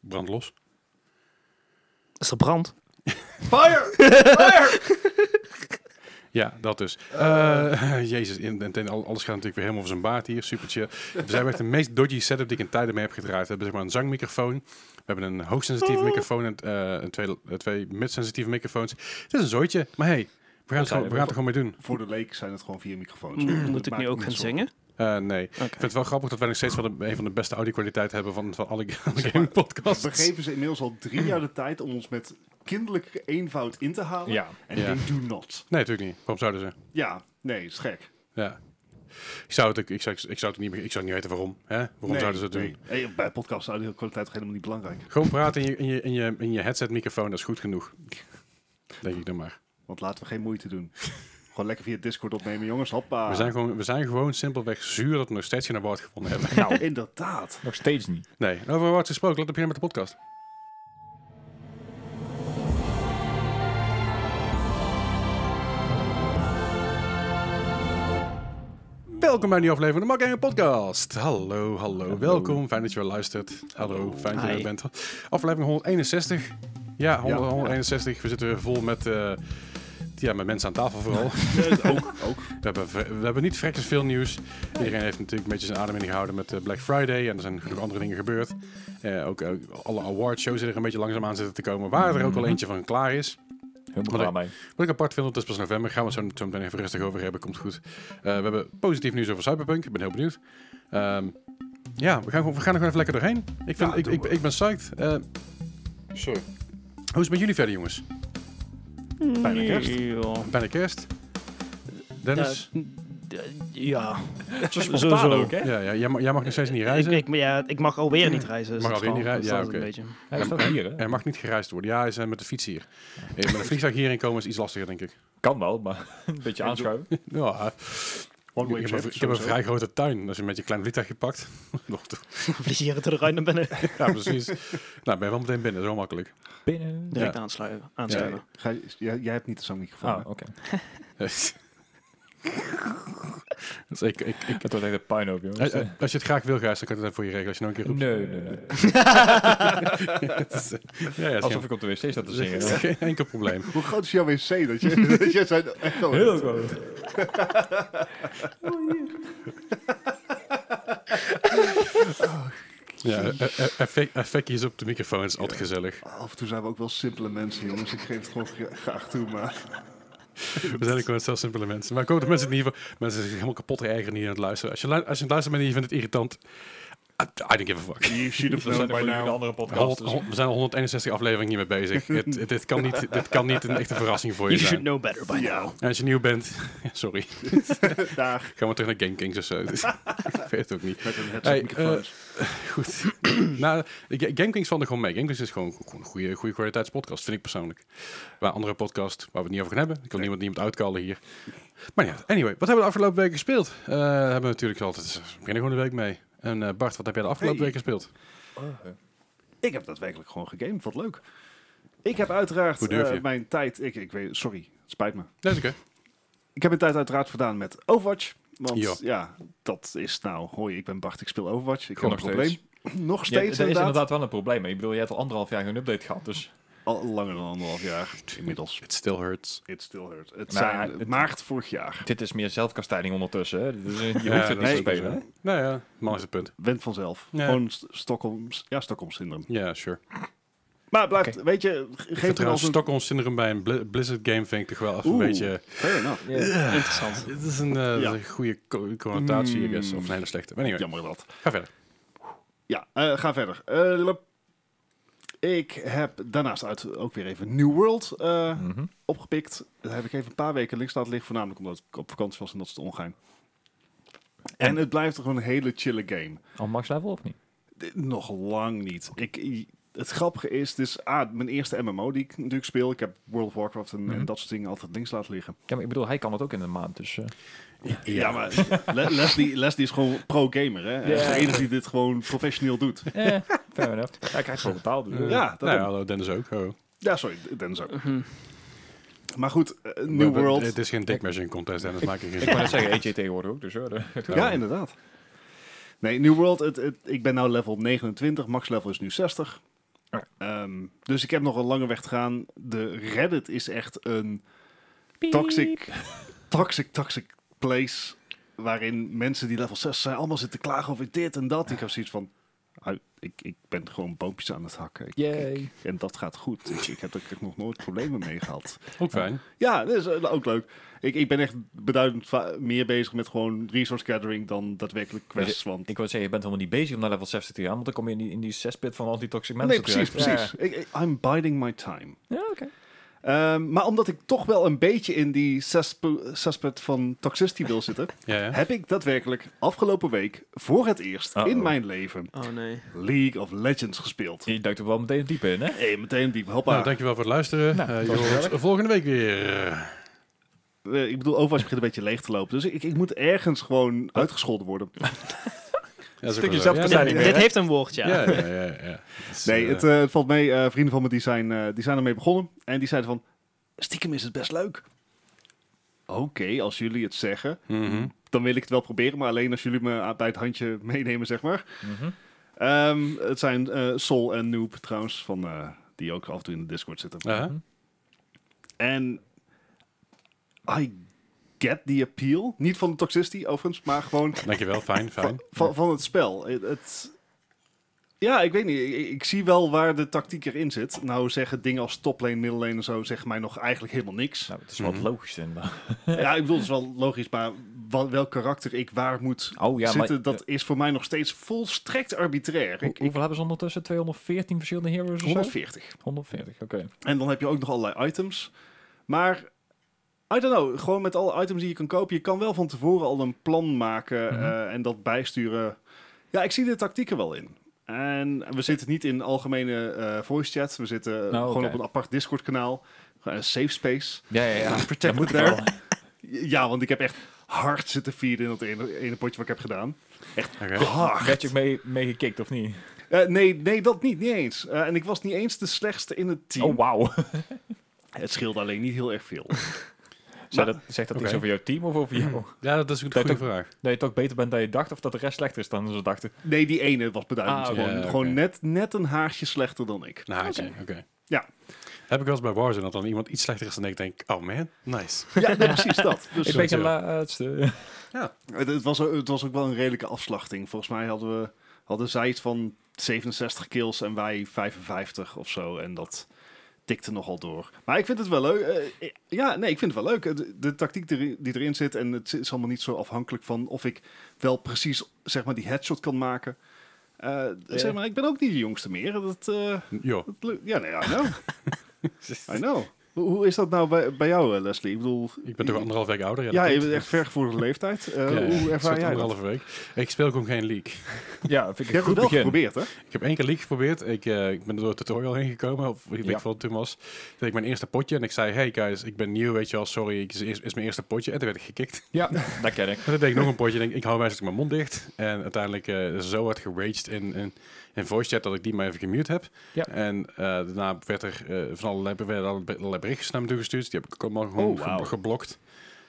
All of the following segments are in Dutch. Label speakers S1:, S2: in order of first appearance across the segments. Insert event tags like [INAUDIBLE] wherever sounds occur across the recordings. S1: Brand los.
S2: Is er brand?
S1: Fire! Fire! ja, dat dus. Eh, [LAUGHS] jezus, en, en, en al- alles gaat natuurlijk weer helemaal over zijn baard hier. Super
S3: [LAUGHS]
S1: chill. We zijn echt de meest dodgy setup die ik in tijden mee heb gedraaid. We hebben zeg maar een zangmicrofoon. We hebben een
S3: Oh.
S1: hoogsensitief microfoon en eh, en twee, eh, twee mid-sensitieve microfoons. Het is een zooitje, maar hey, we gaan, het gewoon, we gaan het er gewoon mee doen.
S3: Voor de leek zijn het gewoon vier microfoons.
S2: [CLEARS THROAT]
S3: Dat
S2: Mm, Moet ik
S3: maakt
S2: nu ook
S3: niet
S2: gaan
S3: zo-
S2: zingen?
S1: Eh, nee. Ik vind het wel grappig dat wij nog steeds wel de- een van de beste audio-kwaliteit hebben van, van alle, [LAUGHS] alle gaming podcasts.
S3: We geven ze inmiddels al drie jaar de tijd om ons met kinderlijke eenvoud in te halen.
S4: Ja.
S3: En
S1: Ja.
S3: they do not.
S1: Nee, natuurlijk niet. Waarom zouden ze?
S3: Ja, nee, is gek.
S1: Ja. Ik zou het, ook- ik zou, ik zou het niet, ik zou niet weten waarom. Hè? Waarom
S3: nee,
S1: zouden ze het doen?
S3: nee. Hey, bij podcast audio kwaliteit toch helemaal niet belangrijk.
S1: Gewoon praten in je, in je, in je, in je headset microfoon, dat is goed genoeg. Denk ik dan maar.
S3: Want laten we geen
S1: [LAUGHS]
S3: moeite doen. Gewoon lekker via Discord opnemen, jongens. Hoppa.
S1: We, zijn gewoon, we zijn gewoon simpelweg zuur dat we nog steeds geen award gewonnen hebben.
S3: Nou, inderdaad.
S4: Nog steeds niet.
S1: [LAUGHS] Nee, en over awards gesproken, laten we beginnen met de podcast. Welkom bij een nieuwe aflevering van de Mark Gaming Podcast. Hallo, hallo, welkom. Fijn dat je weer luistert. Hallo, fijn dat je er
S2: Hi.
S1: bent. Aflevering 161. Ja, 100
S3: Ja.
S1: 161. We zitten weer vol met, eh, ja, met mensen aan tafel vooral.
S3: ook, ook.
S1: [LAUGHS] We hebben, we hebben niet vrekkers veel nieuws. Iedereen heeft natuurlijk een beetje zijn adem in gehouden met eh, Black Friday. En er zijn genoeg andere dingen gebeurd. Eh, ook, ook alle awardshows die er een beetje langzaam aan zitten te komen. Waar er
S3: Mhm.
S1: ook al eentje van klaar is.
S4: Helemaal
S1: Maar
S4: klaar mee.
S1: Wat ik apart vind, want het is pas november. Gaan we het zo, zo meteen even rustig over hebben. Komt goed. Eh, we hebben positief nieuws over Cyberpunk. Ik ben heel benieuwd. Ehm, ja, we gaan, gewoon- we gaan er gewoon even lekker doorheen. Ik, vind,
S3: Ja,
S1: ik,
S3: doen
S1: ik,
S3: we.
S1: ik ben psyched. Eh,
S4: Zo.
S1: hoe is het met jullie verder, jongens?
S3: Bijna kerst.
S2: Ja.
S1: Bijna kerst. Dennis?
S2: Ja, d- ja. [LAUGHS]
S4: Zo
S2: Zo, zo.
S4: ook, hè?
S1: Ja, ja, jij, mag, jij mag nog steeds niet
S2: Ik,
S1: reizen.
S2: ik, maar ja, ik mag alweer niet reizen. is
S1: Mag
S2: het
S1: alweer niet
S2: verhaal.
S1: reizen,
S2: Dat is
S1: ja,
S2: altijd een beetje.
S4: Hij staat hier, hè?
S1: Er mag niet gereisd worden. Ja, hij is eh, met de fiets hier. Eh, Met een vliegtuig hierin komen is iets lastiger, denk ik.
S4: Kan wel, maar [LAUGHS] een beetje aanschuiven.
S1: Ja,
S3: One
S1: ik,
S3: way
S1: heb, een- ik heb
S3: trip,
S1: een
S3: sowieso.
S1: vrij grote tuin. Als je met je klein vliegtuig gepakt. [LAUGHS] Nog toe.
S2: [LAUGHS] Vlieg hier te de ruimte binnen.
S1: ja,
S3: [LAUGHS]
S1: precies. nou, ben je wel meteen binnen. Zo makkelijk.
S4: Binnen.
S2: Direct aansluiten.
S3: Nee,
S2: aansluiten.
S3: ga je- jij, jij hebt niet de zangmicrofoon.
S4: Ah,
S1: Oh.
S3: hè?
S4: oké.
S1: [LAUGHS] dus ik, ik, ik,
S4: Het wordt echt een puinhoop, jongens.
S1: eh, eh, als je het graag wil, Gijs, dan kan ik het even voor je regelen. Als je nog een keer roept.
S4: nee, nee, nee.
S1: [LAUGHS] ja, ja, het is
S4: Alsof
S1: geen-
S4: ik op de wc sta [LAUGHS] te
S1: het is
S4: zingen.
S1: geen, [LAUGHS] enkel probleem.
S3: Hoe groot is jouw wc? Dat
S1: [LAUGHS]
S3: je, dat je zijn echo hebt?
S4: Heel goed.
S1: Ja, eh, eh, effect- effectjes op de microfoon is altijd gezellig.
S3: Af en toe zijn we ook wel simpele mensen, jongens. Ik geef het gewoon gra- graag toe, maar...
S1: We zijn ook gewoon zo simpele mensen. Maar ik hoop dat mensen het niet mensen zich helemaal kapot ergeren hier aan het luisteren. Als je, lu- als je aan het luisteren bent en je vindt het irritant, I, I don't give a fuck.
S3: You should
S4: We zijn nog een andere podcast.
S1: Honderd-
S4: dus-
S1: hon- we zijn al 161 afleveringen hiermee bezig. Het- het- dit, kan niet, dit kan niet een echte verrassing voor je
S2: You should
S1: zijn.
S2: know better by
S3: Ja.
S2: now.
S1: En als je nieuw bent, [LAUGHS] sorry,
S3: Daar,
S1: gaan we terug naar Game Kings of zo. [LAUGHS] Dus, ik weet het ook niet.
S3: met een headset
S1: Hey,
S3: microfoons.
S1: Goed. [CLEARS THROAT] nou, Ga- Game Kings valt er gewoon mee. Game Kings is gewoon, gewoon een goede, goede kwaliteitspodcast, vind ik persoonlijk. Waar andere podcast, waar we het niet over gaan hebben. Ik wil niemand, niemand uitkallen hier. Maar ja, anyway, wat hebben we de afgelopen week gespeeld? Eh, hebben we natuurlijk altijd, eh, we beginnen gewoon de week mee. En eh, Bart, wat heb jij de afgelopen
S3: Hey.
S1: week gespeeld?
S3: Ik heb daadwerkelijk gewoon gegamed, wat leuk. Ik heb uiteraard
S1: Hoe durf
S3: eh,
S1: je?
S3: mijn tijd... Ik, ik weet, sorry, het spijt me.
S1: Nee, is oké.
S3: Ik heb mijn tijd uiteraard verdaan met Overwatch. Want
S1: Ja.
S3: ja, dat is nou... Hoi, ik ben Bart, ik speel Overwatch. Ik heb
S4: Nog
S3: een probleem. [LAUGHS] Nog
S4: Ja,
S3: steeds,
S4: dat is
S3: inderdaad.
S4: inderdaad wel een probleem. Ik bedoel, jij hebt al anderhalf jaar geen update gehad, dus...
S3: Al langer dan anderhalf jaar inmiddels.
S1: It still hurts.
S3: It still hurt. Het
S4: Nou,
S3: zijn
S4: het-
S3: maart vorig jaar.
S4: Dit is meer zelfkastijding ondertussen, hè? Dit is- je
S1: Ja,
S4: hoeft het
S1: dat
S4: niet
S1: is
S4: te
S1: ook wel
S4: spelen,
S1: zo.
S4: hè?
S1: Nou ja, man is het punt.
S3: Went vanzelf.
S1: Ja.
S3: Gewoon St- Stockholms, ja, Stockholm syndroom.
S1: Ja, sure.
S3: Maar het blijft, weet je, ge-
S1: Ik vind
S3: geef er
S1: trouwens
S3: als een...
S1: Stockholm syndroom bij een Bli- Blizzard game vind ik toch wel even een
S3: Oeh.
S1: beetje...
S3: Fair enough.
S2: Interessant.
S1: Dit is een eh,
S3: Ja. Mm.
S1: goede co- connotatie, I guess. Of een hele slechte. Maar anyway,
S3: Jammer dat.
S1: ga verder.
S3: Ja, eh, ga verder. Eh, lep. ik heb daarnaast uit ook weer even New World eh,
S4: Mhm.
S3: opgepikt. Dat heb ik even een paar weken links laten liggen. Voornamelijk omdat ik op vakantie was en dat is te ongein. En het blijft gewoon een hele chille game.
S4: Al max level of niet?
S3: D- Nog lang niet. Ik, i- het grappige is, dit is ah, mijn eerste MMO die ik natuurlijk speel. Ik heb World of Warcraft en, en
S4: Mhm.
S3: dat soort dingen altijd links laten liggen.
S4: Ja, maar ik bedoel, hij kan het ook in een maand, dus... eh,
S3: Ja, maar [LAUGHS] Le- Leslie, Leslie is gewoon pro-gamer. Hè? Hij is
S4: Ja.
S3: de enige die dit gewoon professioneel doet.
S4: eh, fair enough. Hij krijgt wel betaald. dus, eh.
S3: Ja,
S1: Nou, ja,
S3: dat
S1: hallo, Dennis ook. Oh.
S3: ja sorry, Dennis ook. Maar goed, eh,
S1: We
S3: New
S1: hebben-
S3: World.
S1: Het is geen dickmeasuring contest, Dennis. Maak ik geen
S4: Ik
S1: zin.
S4: wou net zeggen, AJ tegenwoordig ook, dus... hoor. [LAUGHS]
S3: Ja, inderdaad. Nee, New World, het, het, ik ben nou level 29, max level is nu 60.
S4: Oké.
S3: Ehm, dus ik heb nog een lange weg te gaan. De Reddit is echt een toxic, toxic, toxic place. Waarin mensen die level 6 zijn allemaal zitten klagen over dit en dat. Ik heb zoiets van, ah, ik, ik ben gewoon boompjes aan het hakken. Ik-
S4: Yay.
S3: en dat gaat goed. Ik, ik heb er nog nooit problemen mee gehad.
S1: Ook fijn.
S3: Ja, dat is eh, ook leuk. Ik, ik ben echt beduidend va- meer bezig met gewoon resource gathering dan daadwerkelijk quests. Want...
S4: Ik wou zeggen, je bent helemaal niet bezig om naar level 60 te gaan, want dan kom je in die, in die zespit van anti-toxic
S3: Nee,
S4: mensen
S3: precies,
S4: terecht.
S3: precies. Ik, ik- I'm biding my time.
S4: Ja, ja oké.
S3: Ehm, maar omdat ik toch wel een beetje in die cesspo- cesspit van toxicity wil zitten,
S1: [LAUGHS] Ja, ja.
S3: heb ik daadwerkelijk afgelopen week voor het eerst
S4: Uh-oh.
S3: in mijn leven
S2: Oh nee.
S3: League of Legends gespeeld.
S4: Je duikt er wel meteen diep in, hè?
S3: Hey, meteen diep, hoppa.
S1: Nou, dankjewel voor het luisteren.
S4: Nou,
S1: Eh, je
S4: dat was
S1: hoort ons
S4: gezellig.
S1: volgende week weer.
S3: Eh, ik bedoel, Overwatch begint een beetje leeg te lopen, dus ik, ik moet ergens gewoon
S1: [LAUGHS]
S3: uitgescholden worden.
S1: Ja,
S4: Stukje zelfkastijding.
S1: Ja,
S2: Dit,
S4: zijn niet meer,
S2: dit
S4: hè?
S2: heeft een woord, ja.
S1: ja, ja, ja, ja. Het is,
S3: Nee,
S1: eh,
S3: het, eh, het valt mee. Eh, vrienden van me die zijn, eh, die zijn ermee begonnen. En die zeiden van, stiekem is het best leuk. Oké, als jullie het zeggen,
S1: mhm.
S3: dan wil ik het wel proberen. Maar alleen als jullie me aan- bij het handje meenemen, zeg maar.
S4: Mhm.
S3: Ehm, het zijn eh Sol en Noob trouwens, van, eh, die ook af en toe in de Discord zitten.
S1: Ja.
S3: En I get the appeal. Niet van de toxicity, overigens, maar gewoon
S1: Dankjewel,
S3: [LAUGHS]
S1: fijn, fijn.
S3: van, van, van het spel. Het, het- ja, ik weet niet. Ik, ik zie wel waar de tactiek erin zit. Nou zeggen dingen als toplane, middellane en zo zeggen mij nog eigenlijk helemaal niks.
S4: Nou, het is wel
S1: Mhm.
S4: logisch inderdaad.
S3: Ja, ik bedoel, het is wel logisch, maar wa- welk karakter ik waar moet
S4: Oh ja,
S3: zitten,
S4: maar...
S3: dat is voor mij nog steeds volstrekt arbitrair.
S4: Hoe-
S3: Ik, ik-
S4: hoeveel hebben ze ondertussen? 214 verschillende heroes of zo?
S3: 140.
S4: 140, oké.
S3: En dan heb je ook nog allerlei items. Maar, I don't know, gewoon met alle items die je kan kopen, je kan wel van tevoren al een plan maken
S4: Mhm.
S3: eh, en dat bijsturen. Ja, ik zie de tactieken wel in. En we zitten niet in algemene eh, voice chat, we zitten eh,
S4: Nou,
S3: gewoon
S4: oké.
S3: op een apart Discord kanaal. Een safe space.
S4: Ja, ja, ja.
S3: Protect
S4: Dat moet
S3: there.
S4: wel.
S3: Ja, want ik heb echt hard zitten vieren in dat ene, ene potje wat ik heb gedaan.
S1: Oké.
S3: Hard.
S4: Werd je ook mee, mee gekikt of niet?
S3: Eh, nee, nee, dat niet, niet eens. Eh, en ik was niet eens de slechtste in het team.
S4: Oh, wauw.
S3: Het scheelde alleen niet heel erg veel.
S4: [LAUGHS] Zou dat, zegt dat iets
S1: Oké.
S4: over jouw team of over jou?
S1: Ja, dat is een
S4: Dat
S1: goede
S4: ook-
S1: vraag.
S4: Dat je toch beter bent dan je dacht of dat de rest slechter is dan ze dachten?
S3: Nee, die ene was beduidend.
S4: Ah, oké.
S3: gewoon
S1: Ja, oké.
S3: gewoon net, net een haartje slechter dan ik.
S1: Nou, oké. oké.
S3: Ja.
S1: Heb ik wel eens bij Warzone dat dan iemand iets slechter is dan ik denk, oh man, nice.
S3: Ja, nee, precies
S4: [LAUGHS]
S3: dat. Dus eh,
S4: Ik
S1: Zo,
S4: ben
S1: zo.
S4: de laatste.
S3: het, het was, ook- het was ook wel een redelijke afslachting. Volgens mij hadden, we, hadden zij iets van 67 kills en wij 55 of zo. En dat tikte nogal door. Maar ik vind het wel leuk. Eh, ja, nee, ik vind het wel leuk. Eh, De, de tactiek die, die erin zit. En het is allemaal niet zo afhankelijk van of ik wel precies zeg maar, die headshot kan maken. Eh, Zeg maar, ik ben ook niet de jongste meer. Dat, eh,
S1: Jo.
S3: dat lu- ja, nee, I
S4: [LAUGHS]
S3: know. I know. Hoe, hoe is dat nou bij, bij jou, eh, Leslie? Ik bedoel...
S1: Ik ben toch anderhalf week ouder?
S3: Ja,
S1: dat
S3: je
S1: klopt.
S3: bent echt vergevoerde leeftijd.
S1: Ja,
S3: Eh,
S1: ja.
S3: Hoe
S1: Het scheelt
S3: ervaar jij dat?
S1: anderhalve week. Ik speel gewoon geen league.
S4: Ja, vind
S3: Je
S4: ik een
S3: hebt het
S4: goed
S3: wel
S4: begin.
S3: geprobeerd, hè?
S1: Ik heb één keer league geprobeerd. Ik, eh, ik ben er door het tutorial heen gekomen. Of weet ik
S4: Ja.
S1: veel wat het toen was. Toen deed ik mijn eerste potje. En ik zei, hey guys, ik ben nieuw, weet je wel. Sorry, het is, is mijn eerste potje. En toen werd ik gekikt. [LAUGHS]
S4: Ja, dat ken ik.
S1: En toen deed ik nog een potje. En ik, ik hou wijzelijk mijn mond dicht. En uiteindelijk eh, zo hard geraged in, in, in voice chat dat ik die maar even gemute heb.
S4: Ja.
S1: En eh, daarna werd er eh, van allerlei, werden allerlei berichtjes naar me toe gestuurd. Die heb ik ook allemaal gewoon
S3: Oh, wauw.
S1: ge- geblokt.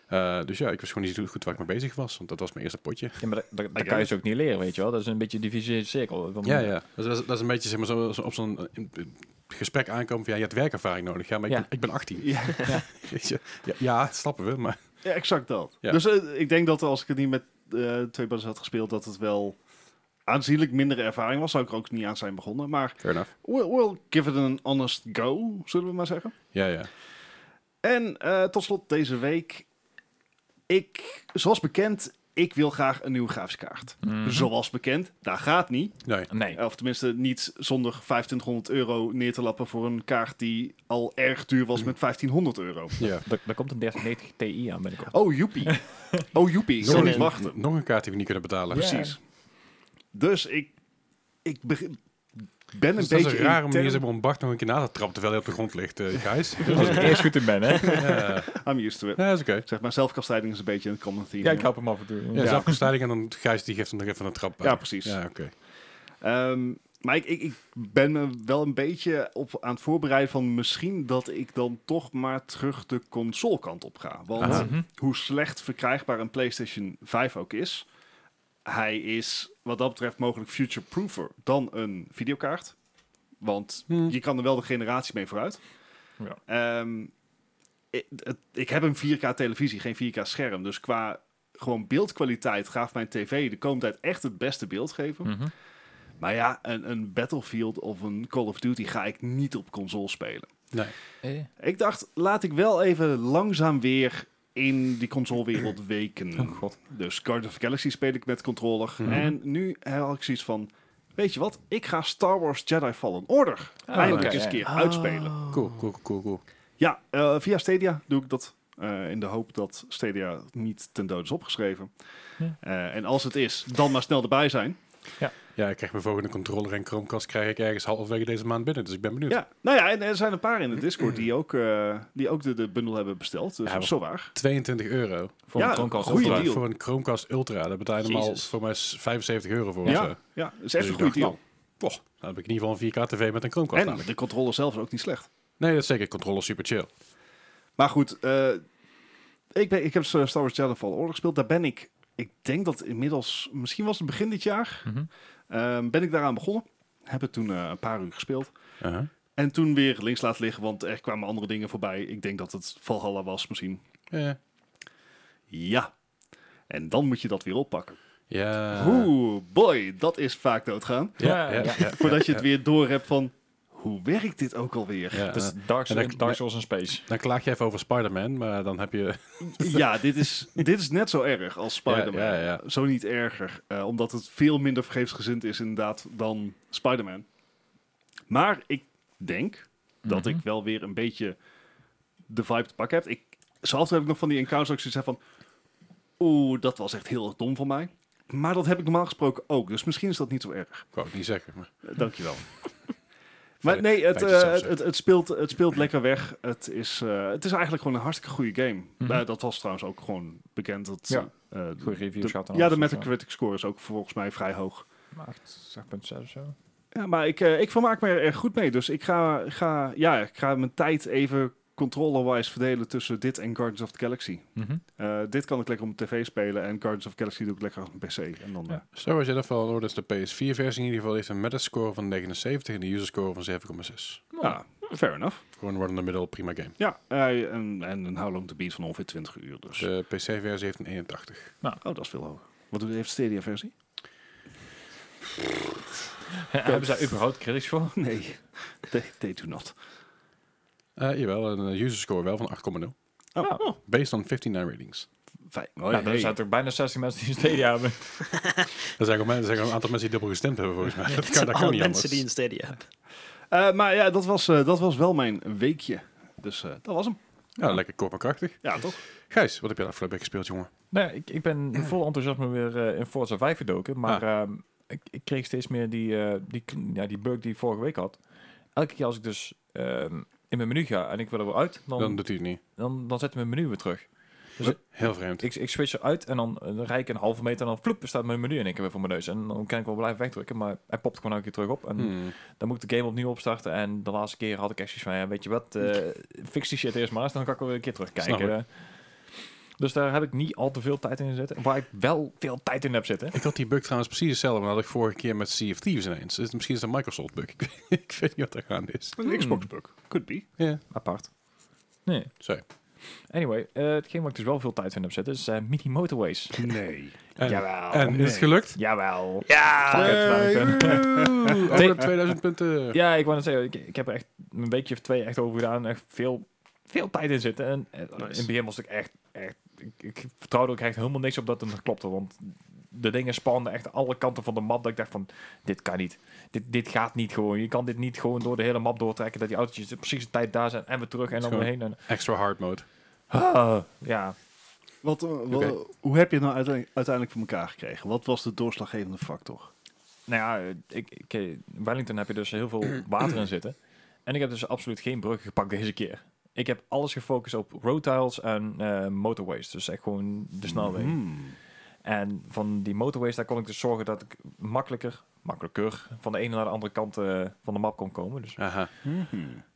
S1: Eh, dus ja, ik wist gewoon niet zo goed waar ik mee bezig was. Want dat was mijn eerste potje.
S4: Ja, maar dat, dat, dat
S3: I
S4: kan je
S3: get
S4: ze ook niet leren, weet je wel. Dat is een beetje die vicieuze cirkel. Van-
S1: Ja, ja. Dus dat, is, dat is een beetje zeg maar, zo, zo op zo'n eh, in- in- gesprek aankomen van ja, je hebt werkervaring nodig. Ja, maar ik,
S4: Ja.
S1: ben, ik ben 18.
S3: Ja,
S1: Weet je? [LAUGHS] Ja, ja, snappen we. Maar
S3: ja, exact dat.
S1: Ja.
S3: Dus eh, ik denk dat als ik het niet met eh, twee buddies had gespeeld, dat het wel aanzienlijk minder ervaring was. Zou ik er ook niet aan zijn begonnen. Maar
S1: fair enough.
S3: we'll, we'll give it an honest go, zullen we maar zeggen.
S1: Ja, ja.
S3: En eh, tot slot deze week. Ik, zoals bekend, ik wil graag een nieuwe grafische kaart.
S4: Mhm.
S3: Zoals bekend, dat gaat niet.
S1: Nee.
S4: Nee.
S3: Eh, Of tenminste, niet zonder 2500 euro neer te lappen voor een kaart die al erg duur was met 1500 euro.
S1: Ja.
S4: Daar daar komt een 3090 Ti aan binnenkort.
S3: Oh, joepie.
S1: [LAUGHS]
S3: Oh, joepie. Ik
S1: Nog
S3: kan
S1: een-
S3: niet wachten.
S1: Nog een kaart die we niet kunnen betalen.
S4: Ja.
S3: Precies. Dus ik, ik beg- ben een
S1: Dus dat
S3: beetje...
S1: is een rare manier
S3: intern-
S1: zeg maar, om Bart nog een keer na te trappen terwijl hij op de grond ligt, eh Gijs. Dus,
S4: Als ik eerst goed in ben, hè.
S1: ja.
S3: I'm used to it.
S1: Nee, dat is oké.
S3: Zeg maar, zelfkastijding is een beetje een common theme.
S4: [LAUGHS] Ja, ik help hem af en toe.
S1: Ja,
S4: Ja,
S1: ja. en dan Gijs die geeft hem nog even een trap.
S3: Ja,
S1: aan.
S3: precies.
S1: Ja, oké.
S3: Ehm, maar ik, ik, ik ben me wel een beetje op aan het voorbereiden van misschien dat ik dan toch maar terug de consolekant op ga. Want
S1: Aha.
S4: Mhm.
S3: hoe slecht verkrijgbaar een PlayStation 5 ook is, hij is wat dat betreft mogelijk future-proofer dan een videokaart. Want
S1: Hmm.
S3: je kan er wel de generatie mee vooruit.
S4: Ja.
S3: Ehm, ik, het- ik heb een 4K televisie, geen 4K scherm. Dus qua gewoon beeldkwaliteit gaat mijn tv de komende tijd echt het beste beeld geven.
S4: Mhm.
S3: Maar ja, een, een Battlefield of een Call of Duty ga ik niet op console spelen.
S1: Nee.
S4: Eh,
S3: Ik dacht, laat ik wel even langzaam weer in die
S1: [CLEARS THROAT]
S3: consolewereld weken.
S4: Oh god.
S3: Dus Guardians of the Galaxy speel ik met controller.
S1: Mhm.
S3: En nu had ik zoiets van... Weet je wat? Ik ga Star Wars Jedi Fallen Order
S1: Ah,
S3: eindelijk
S4: oké.
S3: eens een keer uitspelen.
S2: Oh.
S1: Cool, cool, cool, cool.
S3: Ja, eh, via Stadia doe ik dat. eh, in de hoop dat Stadia niet ten dood is opgeschreven.
S4: Ja.
S3: Eh, en als het is, dan maar snel erbij zijn.
S1: Ja, ik krijg mijn volgende controller en Chromecast krijg ik ergens halverwege deze maand binnen. Dus ik ben benieuwd.
S3: Ja, nou ja, en er zijn een paar in de Discord die ook, eh, die ook de, de bundel hebben besteld. Dus
S1: Ja, maar-
S3: zo waar.
S1: 22 euro.
S4: Voor
S3: Ja,
S4: een Chromecast
S3: goeie
S4: Ultra.
S1: Voor-
S3: deal.
S1: Voor een Chromecast Ultra. Daar betaal je normaal
S2: Jezus.
S1: voor mij s- 75 euro voor.
S3: Ja,
S1: of zo.
S3: ja, dat
S1: Dus
S3: is echt een
S1: ik
S3: goede deal.
S1: dacht, nou, poch, dan heb ik in ieder geval een 4K TV met een Chromecast.
S3: En
S1: namelijk.
S3: de controller zelf is ook niet slecht.
S1: Nee, dat is zeker. Controller super chill.
S3: Maar goed, eh, ik, ben, ik heb eh, Star Wars Jedi Fallen Order gespeeld. Daar ben ik, ik denk dat inmiddels, misschien was het begin dit jaar,
S4: Mhm.
S3: ehm, ben ik daaraan begonnen. Heb het toen eh, een paar uur gespeeld.
S1: Uh-huh.
S3: En toen weer links laten liggen, want er kwamen andere dingen voorbij. Ik denk dat het Valhalla was misschien.
S1: Eh,
S3: Ja. En dan moet je dat weer oppakken.
S1: ja.
S3: Oeh, boy, dat is vaak doodgaan.
S1: Ja, ja,
S4: Ja.
S1: ja.
S3: Voordat je het weer door hebt van, hoe werkt dit ook alweer?
S1: Ja,
S4: Het is
S1: eh,
S4: Dus Dark,
S1: en dan-
S4: Dark Souls in Space.
S1: dan klaag je even over Spider-Man, maar dan heb je...
S3: Ja, dit is, dit is net zo erg als Spider-Man.
S1: Ja, ja, ja.
S3: Zo niet erger. eh, omdat het veel minder vergeefsgezind is inderdaad dan Spider-Man. Maar ik denk
S4: Mhm.
S3: dat ik wel weer een beetje de vibe te pakken heb. Ik, zelfs heb ik nog van die encounters ook zoiets heb van... Oeh, dat was echt heel erg dom van mij. Maar dat heb ik normaal gesproken ook. Dus misschien is dat niet zo erg.
S1: Ik wou het niet zeggen, maar...
S3: Eh, Dankjewel. [LAUGHS] Maar
S1: Fijn-
S3: nee, het,
S1: fijn dat je
S3: eh,
S1: zelf
S3: het,
S1: zegt.
S3: het, het speelt, het speelt lekker weg. Het is, eh, het is eigenlijk gewoon een hartstikke goede game.
S4: Mhm.
S3: Eh, dat was trouwens ook gewoon bekend. Dat,
S4: Ja.
S3: eh, de-
S4: Goede reviews gaat dan
S3: ja, de Metacritic score is ook volgens mij vrij hoog.
S4: 8,6 of zo.
S3: Ja, maar ik, eh, ik vermaak me er erg goed mee. Dus ik ga, ga, ja, ik ga mijn tijd even controller-wise verdelen tussen dit en Guardians of the Galaxy.
S4: Mhm.
S3: Eh, dit kan ik lekker op mijn tv spelen en Guardians of the Galaxy doe ik lekker op mijn PC. En dan,
S4: Ja.
S3: eh,
S1: Star Wars Jedi Fallen Order is de PS4-versie in ieder geval. heeft een metascore van 79 en een userscore van 7,6.
S3: eh, ja, fair enough.
S1: Gewoon run in the middle, prima game.
S3: Ja, eh, en, en een How Long to Beat van ongeveer 20 uur. Dus.
S1: De PC-versie heeft een 81.
S3: Oh, dat is veel hoger. Wat doet- heeft Stadia versie? [LAUGHS]
S4: Hebben zij überhaupt critics voor?
S3: Nee, they, they do not.
S1: Eh jawel, een eh, userscore wel van 8,0.
S3: Oh.
S1: Based on 59 ratings.
S3: Fijn.
S4: Nou, er zijn toch bijna 60 mensen die een Stadia hebben.
S1: Er zijn, ook men- er zijn ook een aantal mensen die dubbel gestemd hebben volgens mij. Dat
S2: Het
S1: kan,
S2: zijn
S1: dat
S2: alle
S1: kan niet
S2: mensen
S1: anders.
S2: die een Stadia hebben.
S3: Eh, maar ja, dat was, eh, dat was wel mijn weekje. Dus eh, dat was hem.
S1: Ja, lekker kort maar krachtig.
S3: Ja, toch?
S1: Gijs, wat heb je daar afgelopen week gespeeld, jongen?
S4: Nee, ik, ik ben vol enthousiasme weer eh, in Forza 5 gedoken. Maar ehm, ik, ik kreeg steeds meer die, eh, die, kn- ja, die bug die ik vorige week had. Elke keer als ik dus ehm, in mijn menu ga en ik wil er weer uit, dan,
S1: Dan
S4: dan,
S1: doet hij het niet.
S4: dan, zet hij mijn menu weer terug. Dus-
S1: Heel vreemd.
S4: Ik, ik switch eruit en dan, eh, dan rijd ik een halve meter en dan vloep, staat mijn menu in één keer weer voor mijn neus. En dan kan ik wel blijven wegdrukken, maar hij popt gewoon elke keer terug op. En
S1: Hmm.
S4: dan moet ik de game opnieuw opstarten. En de laatste keer had ik echt zoiets van, ja, weet je wat, [LAUGHS] eh, fix die shit eerst maar eens, dan kan ik wel weer een keer terugkijken.
S1: Snap
S4: dus daar heb ik niet al te veel tijd in zitten. Waar ik wel veel tijd in heb zitten.
S1: Ik had die bug trouwens precies hetzelfde, maar dat had ik vorige keer met Sea of Thieves ineens. Dus Misschien is het een Microsoft bug. [LAUGHS] Ik weet- ik weet niet wat er gaande is.
S3: Een
S2: Hmm.
S3: Xbox bug. Could be.
S1: Ja,
S4: Apart. Nee.
S1: sorry.
S4: Anyway, eh hetgeen waar ik dus wel veel tijd in heb zitten is eh, mini motorways.
S3: Nee.
S1: En,
S4: Jawel.
S1: en is het [LAUGHS] gelukt?
S4: Jawel.
S2: Ja!
S4: Fuck it, waar ik ben.
S1: Oeh, over de 2000 punten.
S4: Ja, ik wou net zeggen, ik, ik heb er echt een weekje of twee echt over gedaan. Echt veel, veel tijd in zitten. En eh, in het begin was ik echt, echt ik, ik vertrouwde ook echt helemaal niks op dat het klopte. Want de dingen spanden echt alle kanten van de map. Dat ik dacht van, dit kan niet. Dit, dit gaat niet gewoon. Je kan dit niet gewoon door de hele map doortrekken. Dat die autootjes precies de tijd daar zijn. En weer terug en dan weer
S1: Schoon.
S4: heen. En,
S1: Extra hard mode.
S4: Ah, ja,
S3: [LAUGHS] Wat, eh, wat- Hoe heb je het nou uiteindelijk, uiteindelijk voor elkaar gekregen? Wat was de doorslaggevende factor?
S4: Nou ja, eh, ik, ik, eh, Wellington heb je dus heel veel water in zitten. En ik heb dus absoluut geen bruggen gepakt deze keer. Ik heb alles gefocust op road tiles en eh, motorways. Dus echt gewoon de snelweg.
S3: Hmm.
S4: En van die motorways, daar kon ik dus zorgen dat ik makkelijker, makkelijker van de ene naar de andere kant eh, van de map kon komen. Dus
S1: Aha.
S3: Mhm.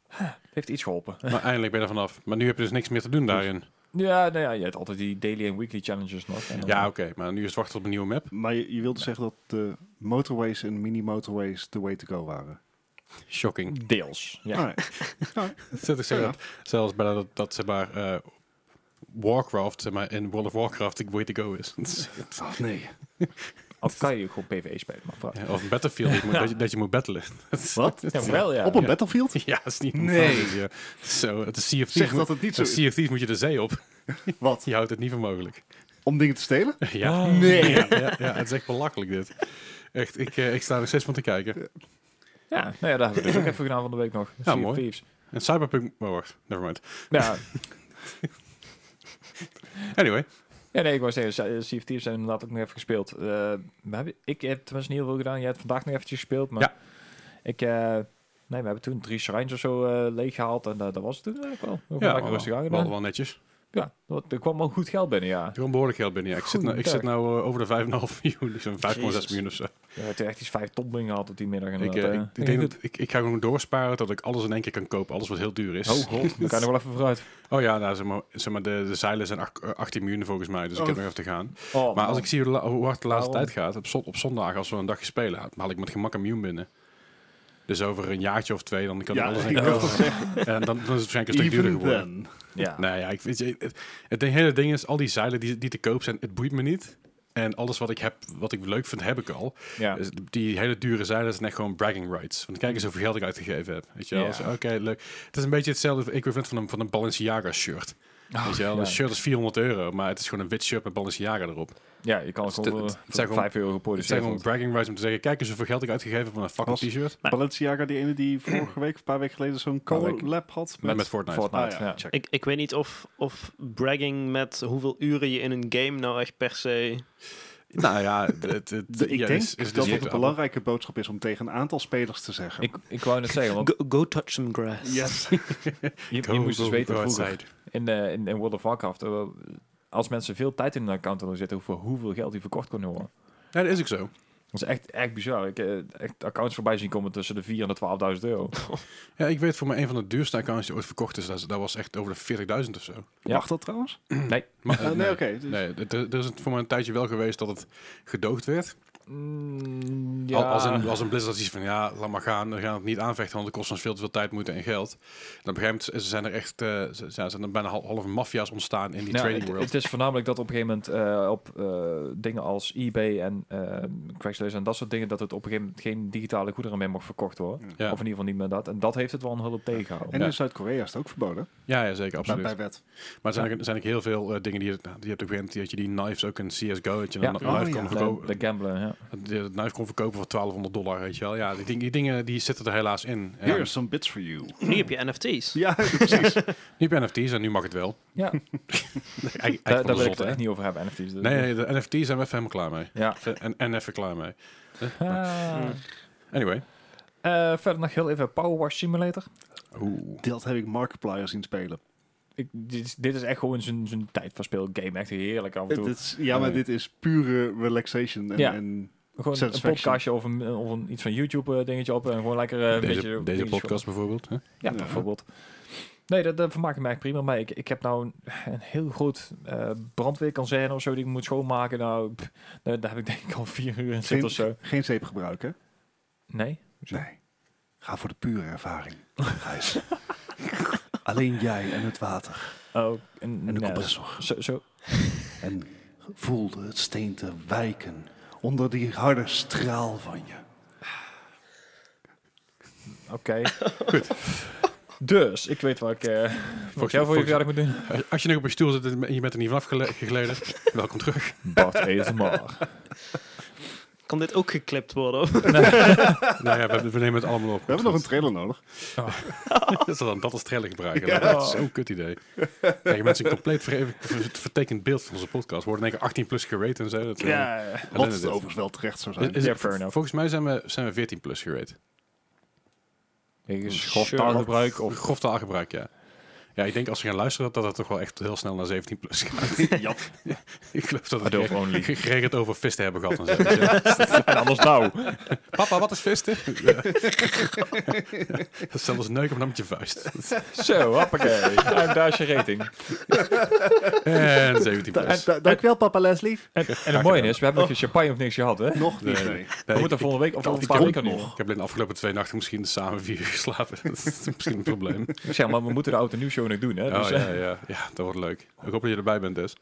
S4: het heeft iets geholpen.
S1: Maar eindelijk ben je er vanaf. Maar nu heb je dus niks meer te doen daarin.
S4: Ja, nou ja, je hebt altijd die daily en weekly challenges nog. En dan-
S1: Ja, oké. maar nu is het wachten op een nieuwe map.
S3: Maar je, je wilde zeggen dat de motorways en mini-motorways the way to go waren.
S1: Shocking.
S4: Deels. Ja.
S3: Alright.
S1: [LAUGHS] Zet ik zeggen, zelfs bijna dat, dat zeg maar, eh, Warcraft zeg maar, in World of Warcraft de way to go is.
S3: Ah, nee.
S4: Al kan je ook gewoon PvE spelen, maar vooruit.
S1: Ja, of Battlefield, dat je moet- dat, je, dat je moet battelen. [LAUGHS]
S3: Wat?
S4: Ja, wel ja.
S3: Op een
S1: Ja.
S3: battlefield?
S1: Ja, dat is niet
S3: Nee.
S1: normaal, ja. Zo, het is Sea of Thieves.
S3: Zeg
S1: moet-
S3: dat het niet zo
S1: met
S3: is.
S1: Sea of Thieves moet je de zee op.
S3: Wat?
S1: Je houdt het niet voor mogelijk. [LAUGHS]
S3: Om dingen te stelen?
S1: ja.
S3: Oh. Nee.
S1: Ja, ja, ja, het is echt belachelijk dit. Echt, ik, eh, ik sta er steeds van te kijken.
S4: Ja, nou ja, daar hebben we het ook even gedaan van de week nog. Sea of
S1: mooi.
S4: Thieves.
S1: En Cyberpunk... Oh, wacht. Never mind.
S4: Nou Ja,
S1: Anyway.
S4: ja, nee, ik wou zeggen, Sea Sea of Thieves hebben we inderdaad ook nog even gespeeld. Eh, we hebben, ik eh, heb tenminste niet heel veel gedaan. Jij hebt vandaag nog eventjes gespeeld, maar
S1: Ja.
S4: ik... eh, Nee, we hebben toen drie shrines of zo eh, leeggehaald en eh, dat was het toen eigenlijk wel. We hebben
S1: Ja,
S4: lekker rustig
S1: wel,
S4: aan
S1: wel,
S4: gedaan.
S1: wel netjes.
S4: Ja, dat- er kwam wel goed geld binnen, ja.
S1: Gewoon behoorlijk geld binnen. Ja. Ik zit nou, ik zit
S4: Goedendag.
S1: nou eh, over de 5,5 miljoen. dus Zo'n 5,6
S2: Jezus.
S1: miljoen of zo.
S4: Je hebt echt iets vijf ton dingen gehad op die middag.
S1: Ik,
S4: inderdaad,
S1: eh, ik,
S4: hè.
S1: ik,
S4: Ging
S1: denk
S4: goed.
S1: dat, ik, ik ga gewoon doorsparen dat ik alles in één keer kan kopen. Alles wat heel duur is.
S4: Oh god, we kan nog wel even vooruit.
S1: Oh ja, nou, zeg maar, zeg maar de, de zeilen zijn ach- eh, 18 miljoen volgens mij. Dus ik heb
S3: Oh.
S1: nog even te gaan.
S4: Oh,
S1: Maar als ik zie hoe, de la- hoe hard de laatste
S4: Waarom?
S1: tijd gaat. Op, zon- op zondag, als we een dagje spelen, dan haal ik met gemak een miljoen binnen. Dus over een jaartje of twee, dan kan ik
S3: Ja,
S1: alles in
S3: ik
S1: één
S3: wil
S1: keer
S3: het
S1: kopen.
S3: zeggen.
S1: En dan, dan is het waarschijnlijk een stuk duurder
S3: Even
S1: geworden.
S3: then.
S4: Ja.
S1: Nou ja, ik, weet je, het, het hele ding is, al die zeilen die, die te koop zijn, het boeit me niet. En alles wat ik heb, wat ik leuk vind, heb ik al.
S4: ja.
S1: Dus die hele dure zeilen zijn echt gewoon bragging rights. Want kijk eens hoeveel geld ik uitgegeven heb. Weet je wel?
S4: Ja.
S1: Dus, Oké, leuk. Het is een beetje hetzelfde equivalent van een, van een Balenciaga shirt. Weet je wel?
S4: ja.
S1: Een shirt is 400 euro, maar het is gewoon een wit shirt met Balenciaga erop.
S4: ja, je kan het
S1: Het-
S4: gewoon
S1: het-
S4: voor
S1: het zijn
S4: voor 5 euro
S1: Dus het zijn
S4: geproduceerd
S1: gewoon
S4: worden.
S1: bragging rights om te zeggen, kijk eens hoeveel geld ik uitgegeven heb van een fucking
S3: Was-
S1: t-shirt.
S3: Balenciaga, die ene die vorige week, of een paar weken geleden, zo'n
S4: Paar weken.
S3: collab had.
S1: Met, met Fortnite.
S3: Ah,
S4: Fortnite,
S3: ja,
S4: ja.
S3: check.
S2: Ik, ik weet niet of, of bragging met hoeveel uren je in een game nou echt per se...
S1: [LAUGHS] Nou ja, het, het, het-
S3: De- ik
S1: ja,
S3: denk
S1: is- is
S3: dat
S1: dus
S3: het
S1: niet-
S3: een belangrijke boodschap is om tegen een aantal spelers te zeggen.
S4: Ik, ik wou net zeggen, want
S2: Go, go touch some grass.
S3: yes.
S4: je, je
S1: Go,
S4: moest
S1: go,
S4: dus weten
S1: go
S4: vroeger
S1: outside.
S4: in, eh, in, in World of Warcraft, eh, als mensen veel tijd in hun account hadden zitten, voor hoeveel geld die verkocht kon worden.
S1: Ja, dat is ook zo.
S4: Dat is echt, echt bizar. Ik heb echt accounts voorbij zien komen tussen de 4 en de 12.000
S1: [CLEARS THROAT]
S4: euro.
S1: Ja, ik weet voor mij een van de duurste accounts die ooit verkocht is, dat, is- dat was echt over de 40.000 of zo.
S4: Ja.
S3: Mag dat trouwens?
S1: Maar,
S3: Eh,
S1: eh,
S3: nee, oké. dus-
S1: Nee, d- d- er is het voor mij een tijdje wel geweest dat het gedoogd werd.
S4: Mm,
S1: Al- Als, een, als een Blizzard iets van, ja, laat maar gaan. We gaan het niet aanvechten, want het kost ons veel te veel tijd, moeite en geld. En op een gegeven moment is- zijn er echt eh, ze- ja, zijn er bijna hal- halve maffia's ontstaan in die
S4: Ja,
S1: trading
S4: Nou, het,
S1: world.
S4: [LAUGHS] het is voornamelijk dat op een gegeven moment eh, op eh, dingen als eBay en eh, Craigslist en dat soort dingen, dat het op een gegeven moment geen digitale goederen meer mag verkocht worden.
S1: Ja.
S4: Of in ieder geval niet meer dat. En dat heeft het wel een hulp tegengehouden.
S3: En
S1: Ja.
S3: in Zuid-Korea is het ook verboden.
S1: ja, ja, dus- zeker, absoluut.
S3: Bij, bij wet.
S1: maar er zijn, ook- er zijn ook heel veel eh, dingen die, je- nou, die je hebt ook weer, die, dat je die knives ook in CSGO, dat je dan
S4: Ja.
S1: een knife
S3: Oh,
S1: kon
S3: ja.
S1: verkopen.
S4: de, de gambler, ja.
S1: dat je het knife kon verkopen voor 1200 dollar, weet je wel. Ja, die, ding- die dingen die zitten er helaas in. En
S3: Here are some bits for you.
S2: [LAUGHS] Nu heb je NFT's.
S3: [LAUGHS] Ja, precies.
S1: nu heb je NFT's en nu mag het
S4: [LAUGHS]
S1: wel.
S4: ja. daar-
S1: Eigenlijk,
S4: daar
S1: eigenlijk van de
S4: wil ik het
S1: zotte, hè?
S4: echt niet over hebben, NFT's. dus-
S1: Nee, nee, de NFT's zijn we even helemaal klaar mee.
S4: Ja.
S1: En, en even klaar mee.
S4: Ah.
S1: Anyway.
S4: Eh, verder nog heel even Power Wash Simulator.
S1: Oeh.
S3: [LAUGHS] Dat heb ik Markiplier zien spelen.
S4: Ik, dit, is- dit is echt gewoon zijn zijn tijdverspeel game. Echt heerlijk af en
S3: Het
S4: toe.
S3: is, ja, maar
S1: Nee.
S3: dit is pure relaxation. En,
S4: Ja.
S3: en
S4: Gewoon een
S3: satisfaction.
S4: podcastje of, een, of een, iets van YouTube eh, dingetje op en gewoon lekker eh, een
S1: Deze,
S4: beetje...
S1: deze
S4: dingetjes
S1: podcast bijvoorbeeld. Hè?
S4: Ja,
S3: Ja.
S4: bijvoorbeeld. Nee, dat, dat vermaakt me eigenlijk prima. Maar ik, ik heb nou een, een heel groot eh brandweerkazerne of zo die ik moet schoonmaken. Nou, pff, daar, daar heb ik denk ik al vier uur in zitten of zo.
S3: geen, geen zeep gebruiken.
S4: Nee?
S3: Nee. Ga voor de pure [LAUGHS] ervaring, Gijs. Alleen jij en het water
S4: Oh, en,
S3: en de
S4: nee,
S3: compressor.
S4: zo, zo.
S3: En voelde het steente wijken onder die harde straal van je.
S4: Oké. Goed. Dus, ik weet wat ik, eh, wat ik jou voor je
S1: volgens-
S4: verjaardag moet doen.
S1: Als- Als je nog op je stoel zit en je bent er niet vanaf gele- gegleden, welkom terug.
S4: Bart ASMR.
S2: Kan dit ook geklipt worden?
S1: nou ja, we, we nemen het allemaal op.
S3: We hebben nog een trailer nodig.
S1: Dat ze dan dat als trailer gebruiken.
S3: Ja.
S1: Dat is zo'n kut idee. Krijgen mensen een compleet ver- ver- vertekend beeld van onze podcast. We worden in één keer 18 plus gerate en zo. Dat, eh,
S4: Ja.
S3: Wat
S1: dit.
S3: het overigens wel terecht zou
S1: is-
S3: zijn.
S1: is-
S4: Ja, fair enough.
S1: volgens mij zijn we, zijn we 14 plus gerate.
S4: Wegens
S2: Sure.
S4: grof taalgebruik of...
S1: Grof taalgebruik, ja. Ja, ik denk als ze gaan luisteren, dat dat toch wel echt heel snel naar 17 plus gaat. [LAUGHS]
S3: Jap.
S1: ik geloof dat we
S4: Adult
S1: gere-
S4: only.
S1: geregeld over visten hebben gehad. En zo. Ja.
S4: En anders nou. [LAUGHS]
S1: Papa, wat is visten? Ja. dat is zelfs neuken op je vuist.
S4: Zo, hoppakee. Daar, daar is je rating.
S1: En 17 plus.
S3: dankjewel, papa Leslie.
S4: En, en het mooie is, we hebben nog geen champagne of niks gehad, hè?
S3: Nog niet,
S1: Nee.
S3: nee.
S1: Nee,
S4: we
S1: ik,
S4: moeten
S1: ik,
S4: volgende week of
S3: ik-
S4: over een
S3: ik-
S4: paar
S3: ik-
S4: weken nog.
S1: ik heb in de afgelopen twee nachten misschien samen vier uur geslapen. [LAUGHS] dat is misschien een probleem.
S4: Ik zeg maar, we moeten de auto nieuw show nog doen, hè?
S1: Oh,
S4: Dus,
S1: ja,
S4: eh,
S1: ja, ja, dat wordt leuk. Ik hoop dat je erbij bent dus.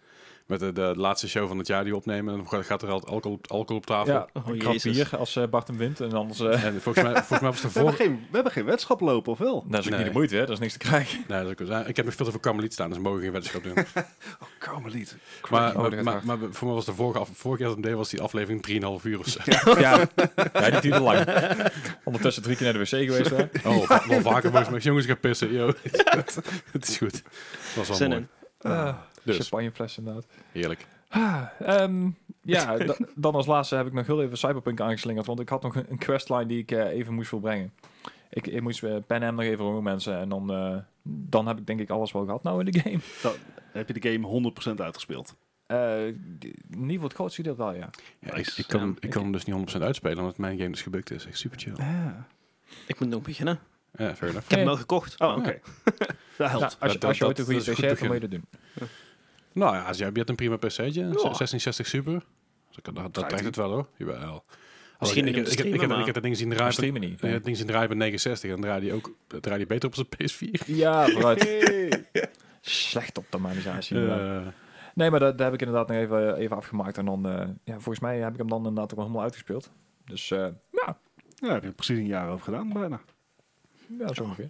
S1: Met de, de laatste show van het jaar die we opnemen. Dan gaat- gaat er altijd alcohol, op- alcohol op tafel.
S4: ja,
S2: Oh,
S4: een
S2: Jezus.
S4: krap bier als eh, Bart hem wint. En anders... [LAUGHS] eh
S1: En volgens mij, volgens mij was de
S4: [LAUGHS]
S3: We, hebben
S1: vorige...
S3: geen, we hebben geen wedschap lopen, of wel?
S4: dat is ook
S1: Nee.
S4: niet de moeite, hè? Dat is niks te krijgen.
S1: Nee, dat is ook wel- ik heb nog veel te veel Karmeliet staan, dus we mogen geen wedstrijd doen.
S4: [LAUGHS]
S3: Karmeliet.
S1: Maar,
S4: Oh, dat
S1: maar,
S4: gaat
S1: maar,
S4: hard.
S1: maar voor mij was de vorige, af, vorige keer dat ik hem deed, was die aflevering 3,5 uur
S4: [LAUGHS]
S1: of zo.
S4: [LAUGHS] Ja, ja die duurde lang. [LAUGHS] Ondertussen drie keer naar de wc geweest, hè?
S1: Oh, va- wel vaker volgens mij. Jongens, ik ga pissen. Yo. Het is goed. Dat was wel
S2: Zin
S1: mooi.
S2: in.
S4: Ah,
S1: Dus.
S4: Champagnefles inderdaad.
S1: Heerlijk.
S4: Ah, ehm, ja, da- dan als laatste heb ik nog heel even Cyberpunk aangeslingerd. Want ik had nog een, een questline die ik eh, even moest volbrengen. Ik, ik moest eh, Pan Am nog even roemen mensen. En dan, eh, dan heb ik denk ik alles wel gehad nou in de game. [LAUGHS]
S3: Heb je de game 100% uitgespeeld?
S4: Eh, niet voor het grootste deel wel, ja.
S1: Ja, ik,
S3: Nice.
S1: ik kan, hem- ik
S4: ik-
S1: kan hem dus niet 100% uitspelen, omdat mijn game dus gebukt is. Echt super chill.
S2: Ik moet nog beginnen. Ik
S1: Ja, fair enough.
S2: heb hem
S4: Nee.
S2: wel gekocht.
S3: Oh, oké. Dat
S4: Nou,
S3: helpt.
S4: als
S1: Dat-
S4: je, als je
S1: dat-
S4: ooit een goede
S1: dat is
S4: PC
S1: een
S4: hebt,
S1: goed
S4: dan moet je dat doen.
S1: Nou ja, als jij je hebt een prima pc'tje. een
S2: Ja.
S1: 1660 super. Dus dat dat, dat trekt het wel hoor. Jawel.
S2: Misschien
S1: ik,
S2: niet
S1: ik, ik, ik,
S2: op de streamen,
S1: ik, heb-
S2: maar-
S1: ik heb dat ding zien
S4: Maar
S1: draaien.
S4: streamen niet.
S1: Ik heb dat ding zien draaien bij 69 en dan draait hij ook dat draait hij beter op zijn PS4.
S4: Ja,
S1: [LAUGHS]
S4: vooruit. Slecht optimalisatie. inderdaad.
S1: Eh,
S4: Nee, maar dat, dat heb ik inderdaad nog even, even afgemaakt. En dan, eh, ja, volgens mij heb ik hem dan inderdaad ook wel helemaal uitgespeeld. Dus eh, ja,
S3: Daar heb je precies een jaar over gedaan, bijna.
S4: ja, zo ongeveer.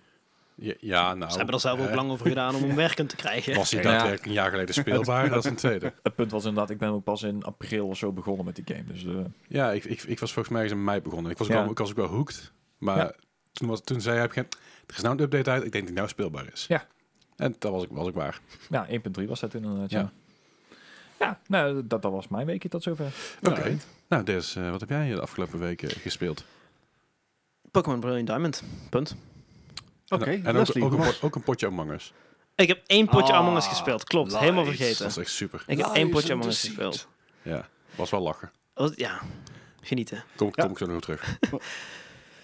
S1: ja, ja, nou.
S2: Ze hebben er zelf ook
S1: eh,
S2: lang over gedaan
S3: [LAUGHS]
S2: om hem werkend te krijgen.
S1: Was hij
S4: Ja.
S1: daadwerkelijk een jaar geleden speelbaar? dat is een tweede.
S4: Het punt was inderdaad, ik ben ook pas in april of zo begonnen met die game. Dus eh,
S1: Ja, ik, ik, ik was volgens mij eens in mei begonnen. Ik was, ook
S4: Ja.
S1: wel, ik was ook wel hooked. Maar
S4: Ja.
S1: toen, was, toen zei hij op een gegeven moment, er is nou een update uit. Ik denk dat die nou speelbaar is.
S4: Ja.
S1: En dat was ik, was ik waar.
S4: ja, 1.3 was dat inderdaad, ja.
S1: Ja.
S4: Ja, nou, dat, dat was mijn weekje tot zover.
S1: Oké.
S3: Alright.
S1: Nou, Des, eh, wat heb jij de afgelopen weken gespeeld?
S2: Pokémon Brilliant Diamond. Punt.
S3: Oké,
S1: en, en ook,
S3: Leslie,
S1: ook, een,
S3: hoe
S1: pot-
S3: was-
S1: ook een potje Among Us.
S2: Ik heb één potje
S3: Ah,
S2: Among Us gespeeld. Klopt, helemaal
S3: nice.
S1: Dat
S2: vergeten.
S1: was echt super.
S2: Ik heb
S3: Lies
S2: één potje
S3: in
S2: Among
S3: the
S2: Us
S3: seat.
S2: gespeeld.
S1: Ja, was wel lachen.
S2: Was- ja, genieten.
S1: Kom,
S3: Ja.
S1: kom ik zo nog op terug.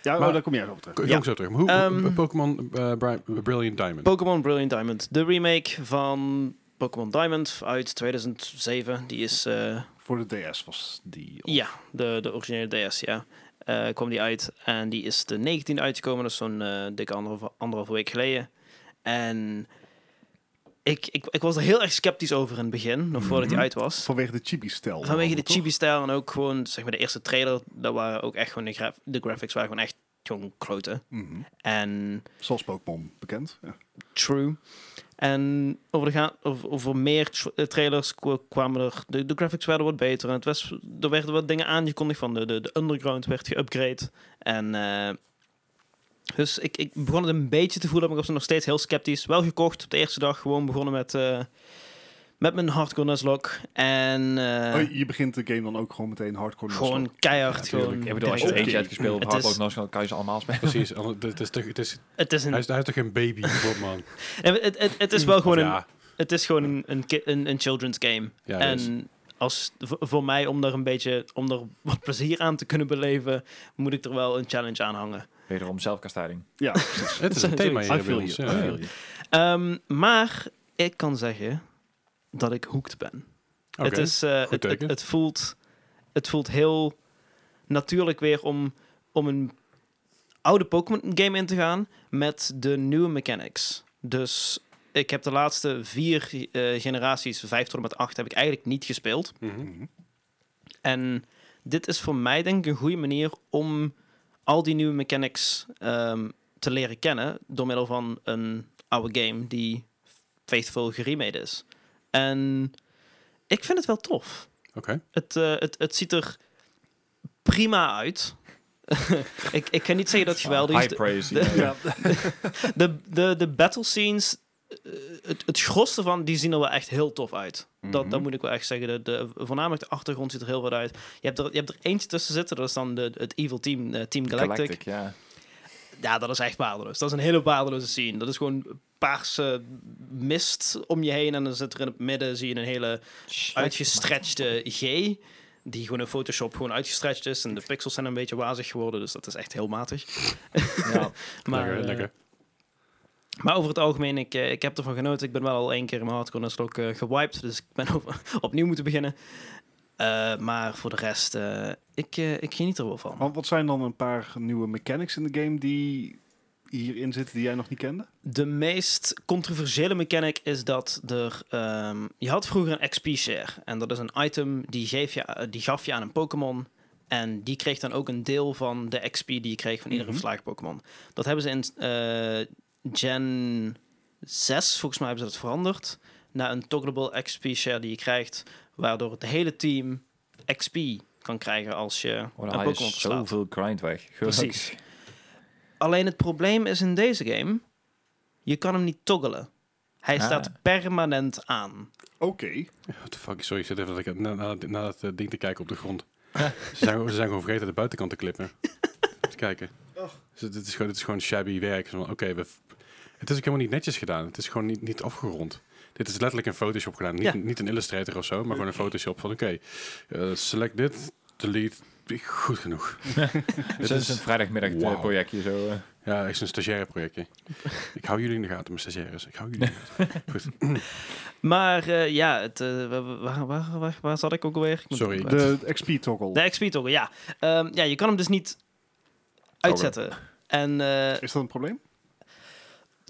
S3: Ja, oh,
S1: Maar-
S3: daar kom jij op terug.
S1: Kom,
S2: Ja.
S1: kom ik zo terug. Maar hoe,
S2: Ehm,
S1: Pokémon eh, Bri- Brilliant Diamond.
S2: Pokémon Brilliant Diamond. De remake van Pokémon Diamond uit 2007. Die is... eh,
S3: Voor de DS was die... op-
S2: Ja, de, de originele DS, ja. Eh, kwam die uit en die is de 19e uitgekomen, dat is zo'n eh, dikke anderhalve, anderhalve week geleden. En ik, ik, ik was er heel erg sceptisch over in het begin, nog voordat die
S4: Mhm.
S2: uit was.
S3: Vanwege de chibi-stijl.
S2: Vanwege de
S3: toch?
S2: chibi-stijl en ook gewoon, zeg maar, de eerste trailer, dat waren ook echt gewoon de, graf- de graphics, waren gewoon echt jong kloten.
S3: Mhm.
S2: En
S3: Zoals Pokémon bekend. Ja.
S2: True. En over, de ga- over, over meer tra- eh, trailers kwa- kwamen er... De, de graphics werden wat beter. En het was, er werden wat dingen aangekondigd van de, de, de underground werd geupgrade. En... eh, dus ik, ik begon het een beetje te voelen, maar ik was nog steeds heel sceptisch. Wel gekocht op de eerste dag, gewoon begonnen met, eh, met mijn hardcore Nuzlocke. En eh,
S3: Oh, je begint de game dan ook gewoon meteen hardcore.
S2: gewoon
S3: nonstop.
S2: keihard.
S1: Ja, tuurlijk.
S2: gewoon
S4: Ik bedoel, als je er
S3: Oké.
S4: eentje hebt gespeeld op
S2: Het is-
S4: Hardlock National, kan je ze allemaal spelen.
S1: Precies. anders- Het is, toch- het is,
S2: het, is een,
S1: hij, is, hij is toch geen baby, Pokémon?
S2: het, het, het, het is wel gewoon een,
S1: ja,
S2: het is gewoon een, een, ki- een, een children's game.
S1: Ja, dat is-
S2: en als, v- voor mij, om daar een beetje om daar [LAUGHS] wat plezier aan te kunnen beleven, moet ik er wel een challenge aan hangen.
S4: Wederom zelfkastijding.
S2: [LAUGHS]
S3: Ja,
S1: het is een thema hier
S3: I
S1: bij
S3: feel
S1: ons.
S3: you.
S1: ja.
S3: I feel you.
S2: Ehm, maar ik kan zeggen dat ik hooked ben.
S1: Oké.
S2: Het, is, eh, het, het,
S1: teken.
S2: het voelt, het voelt heel natuurlijk weer om, om een oude Pokémon game in te gaan met de nieuwe mechanics. Dus ik heb de laatste vier eh, generaties, vijf tot en met acht, heb ik eigenlijk niet gespeeld.
S1: Mhm.
S3: Mhm.
S2: En dit is voor mij denk ik een goede manier om al die nieuwe mechanics ehm, te leren kennen door middel van een oude game die faithful geremade is. En ik vind het wel tof.
S1: Oké.
S2: Het, eh, het, het ziet er prima uit. [LAUGHS] ik, ik kan niet zeggen dat het geweldig is.
S4: High praise.
S2: de-
S4: ja.
S3: Ja.
S2: De, de, de battle scenes, eh, het, het gros ervan, die zien er wel echt heel tof uit. Dat,
S1: Mhm.
S2: dat moet ik wel echt zeggen. De, de, voornamelijk de achtergrond ziet er heel wat uit. Je hebt er, je hebt er eentje tussen zitten, dat is dan de, het Evil Team, eh, Team Galactic.
S4: ja.
S2: ja, dat is echt waardeloos. Dat is een hele waardeloze scene. Dat is gewoon paarse mist om je heen. En dan zit er in het midden zie je een hele uitgestretchte G. Die gewoon in Photoshop gewoon uitgestretcht is. En de pixels zijn een beetje wazig geworden. Dus dat is echt heel matig.
S4: Ja.
S2: Maar,
S1: lekker,
S2: eh,
S1: lekker.
S2: maar over het algemeen, ik, eh, ik heb ervan genoten. Ik ben wel al één keer in mijn hardcore en ook gewiped. Dus ik ben [LAUGHS] op- opnieuw moeten beginnen. Eh, maar voor de rest, eh, ik, eh, ik geniet er wel van.
S3: Want wat zijn dan een paar nieuwe mechanics in de game die hierin zitten die jij nog niet kende?
S2: De meest controversiële mechanic is dat er. ehm, je had vroeger een XP-share. En dat is een item die, geef je, eh, die gaf je aan een Pokémon. En die kreeg dan ook een deel van de XP die je kreeg van iedere
S3: Mhm.
S2: verslagen Pokémon. Dat hebben ze in eh, Gen 6, volgens mij, hebben ze dat veranderd. Naar een togglable XP-share die je krijgt. Waardoor het hele team XP kan krijgen als je
S4: Oh,
S2: een
S4: dan haal je
S2: Pokémon verslaat.
S4: zoveel grind weg. [LAUGHS]
S2: Precies. Alleen het probleem is in deze game, je kan hem niet toggelen. Hij
S4: Ah.
S2: staat permanent aan.
S3: Oké.
S1: What the fuck, sorry, ik zit even dat ik, na, na, na dat eh, ding te kijken op de
S2: [LAUGHS]
S1: grond. ze, zijn, ze zijn gewoon vergeten de buitenkant te klippen. Even kijken. Dus het, het is gewoon, het is gewoon shabby werk. Zo van, Oké, we f- het is ook helemaal niet netjes gedaan. Het is gewoon niet, niet afgerond. Dit is letterlijk een Photoshop gedaan. Niet,
S2: Ja.
S1: niet een Illustrator of zo, maar gewoon een Photoshop van oké, eh, select dit, delete. Goed genoeg.
S4: Dit is een vrijdagmiddag eh,
S1: Wauw.
S4: projectje zo. eh.
S1: Ja, echt een stagiaire projectje. ik hou jullie in de gaten, mijn stagiaires. Ik hou jullie in de gaten. Goed.
S2: Maar eh, ja, het, eh, wa- wa- waar, waar, waar, waar zat ik ook alweer? Ik moet
S1: Sorry.
S2: het ook kwijt.
S3: De XP-toggle.
S2: De XP toggle, ja. Ehm, ja, je kan hem dus niet uitzetten. En eh,
S3: Is dat een probleem?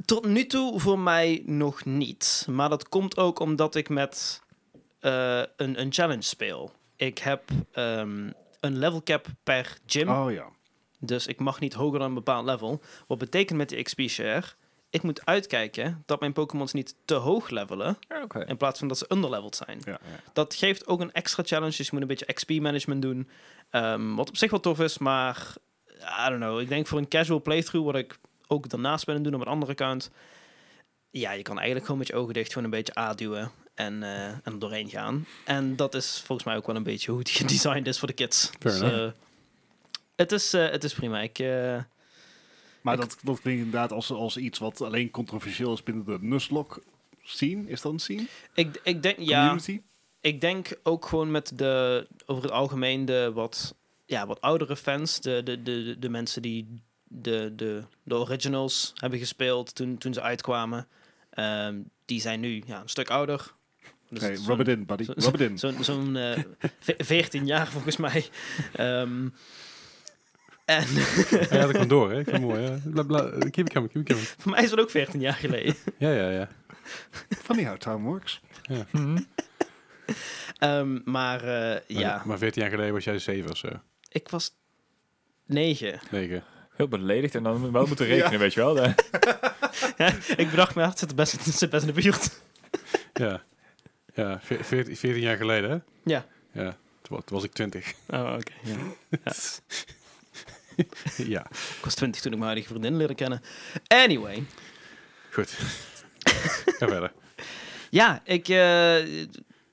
S2: tot nu toe voor mij nog niet. Maar dat komt ook omdat ik met eh, een, een challenge speel. Ik heb ehm, een level cap per gym.
S3: Oh ja.
S2: Dus ik mag niet hoger dan een bepaald level. Wat betekent met die XP-share? Ik moet uitkijken dat mijn Pokémons niet te hoog levelen.
S4: Ja, oké.
S2: In plaats van dat ze underleveld zijn.
S3: Ja.
S2: Dat geeft ook een extra challenge. Dus je moet een beetje XP-management doen. Ehm, wat op zich wel tof is, maar... I don't know. Ik denk voor een casual playthrough... wat ik ook daarnaast ben aan het doen op een andere account... Ja, je kan eigenlijk gewoon met je ogen dicht... gewoon een beetje aanduwen en, eh, en er doorheen gaan. En dat is volgens mij ook wel een beetje... hoe het [LAUGHS] gedesigned is voor de kids.
S1: Fair enough.
S2: eh, het, is, eh, het is prima. Ik... eh,
S3: Maar
S2: Ik-
S3: dat, dat klinkt inderdaad als, als iets wat alleen controversieel is binnen de Nuzlocke scene. Is dat een scene?
S2: Ik, ik denk, ja,
S3: Community?
S2: ik denk ook gewoon met de, over het algemeen, de wat, ja, wat oudere fans, de, de, de, de mensen die de, de, de originals hebben gespeeld toen, toen ze uitkwamen, ehm, die zijn nu ja, een stuk ouder. Dus
S3: Hey,
S2: zo'n-
S3: rub it in, buddy.
S2: zo-
S3: Rub it in.
S2: Zo'n zo'n, eh, ve- 14 jaar volgens mij. Ehm, en [LAUGHS]
S1: Hij had ik hem door, hè? Ik vind het mooi. hè? Bla, bla, keep it coming, keep it coming.
S2: voor mij is het ook 14 jaar geleden.
S1: Ja, ja, ja.
S3: Funny how time works.
S4: Mhm.
S2: Ehm, maar eh,
S1: Maar-
S2: ja,
S1: Maar 14 jaar geleden was jij 7 of zo.
S2: ik was 9.
S1: Negen.
S4: Heel beledigd en dan wel moeten rekenen, weet je wel. [LAUGHS] hè.
S2: [LAUGHS] Ja, ik bedacht me, ja, het zit best, het zit best in de buurt.
S1: Ja. Ja, ve- veertien 14 jaar geleden, hè?
S2: Ja.
S1: Ja, toen wa- toen was ik 20.
S2: Oh, oké.
S1: [LAUGHS] ja,
S2: Ik was twintig toen ik mijn huidige vriendin leerde kennen. Anyway.
S1: goed. Ga verder.
S2: Ja, ik, eh,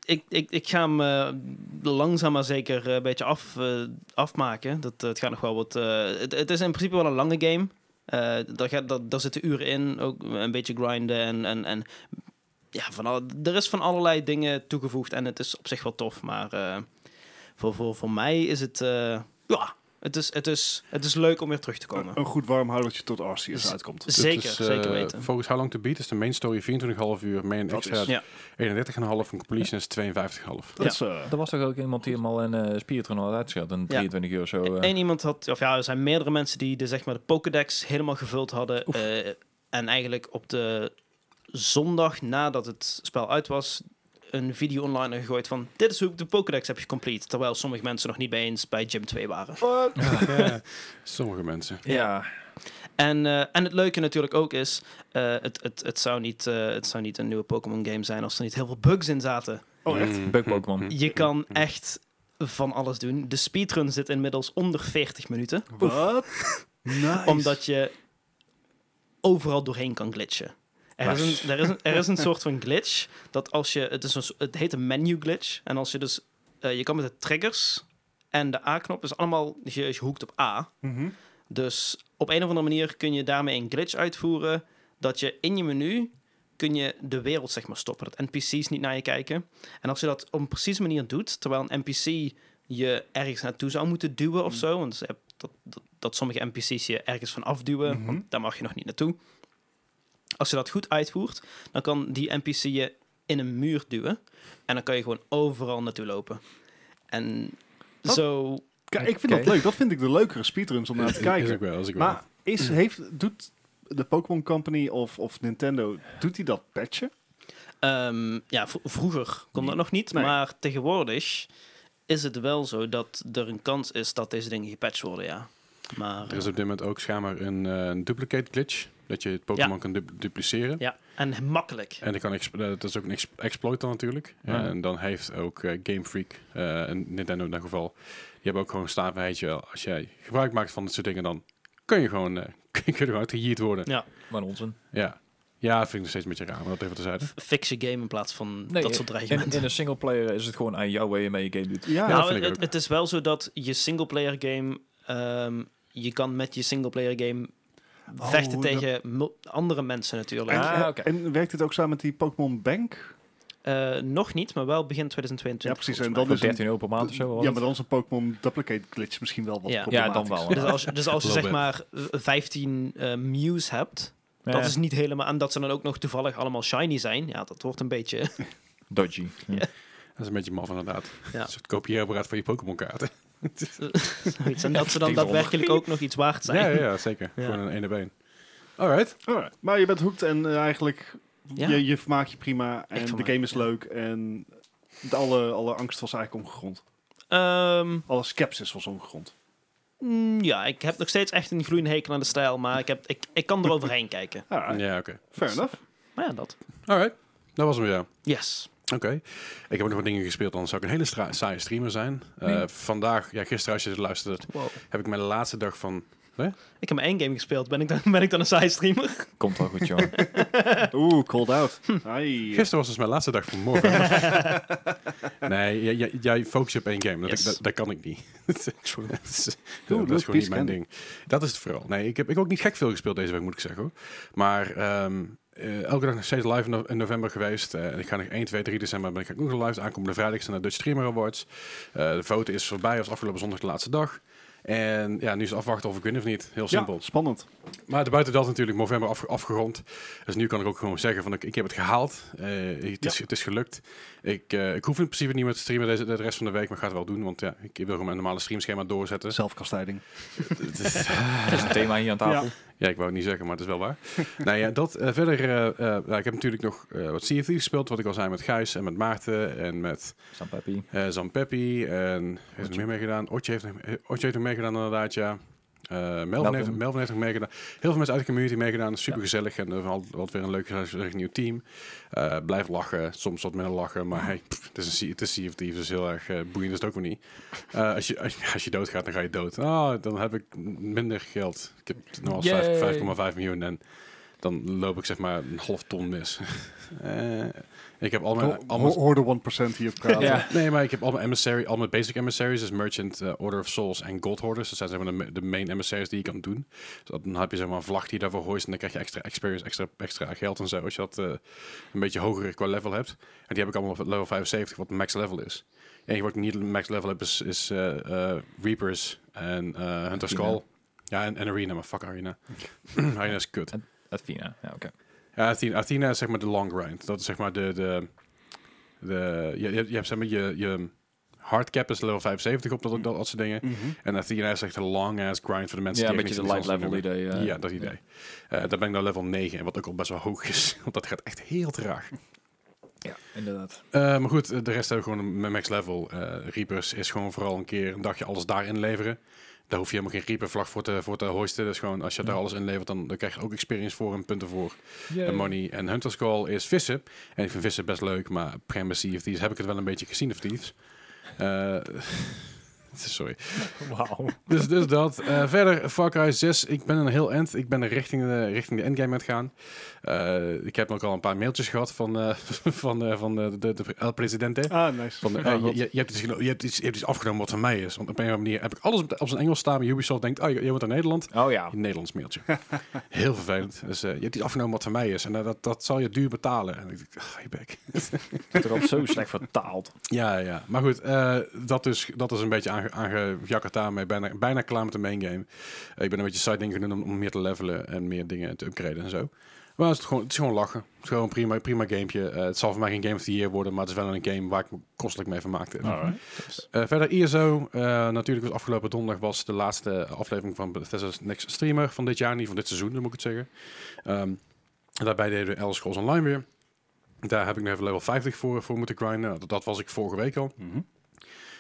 S2: ik, ik, ik ga hem eh, langzaam maar zeker eh, een beetje af, eh, afmaken. Dat, eh, het gaat nog wel wat... eh, het, het is in principe wel een lange game. Eh, daar, gaat, daar, daar zitten uren in. Ook een beetje grinden en... en, en ja, van al, er is van allerlei dingen toegevoegd en het is op zich wel tof. Maar eh, voor, voor, voor mij is het... eh, ja, het is, het, is, het is leuk om weer terug te komen. Dus
S3: Een, een goed warm houdertje tot Arceus
S2: Z-
S3: uitkomt.
S1: Eh, Dit
S2: Zeker,
S1: is, eh,
S2: zeker weten.
S1: Volgens How Long To Beat is de main story 24,5 uur. Main
S3: Dat
S1: extra
S3: is-
S2: Ja.
S1: 31,5 en completion is 52,5.
S3: Dat is, eh,
S4: Er was toch ook iemand die hem al een eh spiertron had uitgeschat, een 23 uur of zo. eh.
S2: Eén iemand had, of ja, er zijn meerdere mensen die de, zeg maar, de Pokédex helemaal gevuld hadden. eh, en eigenlijk op de zondag nadat het spel uit was, een video online gegooid van: Dit is hoe ik de Pokédex heb gecomplete. Terwijl sommige mensen nog niet bij eens bij Gym 2 waren.
S4: Oh.
S1: [LAUGHS] Ja, Sommige mensen.
S4: Ja.
S2: En, eh, en het leuke natuurlijk ook is: eh, het, het, het, zou niet, eh, het zou niet een nieuwe Pokémon-game zijn als er niet heel veel bugs in zaten.
S3: oh, echt?
S1: Mm,
S4: Bug
S1: mm,
S4: Pokémon.
S1: mm.
S2: Je
S4: [LAUGHS]
S2: kan echt van alles doen. De speedrun zit inmiddels onder 40 minuten.
S1: Mm. [LAUGHS]
S3: Wat? Nice.
S2: Omdat je overal doorheen kan glitchen. Er is, een, er, is een, er is een soort van glitch dat als je. Het, is een, so- het heet een menu glitch. En als je dus. eh, je kan dus met de triggers en de A-knop is allemaal gehoekt op A.
S3: Mhm.
S2: Dus op een of andere manier kun je daarmee een glitch uitvoeren. Dat je in je menu kun je de wereld zeg maar stoppen. Dat NPC's niet naar je kijken. En als je dat op een precieze manier doet, terwijl een NPC je ergens naartoe zou moeten duwen of
S4: Mm.
S2: zo. Want ze heb- dat, dat, dat sommige NPC's je ergens van afduwen,
S1: Mhm.
S2: want daar mag je nog niet naartoe. Als je dat goed uitvoert, dan kan die NPC je in een muur duwen. En dan kan je gewoon overal naartoe lopen. En
S3: Dat-
S2: zo...
S3: Kijk, ik vind
S4: Oké.
S3: dat leuk. Dat vind ik de leukere speedruns om naar te
S1: Is
S3: kijken.
S1: ook wel, Mm. is ook
S3: Maar is, heeft, doet de Pokémon Company of, of Nintendo, doet die dat patchen?
S2: Ehm, ja, v- vroeger kon dat nog niet,
S3: Nee.
S2: maar tegenwoordig is het wel zo dat er een kans is dat deze dingen gepatcht worden, ja. Maar,
S1: Er is op dit moment ook schijnbaar een eh, een duplicate glitch. Dat je het Pokémon kan du- dupliceren.
S2: ja, en makkelijk.
S1: En dat, kan exp- eh, dat is ook een ex- exploit dan natuurlijk.
S4: Ja.
S1: En dan heeft ook eh, Game Freak, eh, en Nintendo in dat geval, die hebben ook gewoon staan van, weet je wel, als jij gebruik maakt van dit soort dingen, dan kun je gewoon, eh [LAUGHS] kun je gewoon uitgejierd worden.
S2: Ja.
S4: Maar onzin.
S1: Ja. ja, dat vind ik nog steeds een beetje raar, maar dat even terzijde.
S2: F- Fix je game in plaats van
S4: Nee,
S2: dat soort
S4: In,
S2: dreigementen.
S4: in een singleplayer is het gewoon aan jou waar je mee je game doet.
S3: Ja,
S1: dat
S2: nou,
S1: vind ik
S2: het,
S1: ook.
S2: het is wel zo dat je singleplayer game... ehm, je kan met je singleplayer game
S3: Oh,
S2: vechten
S3: dat-
S2: tegen mul- andere mensen natuurlijk.
S3: En,
S4: Ah,
S3: eh,
S4: oké.
S3: en werkt het ook samen met die Pokémon Bank?
S2: Eh, nog niet, maar wel begin
S3: Ja,
S2: 2022.
S3: precies. En
S2: volgens
S3: dan
S4: Voor
S3: is een-
S4: 13 euro per maand of zo. was
S3: ja,
S4: het?
S3: maar dan is een Pokémon Duplicate Glitch misschien wel wat
S2: Ja.
S4: Ja, dan wel.
S2: mij. Dus als, dus
S3: [LAUGHS]
S2: als je
S1: Little
S2: zeg maar eh, 15 eh Mews hebt,
S4: Ja,
S2: Dat
S4: ja.
S2: is niet helemaal... En dat ze dan ook nog toevallig allemaal shiny zijn. Ja, dat wordt een beetje... [LAUGHS]
S4: dodgy. Hm. Ja.
S1: Dat is een beetje maf inderdaad.
S2: Ja.
S1: Een soort kopieerapparaat van je Pokémon kaarten.
S2: zoiets. En dat ze dan
S4: Effectief
S2: daadwerkelijk ook nog iets
S1: [LAUGHS]
S2: waard zijn.
S1: Ja, ja, ja, zeker.
S2: Ja.
S1: Gewoon een ene been. Alright.
S3: Alright. Maar je bent hooked en eh, eigenlijk,
S2: Ja.
S3: je, je vermaakt je prima en
S2: Ik
S3: de
S2: vermaak
S3: game
S2: me,
S3: is
S2: ja.
S3: leuk en de alle, alle angst was eigenlijk ongegrond.
S2: Ehm,
S3: Alle sceptisch was ongegrond.
S2: mm, ja, ik heb nog steeds echt een groene hekel aan de stijl. Maar ik, heb, ik, ik kan er overheen [LAUGHS] kijken.
S3: Ja,
S1: Ja, oké.
S3: fair enough.
S2: Maar ja, dat.
S1: Alright. Dat was hem ja.
S2: Yes.
S1: Oké. Ik heb ook nog wat dingen gespeeld, anders zou ik een hele stra- saaie streamer zijn. Eh,
S4: Nee.
S1: Vandaag, ja, gisteren als je het luistert,
S2: Wow.
S1: heb ik mijn laatste dag van
S2: Ik heb maar één game gespeeld. Ben ik dan, ben ik dan een side streamer?
S4: Komt wel goed, joh.
S3: Oeh, called out. Ai. eh,
S1: Gisteren was dus mijn laatste dag van morgen. nee, jij, jij, jij focus je op één game. Dat,
S2: Yes.
S1: dat, dat kan ik niet. True. [LAUGHS] dat is,
S3: Doe,
S1: dat
S3: doe,
S1: is gewoon
S3: peace
S1: niet mijn
S3: can.
S1: ding. Dat is het vooral. Nee, ik heb ik heb ook niet gek veel gespeeld deze week, moet ik zeggen. Hoor. Maar ehm, eh, elke dag nog steeds live in, no- in november geweest. Eh, en ik ga nog 1, 2, 3 december ben ik ook nog live. Aankomende vrijdag zijn de Dutch Streamer Awards. Eh, de foto is voorbij, was afgelopen zondag de laatste dag. En ja, nu is afwachten of ik win of niet. Heel simpel.
S3: Ja, spannend.
S1: Maar buiten dat natuurlijk november afge- afgerond. Dus nu kan ik ook gewoon zeggen van ik, ik heb het gehaald. Eh, het, is,
S3: Ja.
S1: het is gelukt. Ik, eh, ik hoef in principe niet meer te streamen deze, de rest van de week, maar ik ga het wel doen. Want ja, ik wil gewoon mijn normale streamschema doorzetten. [LAUGHS]
S3: Zelfkastijding.
S4: Dat is een thema hier aan tafel.
S1: Ja, ik wou het niet zeggen, maar het is wel waar. nou ja, dat eh, verder. eh, eh, nou, ik heb natuurlijk nog eh, wat Sea of Thieves gespeeld, wat ik al zei met Gijs en met Maarten en met
S4: San Pepi.
S1: eh Zan Peppi. En heeft er
S4: Otje.
S1: meer meegedaan. Otje heeft, nog- eh, Otje heeft nog meegedaan inderdaad, ja. Eh, Melvin, heeft,
S4: Melvin.
S1: Melvin heeft nog meegedaan. Heel veel mensen uit de community meegedaan. Super gezellig. En uh, wat weer een leuk gezellig nieuw team. Eh, blijf lachen. Soms wat minder lachen. Maar hey, pff, het, is een, sea- het is Sea of Thieves. Dus heel erg eh, boeiend is het ook weer niet. Eh, als, je, als, je- als je doodgaat, dan ga je dood. Ah, dan heb ik minder geld. Ik heb nu al
S4: Yay.
S1: vijf- 5,5 miljoen. En dan loop ik zeg maar een half ton mis. [LAUGHS] Eh, ik heb al mijn...
S3: Ho-
S1: al mijn-
S3: ho- Hoor de 1% hier praten.
S4: Ja.
S1: Nee, maar ik heb al mijn emissary, al mijn basic emissaries, dus Merchant, eh, Order of Souls en Gold Hoarders. Dus Dat zijn zeg maar, de, ma- de main emissaries die je kan doen. Dus dat- dan heb je zeg maar een vlag die je daarvoor hoist en dan krijg je extra experience, extra, extra geld en zo. Als je dat eh, een beetje hoger qua level hebt. En die heb ik allemaal op level 75, wat max level is. De enige wat ik niet max level heb is, is eh, eh, Reapers en eh Hunter's
S4: Arena.
S1: Call. Ja, en, en Arena, maar fuck Arena. [CLEARS THROAT] Arena is kut.
S4: Uit Vina. Ja, oké.
S1: Ja, Athena, Athena is zeg maar de long grind. Dat is zeg maar de... de, de je, je, je hebt zeg maar je, je hard cap is level 75 op dat, dat, dat soort dingen.
S3: Mhm.
S1: En Athena is echt een long ass grind voor de mensen
S4: Ja, een
S1: die echt
S4: beetje de
S1: niks-
S4: light
S1: niks anders
S4: level
S1: doen.
S4: idee. eh.
S1: Ja, dat idee. Eh, daar ben ik nou level 9, en wat ook al best wel hoog is. [LAUGHS] Want dat gaat echt heel traag.
S4: Ja, inderdaad.
S1: Eh, maar goed, eh, de rest hebben we gewoon een max level. Eh, Reapers is gewoon vooral een keer een dagje alles daarin leveren. Daar hoef je helemaal geen Reaper vlag voor te, voor te hoisten. Dus gewoon als je daar
S4: Ja.
S1: alles in levert, dan, dan krijg je ook experience voor en punten voor. En money. En Hunter's Call is vissen. En ik vind vissen best leuk, maar Prima Sea of Thieves heb ik het wel een beetje gezien of Thieves. Eh, [LAUGHS] Sorry.
S4: Wauw.
S1: Dus, dus dat. Eh, verder, Far Cry 6. Ik ben een heel end. Ik ben er richting de, richting de endgame aan het gaan. Eh, ik heb ook al een paar mailtjes gehad van, eh, [LAUGHS] van, eh, van de, de, de El Presidente.
S3: Ah, nice.
S1: Van, eh,
S3: Ja,
S1: je,
S3: dat-
S1: je, je hebt iets, geno- je, hebt iets, je hebt iets afgenomen wat van mij is. Want op een of andere manier heb ik alles op, op zijn Engels staan. Maar Ubisoft denkt, oh, je, je wordt uit Nederland.
S4: Oh ja.
S1: Een Nederlands mailtje. Heel vervelend. Dus eh, je hebt iets afgenomen wat van mij is. En eh, dat, dat zal je duur betalen. En ik dacht, ah, je bek.
S4: Het wordt zo slecht vertaald.
S1: Ja, ja. Maar goed, eh, dat, is, dat is een beetje aange, aangejakkerd daarmee. Bijna, bijna klaar met de main game. Eh, ik ben een beetje side dingen gaan doen om, om meer te levelen en meer dingen te upgraden en zo. Maar het is gewoon, het is gewoon lachen. Het is gewoon een prima, prima gamepje. Eh, het zal voor mij geen Game of the Year worden, maar het is wel een game waar ik me kostelijk mee vermaakte. Eh, verder ISO. eh, natuurlijk was afgelopen donderdag was de laatste aflevering van Bethesda's Next Streamer van dit jaar. Niet van dit seizoen, dan moet ik het zeggen. Ehm, en daarbij deden we Elder Scrolls Online weer. Daar heb ik nu even level 50 voor, voor moeten grinden. Nou, dat, dat was ik vorige week al.
S3: Mhm.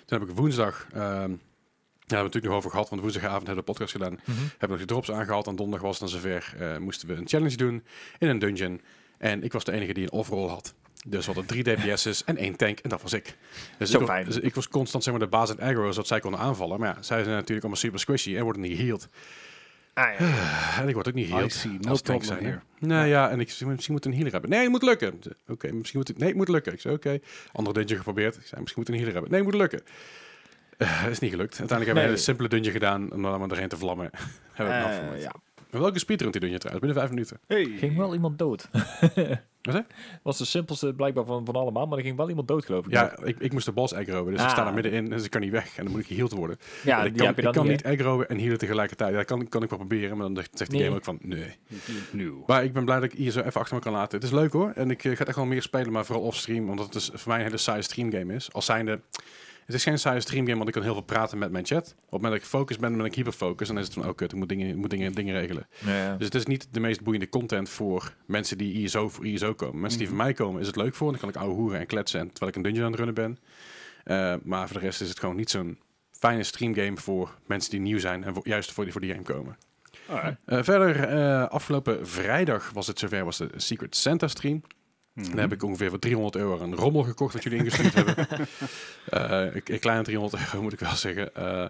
S1: Toen heb ik woensdag... ehm, daar hebben we het natuurlijk nog over gehad, want woensdagavond hebben we de podcast gedaan.
S4: Mhm.
S1: Hebben we nog de drops aangehaald. En donderdag was het dan zover. eh, moesten we een challenge doen in een dungeon. En ik was de enige die een off-roll had. Dus we hadden drie DPS's en één tank. En dat was ik. Dus
S4: Zo
S1: ik, was-
S4: fijn.
S1: dus ik was constant zeg maar, de baas en aggro, zodat zij konden aanvallen. Maar ja, zij zijn natuurlijk allemaal super squishy en worden niet geheeld.
S4: Ah, ja.
S1: En ik word ook niet
S3: I
S1: geheeld.
S3: see, no
S1: als tank
S3: problem
S1: zijnde.
S3: here.
S1: Nou ja, en ik zei, misschien moet een healer hebben. Nee, het moet lukken. Ik zei, Oké, misschien moet het... Nee, het moet lukken. Ik zei, oké. Andere dungeon geprobeerd. Ik zei, misschien moet een healer hebben. Nee, het moet lukken. Eh, is niet gelukt. Uiteindelijk hebben we
S4: Nee.
S1: een hele simpele dungeon gedaan om dan maar doorheen te vlammen. [LAUGHS] hebben we
S3: Eh.
S1: hem afgemaakt.
S4: ja.
S1: Maar welke speedrun die dungeon trouwens? Binnen vijf minuten.
S3: Hey.
S4: Ging wel iemand dood.
S1: Wat hè?
S4: was de simpelste blijkbaar van, van allemaal, maar er ging wel iemand dood, geloof ik.
S1: Ja, ik, ik moest de boss aggroen, dus ik sta
S4: Ah.
S1: daar middenin, dus ik kan niet weg. En dan moet ik geheeld worden.
S4: ja
S1: En
S4: die
S1: ik kan,
S4: heb je
S1: ik
S4: dan
S1: kan
S4: niet.
S1: niet aggroen en healen tegelijkertijd. Dat kan, kan ik wel proberen, maar dan zegt zegt de
S4: Nee.
S1: game ook van nee.
S3: Nieuw.
S1: Maar ik ben blij dat ik hier zo even achter me kan laten. Het is leuk hoor. En ik eh, ga het echt wel meer spelen, maar vooral offstream. Omdat het dus voor mij een hele saaie streamgame is. Als zijnde... Het is geen saaie streamgame, want ik kan heel veel praten met mijn chat. Op het moment dat ik focus ben, ben ik hyperfocus. En dan is het van, oh kut, ik moet dingen, ik moet dingen, dingen regelen.
S4: Ja, ja.
S1: Dus het is niet de meest boeiende content voor mensen die ISO voor ISO komen. Mensen die van mij komen, is het leuk voor. Dan kan ik ouwe hoeren en kletsen en terwijl ik een dungeon aan het runnen ben. Eh, maar voor de rest is het gewoon niet zo'n fijne streamgame voor mensen die nieuw zijn. En voor, juist voor die, voor die game komen.
S3: Alright.
S1: Eh, verder, eh, afgelopen vrijdag was het zover, was de Secret Santa stream. Daar heb ik ongeveer voor 300 euro een rommel gekocht dat jullie ingestuurd hebben. Eh, een, een kleine 300 euro moet ik wel zeggen. Eh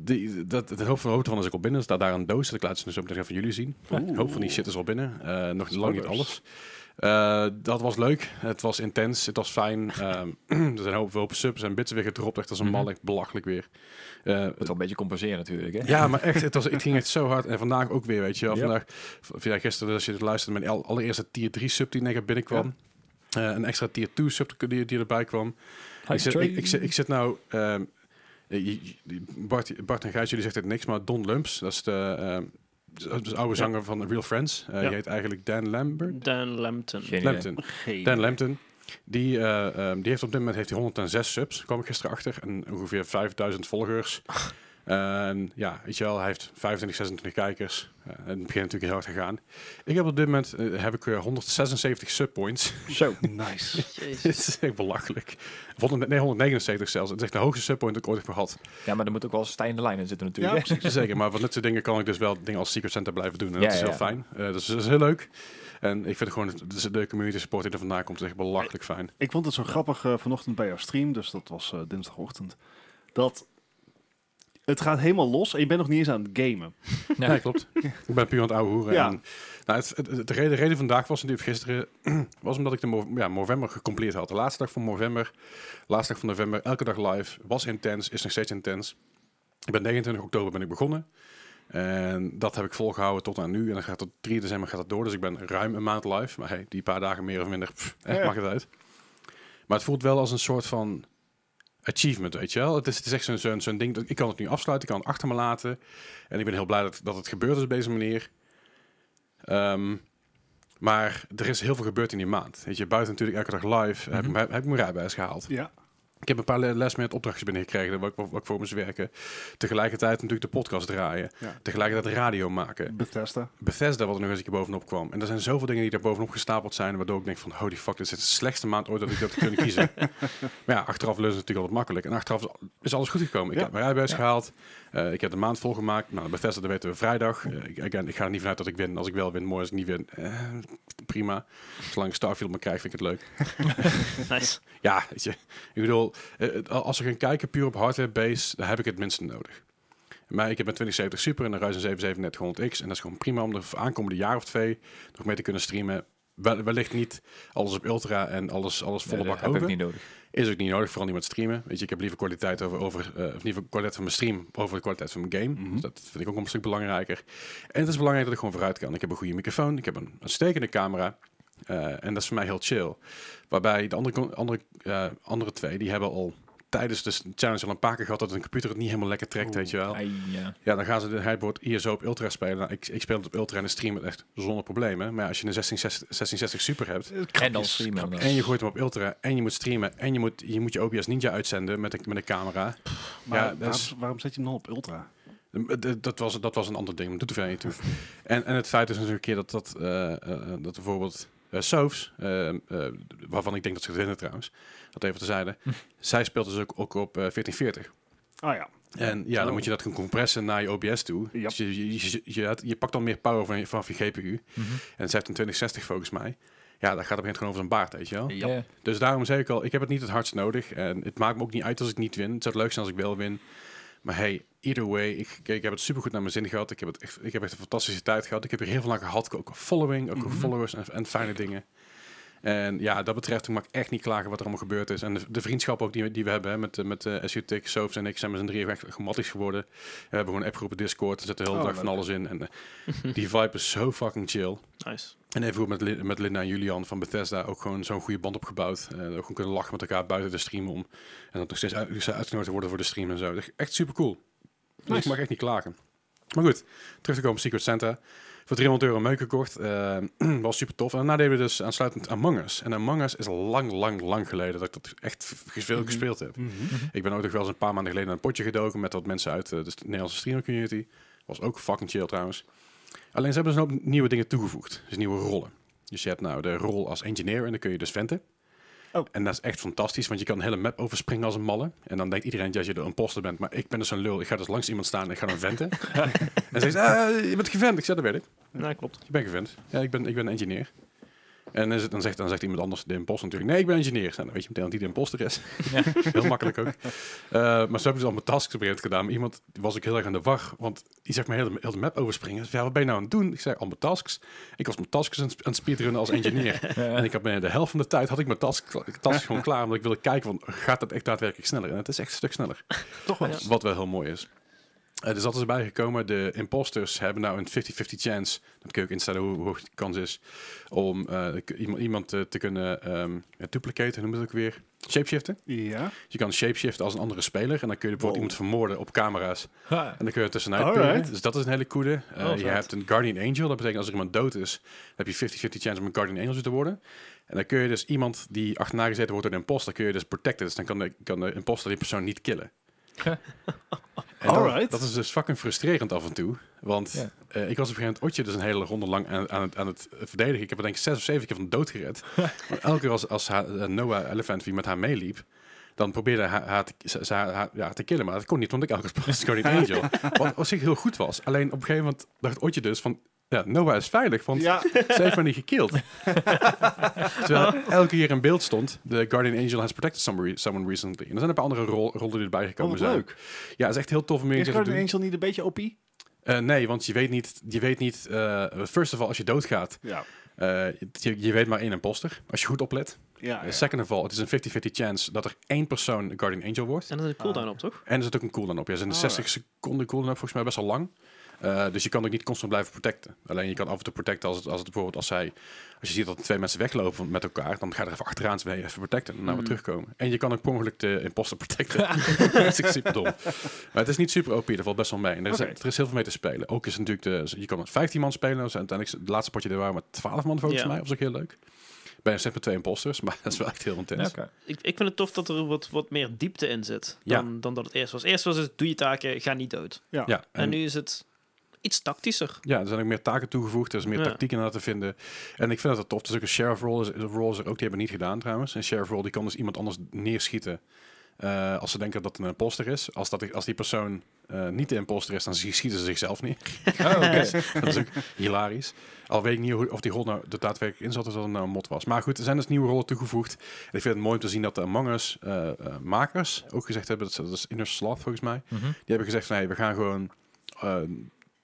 S1: die, dat, de hoop van de hoogte van is ook al binnen. Er staat daar een doos. Dat ik laat ze dus zo meteen van jullie zien. Een hoop van die shit is al binnen. Eh, nog lang niet alles.
S3: Spoilers.
S1: Eh, dat was leuk. Het was intens. Het was fijn. Ehm, [CLEARS THROAT] er zijn een hoop, hoop subs en bits weer gedropt. Echt als een
S4: Mhm.
S1: mal. Echt belachelijk weer. Eh,
S4: Moet wel een beetje compenseren natuurlijk, hè?
S1: ja, maar echt, het, was, het ging echt zo hard. En vandaag ook weer, weet je wel.
S4: Ja.
S1: Vandaag, of ja, gisteren, als je het luisterde, mijn al- allereerste tier 3 sub die net binnenkwam. Eh, een extra tier 2 sub die, die erbij kwam. Ik zit, ik, ik zit, ik zit nou... ehm, eh, je- je- Bart, Bart en Gijs, jullie zeggen het niks, maar Don Lumps, dat is de, ehm, dat is de oude
S4: Ja.
S1: zanger van Real Friends. Eh,
S4: Ja.
S1: Die heet eigenlijk Dan Lambert.
S2: Dan Lampton.
S4: Geen idee.
S1: Lampton.
S3: Geen.
S1: Dan Lampton. Die, eh, ehm, die heeft op dit moment heeft hij 106 subs, kwam ik gisteren achter. En ongeveer 5000 volgers. En ja, weet je wel, hij heeft 25, 26 kijkers. Eh, en het begint natuurlijk heel hard te gaan. Ik heb op dit moment eh, heb ik, eh, 176 subpoints. [LAUGHS]
S4: Zo.
S3: Nice.
S2: Jezus.
S1: Dit is echt belachelijk. Of 100 Nee, 179 zelfs. Het is echt de hoogste subpoint dat ik ooit heb gehad.
S4: Ja, maar er moet ook wel een stijgende lijn in zitten natuurlijk.
S3: Ja,
S4: hè?
S1: Zeker, maar van dit soort dingen kan ik dus wel dingen als Secret Center blijven doen. En
S4: Ja,
S1: dat is
S4: ja,
S1: heel
S4: ja.
S1: fijn. Eh, dus dat is heel leuk. En ik vind gewoon het- de- de community support die er vandaan komt is echt belachelijk fijn.
S3: Ik vond het zo grappig eh, vanochtend bij jouw stream, dus dat was eh, dinsdagochtend. Dat het gaat helemaal los en je bent nog niet eens aan het gamen.
S1: Ja, klopt. [LAUGHS] ik ben puur aan het ouwe hoeren.
S3: Ja.
S1: En, nou, het, het- het- de reden, reden vandaag was natuurlijk gisteren, [CLEARS THROAT] was omdat ik de Mo- ja, Movember gecompleerd had. De laatste dag van Movember, laatste dag van november, elke dag live, was intens, is nog steeds intens. Ik ben 29 oktober ben ik begonnen. En dat heb ik volgehouden tot aan nu. En dan gaat tot 3 december gaat dat door. Dus ik ben ruim een maand live. Maar hey, die paar dagen meer of minder, pff, eh,
S3: Ja.
S1: maakt het uit. Maar het voelt wel als een soort van achievement, weet je wel. Het is, het is echt zo'n zo'n zo'n ding. Dat, ik kan het nu afsluiten, ik kan het achter me laten. En ik ben heel blij dat, dat het gebeurd is op deze manier. Ehm, maar er is heel veel gebeurd in die maand. Weet je, buiten natuurlijk elke dag live heb, ik mijn- heb ik mijn rijbewijs gehaald.
S3: Ja.
S1: Ik heb een paar le- les met opdrachtjes binnengekregen waar ik, waar ik voor moest werken. Tegelijkertijd natuurlijk de podcast draaien.
S3: Ja.
S1: Tegelijkertijd radio maken.
S3: Eh, Bethesda.
S1: Bethesda, wat er nog eens een keer bovenop kwam. En er zijn zoveel dingen die daar bovenop gestapeld zijn, waardoor ik denk van, holy fuck, dit is de slechtste maand ooit dat ik dat heb kunnen
S3: [LAUGHS]
S1: kiezen. maar ja, achteraf leunt het natuurlijk altijd makkelijk. En achteraf is alles goed gekomen. Ik
S3: Ja.
S1: heb mijn rijbewijs gehaald, eh, ik heb de maand volgemaakt. Nou, Bethesda, dat weten we vrijdag. Eh, ik, again, ik ga er niet vanuit dat ik win. Als ik wel win, mooi. Als ik niet win, eh, prima. Zolang Starfield me krijgt, vind ik het leuk.
S2: [LAUGHS] Nice.
S1: Ja, weet je. Ik bedoel, eh, eh, als we gaan kijken puur op hardware-base, dan heb ik het minste nodig. Maar ik heb een 2070 Super en een Ryzen 7700X. En dat is gewoon prima om de aankomende jaar of twee nog mee te kunnen streamen. Wel- Wellicht niet alles op ultra en alles, alles volle
S4: dat
S1: bak
S4: heb ik
S1: open.
S4: niet nodig.
S1: Is ook niet nodig, vooral niet met streamen. Weet je, ik heb liever kwaliteit over, over eh, of liever kwaliteit van mijn stream over de kwaliteit van mijn game.
S3: Mhm.
S1: Dus dat vind ik ook een stuk belangrijker. En het is belangrijk dat ik gewoon vooruit kan. Ik heb een goede microfoon, ik heb een uitstekende camera. eh, en dat is voor mij heel chill. Waarbij de andere, con- andere, eh, andere twee, die hebben al tijdens de challenge al een paar keer gehad dat een computer het niet helemaal lekker trekt, weet je wel.
S4: Ai, ja.
S1: Ja, dan gaan ze de hybrid ISO op Ultra spelen. Nou, ik, ik speel het op Ultra en de stream het echt zonder problemen. Maar ja, als je een 1660 1660 Super hebt,
S4: En dan streamen.
S1: en je gooit hem op ultra en je moet streamen en je moet je, moet je OBS Ninja uitzenden met een, met een camera.
S3: Maar
S1: Ja,
S3: waarom,
S1: dat is-
S3: waarom zet je hem dan op ultra?
S1: D- d- Dat was, dat was een ander ding, maar doet er verder niet toe.
S3: [LAUGHS]
S1: En, en het feit is natuurlijk een keer dat, dat, eh, eh, dat bijvoorbeeld eh Soaps, eh, eh, waarvan ik denk dat ze het winnen trouwens, dat even
S3: [LAUGHS]
S1: terzijde, zij speelt dus ook, ook op eh, 1440.
S3: Ah ja.
S1: En ja,
S3: Zo.
S1: dan moet je dat gaan compressen naar je OBS toe.
S3: Ja.
S1: Dus je, je, je, je, had- je pakt dan meer power van je, van je GPU.
S4: Mhm.
S1: En ze heeft een 2060 volgens mij. Ja, dat gaat op een gegeven moment gewoon over zijn baard, weet je wel.
S4: Ja.
S1: Dus daarom zei ik al, ik heb het niet het hardst nodig. En het maakt me ook niet uit als ik niet win. Het zou het leuk zijn als ik wel win. Maar hey, either way, ik, ik heb het supergoed naar mijn zin gehad. Ik heb, het echt, ik heb echt een fantastische tijd gehad. Ik heb hier heel veel aan gehad. Ook een following, ook een
S3: Mhm.
S1: followers en, en fijne dingen. En ja, dat betreft, ik mag echt niet klagen wat er allemaal gebeurd is. En de, de vriendschap ook die, we- die we hebben hè, met, eh, met eh SUTIC, Soaps en ik zijn met z'n drieën echt gematisch geworden. En we hebben gewoon appgroepen Discord, er zit de hele
S3: Oh,
S1: dag van
S3: leuk.
S1: alles in. En
S3: [LAUGHS]
S1: eh, die vibe is zo fucking chill.
S2: Nice.
S1: En even goed met, Lin- met Linda en Julian van Bethesda ook gewoon zo'n goede band opgebouwd. Eh, ook gewoon kunnen lachen met elkaar buiten de stream om. En dat nog steeds uit, ze uitgenodigd worden voor de stream en zo. Dat is Echt super cool. Dus ik mag echt niet klagen. Maar goed, terug te komen op Secret Santa. Voor 300 euro meuk gekocht. Eh, [CLEARS THROAT] was super tof. En daarna deden we dus aansluitend Among Us. En Among Us is lang, lang, lang geleden dat ik dat echt veel gespeeld heb. Ik ben ook nog wel eens een paar maanden geleden in een potje gedoken met wat mensen uit eh, de st- Nederlandse streamer community. Was ook fucking chill trouwens. Alleen ze hebben dus een hoop nieuwe dingen toegevoegd. Dus nieuwe rollen. Dus je hebt nou de rol als engineer en dan kun je dus venten.
S3: Oh.
S1: En dat is echt fantastisch, want je kan een hele map overspringen als een malle. En dan denkt iedereen dat je de imposter bent. Maar ik ben dus een lul. Ik ga dus langs iemand staan en ik ga dan venten. en ze zegt, ah, je bent gevent. Ik zeg, dat weet ik.
S2: Nou, klopt.
S1: Je bent gevent. Ja, ik ben, ik ben een engineer. En is het, dan, zegt, dan zegt iemand anders de imposter natuurlijk. Nee, ik ben engineer. Nou, dan weet je meteen dat die de imposter is. [LAUGHS] heel makkelijk ook. Eh, maar zo heb ik dus al mijn tasks op een gegeven moment gedaan. Maar iemand die was ik heel erg aan de war. Want die zegt me heel de, heel de map overspringen. Hij zei, Ja, wat ben je nou aan het doen? Ik zei, al mijn tasks. Ik was mijn tasks aan, het sp- aan het speedrunnen als engineer. en ik had binnen de helft van de tijd had ik mijn task, tasks gewoon klaar. Omdat ik wilde kijken, van, gaat dat echt daadwerkelijk sneller? En het is echt een stuk sneller.
S3: Toch wel.
S2: Ja.
S1: Wat wel heel mooi is. Eh, dus dat is erbij gekomen. De imposters hebben nou een 50-50 chance. Dan kun je ook instellen hoe hoe hoog die kans is. Om eh, k- iemand, iemand eh, te kunnen ehm ja, duplicaten, noem het ook weer. Shapeshiften.
S3: Ja.
S1: Dus je kan shapeshiften als een andere speler. En dan kun je bijvoorbeeld
S3: Wow.
S1: iemand vermoorden op camera's. En dan kun je er tussenuit
S3: Alright.
S1: pikken. Dus dat is een hele coole. Eh,
S2: Oh,
S1: je
S2: vet.
S1: hebt een Guardian Angel. Dat betekent als er iemand dood is, dan heb je 50-50 chance om een Guardian Angel te worden. En dan kun je dus iemand die achterna gezeten wordt door een imposter, kun je dus protecten. Dus dan kan de, kan de imposter die persoon niet killen. En dat-
S3: Alright.
S1: Dat is dus fucking frustrerend af en toe. Want
S4: Ja.
S1: eh, ik was op een gegeven moment Otje dus een hele ronde lang aan, aan, het, aan het verdedigen. Ik heb er denk ik zes of zeven keer van de dood
S3: [LAUGHS]
S1: gered. Maar elke keer als, als haar, eh, Noah Elephant wie met haar meeliep, dan probeerde haar, haar, te, ze- ze haar, haar- ja, te killen. Maar dat kon niet, want ik elke keer was Guardian
S3: [LAUGHS]
S1: Angel. Wat op zich heel goed was. Alleen op een gegeven moment dacht Otje dus van... Ja, Noah is veilig, want [LAUGHS]
S3: Ja.
S1: ze heeft mij niet
S3: [LAUGHS]
S1: gekild. Terwijl elke keer in beeld stond... The Guardian Angel has protected someone someone recently. En er zijn een paar andere rol- rollen die erbij
S3: Oh,
S1: gekomen
S3: wat
S1: zijn.
S3: leuk.
S1: Ja, het is echt heel tof om weer een
S3: Is
S1: keer te
S3: Guardian
S1: doen.
S3: Angel niet een beetje OP?
S1: Eh, nee, want je weet niet... Je weet niet eh, first of all, als je doodgaat...
S3: Ja.
S1: eh, je, je weet maar één imposter. Als je goed oplet.
S3: Ah, Ja.
S1: Eh, second of all, het is een 50-50 chance... dat er één persoon een Guardian Angel wordt.
S2: En dat is een cooldown op, toch?
S1: En er zit ook een cooldown op. Ja, er zijn
S3: Oh,
S1: 60 seconden cooldown op, volgens mij best wel lang. Eh, dus je kan ook niet constant blijven protecten. Alleen je kan af en toe protecten als het, als het bijvoorbeeld als zij... Als je ziet dat twee mensen weglopen met elkaar, dan ga je er even achteraan mee even protecten en dan weer terugkomen. En je kan ook per ongeluk de imposter protecten. dat is super dom. Maar het is niet super OP, daar valt best wel mee. En er, is,
S3: Oké.
S1: er is heel veel mee te spelen. Ook is het natuurlijk de... Je kan met 15 man spelen. Dus uiteindelijk, het laatste potje, daar waren met 12 man volgens
S2: Ja.
S1: mij. Dat was ook heel leuk. Bij een set met twee imposters, [LAUGHS] maar dat is wel echt heel intens.
S4: Oké.
S2: Ik, ik vind het tof dat er wat, wat meer diepte in zit
S1: Ja.
S2: dan, dan dat het eerst was. Eerst was het, doe je taken, ga niet dood.
S1: Ja,
S2: En, nu is het iets tactischer.
S1: Ja, er zijn ook meer taken toegevoegd. Er is meer
S2: Ja.
S1: tactiek in aan te vinden. En ik vind dat tof. Er is ook een sheriff roll. Is, roll is er ook. Die hebben we niet gedaan trouwens. Een sheriff roll die kan dus iemand anders neerschieten. Eh, als ze denken dat het een imposter is. Als, dat, als die persoon eh, niet de imposter is, dan zie- schieten ze zichzelf neer.
S4: Oh, oké.
S1: [LAUGHS] dat is ook hilarisch. Al weet ik niet hoe- of die rol nou er daadwerkelijk in zat of dat het nou een mod was. Maar goed, er zijn dus nieuwe rollen toegevoegd. En ik vind het mooi om te zien dat de Among Us eh, eh, makers ook gezegd hebben, dat, ze- dat is Inner Sloth volgens mij,
S4: Mhm.
S1: die hebben gezegd van, hey, we gaan gewoon eh,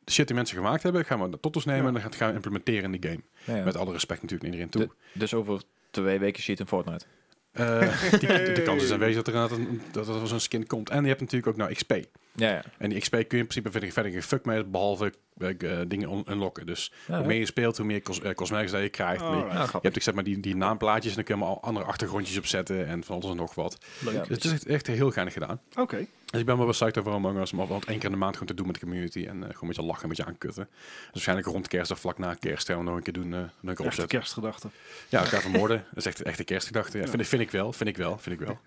S1: shit die mensen gemaakt hebben, gaan we naar tot ons nemen
S4: Ja.
S1: en dan gaan we het gaan implementeren in de game.
S4: Ja, ja.
S1: Met alle respect natuurlijk naar iedereen toe.
S4: Du- dus over twee weken ziet een Fortnite.
S1: Eh,
S4: [LAUGHS]
S1: die, de kans is aanwezig dat er, inderdaad een- dat er zo'n skin komt. En je hebt natuurlijk ook nou XP.
S4: Ja, ja.
S1: En die XP kun je in principe verder, verder geen fuck mee, behalve eh, eh, dingen un- unlocken. Dus
S4: Ja,
S1: hoe meer je speelt, hoe meer cos eh, cosmetics dat je krijgt. Hoe meer-
S3: Alright.
S4: ja, grappig.
S1: Je hebt ook, zeg maar die, die naamplaatjes en dan kun je allemaal andere achtergrondjes opzetten en van alles en nog wat.
S4: Ja.
S2: Leuk.
S1: Dus het is echt, echt heel geinig gedaan.
S3: Oké.
S1: Dus ik ben wel psyched over Among Us om al- al één keer in de maand gewoon te doen met de community en eh, gewoon een beetje lachen, een beetje aankutten. Dus waarschijnlijk rond kerst of vlak na kerst gaan we nog een keer doen, eh, nog een keer
S3: Echte
S1: opzetten.
S3: kerstgedachten.
S1: Ja, elkaar vermoorden. Dat is echt, echt een kerstgedachte. Ja, vind, vind ik wel, vind ik wel, vind ik wel.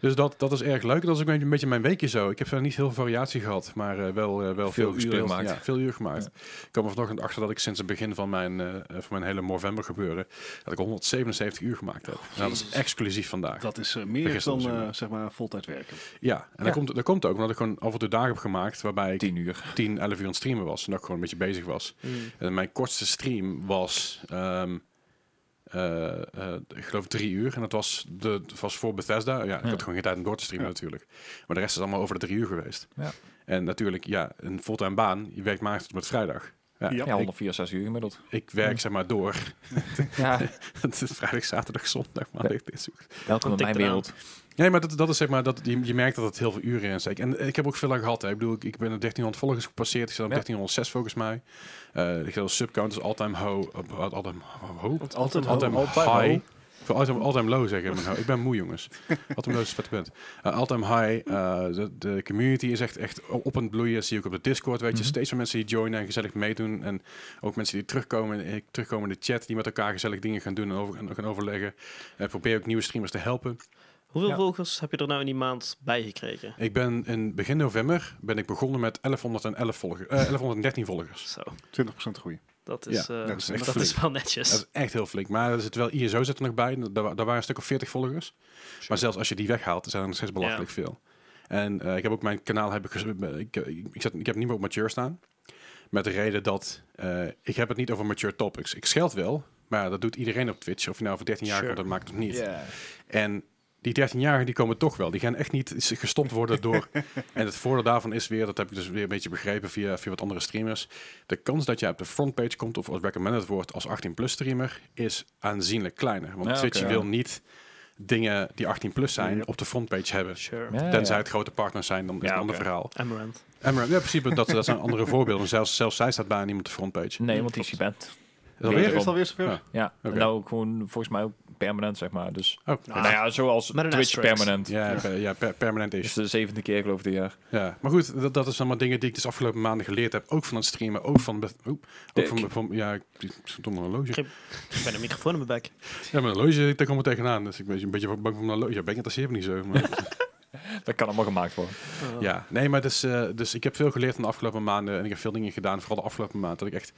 S1: Dus dat, dat is erg leuk. Dat is ook een beetje mijn weekje zo. Ik heb verder niet heel veel variatie gehad, maar eh, wel, eh, wel veel,
S4: uren
S1: gespeeld.
S4: gemaakt.
S1: Ja, veel uur gemaakt. Ik kwam er vanochtend achter dat ik sinds het begin van mijn, eh, van mijn hele Movember gebeuren, dat ik 177 uur gemaakt heb. En dat is exclusief vandaag.
S3: Dat is eh, meer
S1: Vergist
S3: dan
S1: ons,
S3: eh,
S1: jongen.
S3: zeg maar voltijd werken.
S1: Ja, en Dat,
S4: Ja.
S1: komt, dat komt ook omdat ik gewoon af en toe dagen heb gemaakt waarbij ik 10,
S4: Tien uur.
S1: 11 uur aan het streamen was. En dat ik gewoon een beetje bezig was.
S2: Mm.
S1: En mijn kortste stream was, ehm, eh, eh, ik geloof drie uur. En dat was, de, het was voor Bethesda. Ja, ik
S4: Ja.
S1: had gewoon geen tijd om door te streamen
S3: Ja.
S1: natuurlijk. Maar de rest is allemaal over de drie uur geweest.
S4: Ja.
S1: En natuurlijk, ja, een fulltime baan. Je werkt maandag tot en met vrijdag. Ja,
S3: Ja.
S4: Ja, 164 uur gemiddeld.
S1: Ik werk zeg maar door. [LAUGHS]
S4: Ja,
S1: Het is vrijdag, zaterdag, zondag, maandag, dinsdag.
S4: welkom in
S2: Tikt
S4: mijn
S2: eraan.
S4: wereld.
S1: Nee, maar dat, dat is zeg maar, dat, je, je merkt dat het heel veel uren in steekt. En ik heb ook veel aan gehad. Hè. Ik bedoel, ik, ik ben op 1300 volgers gepasseerd. Ik zat op
S4: Ja.
S1: 1306 volgens mij. Eh ik zat op subcount, dus all-time ho. all-time ho?
S3: Altijd
S1: All-time
S4: All time
S1: high.
S4: low.
S1: Voor all-time, all-time low zeg ik. in mijn hoofd. Ik ben moe, jongens. All-time low is een vette punt. Eh, all-time high. eh, de, de community is echt, echt op aan het bloeien. Zie ik op de Discord, weet je.
S4: Mhm.
S1: Steeds meer mensen die joinen en gezellig meedoen. En ook mensen die terugkomen, eh, terugkomen in de chat. Die met elkaar gezellig dingen gaan doen en over, en gaan overleggen. Eh, probeer ook nieuwe streamers te helpen.
S2: Hoeveel
S4: Ja.
S2: volgers heb je er nou in die maand bij gekregen?
S1: Ik ben in begin november ben ik begonnen met 1111 volgers, eh, 1113 volgers.
S2: Zo,
S3: 20% groei.
S2: dat is,
S1: Ja,
S2: eh,
S1: dat is echt
S2: dat is
S1: flink.
S2: wel
S1: Dat
S2: netjes.
S1: is echt heel flink. Maar er zit wel ISO zit er nog bij. Daar, wa- daar waren een stuk of 40 volgers. Maar zelfs als je die weghaalt, zijn er nog steeds belachelijk veel. En eh, ik heb ook mijn kanaal heb ik, ges- eh, ik, ik, ik, zet, ik heb niet meer op mature staan. Met de reden dat eh, ik heb het niet over mature topics. Ik scheld wel, maar dat doet iedereen op Twitch. Of je nou voor 13 jaar
S2: Sure.
S1: komt, dat maakt het niet.
S4: Ja.
S1: En die 13-jarigen die komen toch wel. Die gaan echt niet s- gestopt worden door. en het voordeel daarvan is weer, dat heb ik dus weer een beetje begrepen via, via wat andere streamers. De kans dat je op de frontpage komt of als recommended wordt als 18-plus streamer is aanzienlijk kleiner. Want
S4: Ja, oké,
S1: Twitch
S4: ja.
S1: wil niet dingen die 18-plus zijn
S3: Yep.
S1: op de frontpage hebben.
S2: Sure.
S4: Ja,
S1: Tenzij
S4: ja.
S1: het grote partners zijn, dan is het
S4: Ja,
S1: een ander
S4: oké.
S1: verhaal.
S2: Amaranth.
S1: En maar, ja, in principe, dat, dat zijn andere [LAUGHS] voorbeelden. Zelfs, zelfs zij staat bijna niet op de frontpage.
S4: Nee, want die is bent.
S1: Is dat Oh. weer?
S3: Is het alweer zover?
S1: Ja.
S4: Ja,
S1: Oké.
S4: nou ook gewoon volgens mij ook permanent, zeg maar. Dus,
S1: Oh,
S2: Ah.
S4: nou ja, zoals
S2: Met een
S4: Twitch
S2: asterisk.
S4: permanent.
S1: Ja, per- ja per- permanent
S4: Dus
S1: is.
S4: de zevende keer geloof ik dit jaar.
S1: Ja, maar goed, dat, dat is allemaal dingen die ik dus afgelopen maanden geleerd heb. Ook van het streamen, ook van... be- Oep, ook
S4: Dik.
S1: van, van ja, ik ik zit onder een horloge.
S2: Ik ben een microfoon in mijn bek.
S1: Ja, mijn horloge, daar kom ik tegenaan. Dus ik ben een beetje bang voor mijn horloge. Ja, ben ik interesseert me niet zo. Maar,
S4: Dat kan allemaal gemaakt worden.
S2: Oh.
S1: ja, nee, maar dus, eh, dus ik heb veel geleerd van de afgelopen maanden. En ik heb veel dingen gedaan, vooral de afgelopen maand. Dat ik echt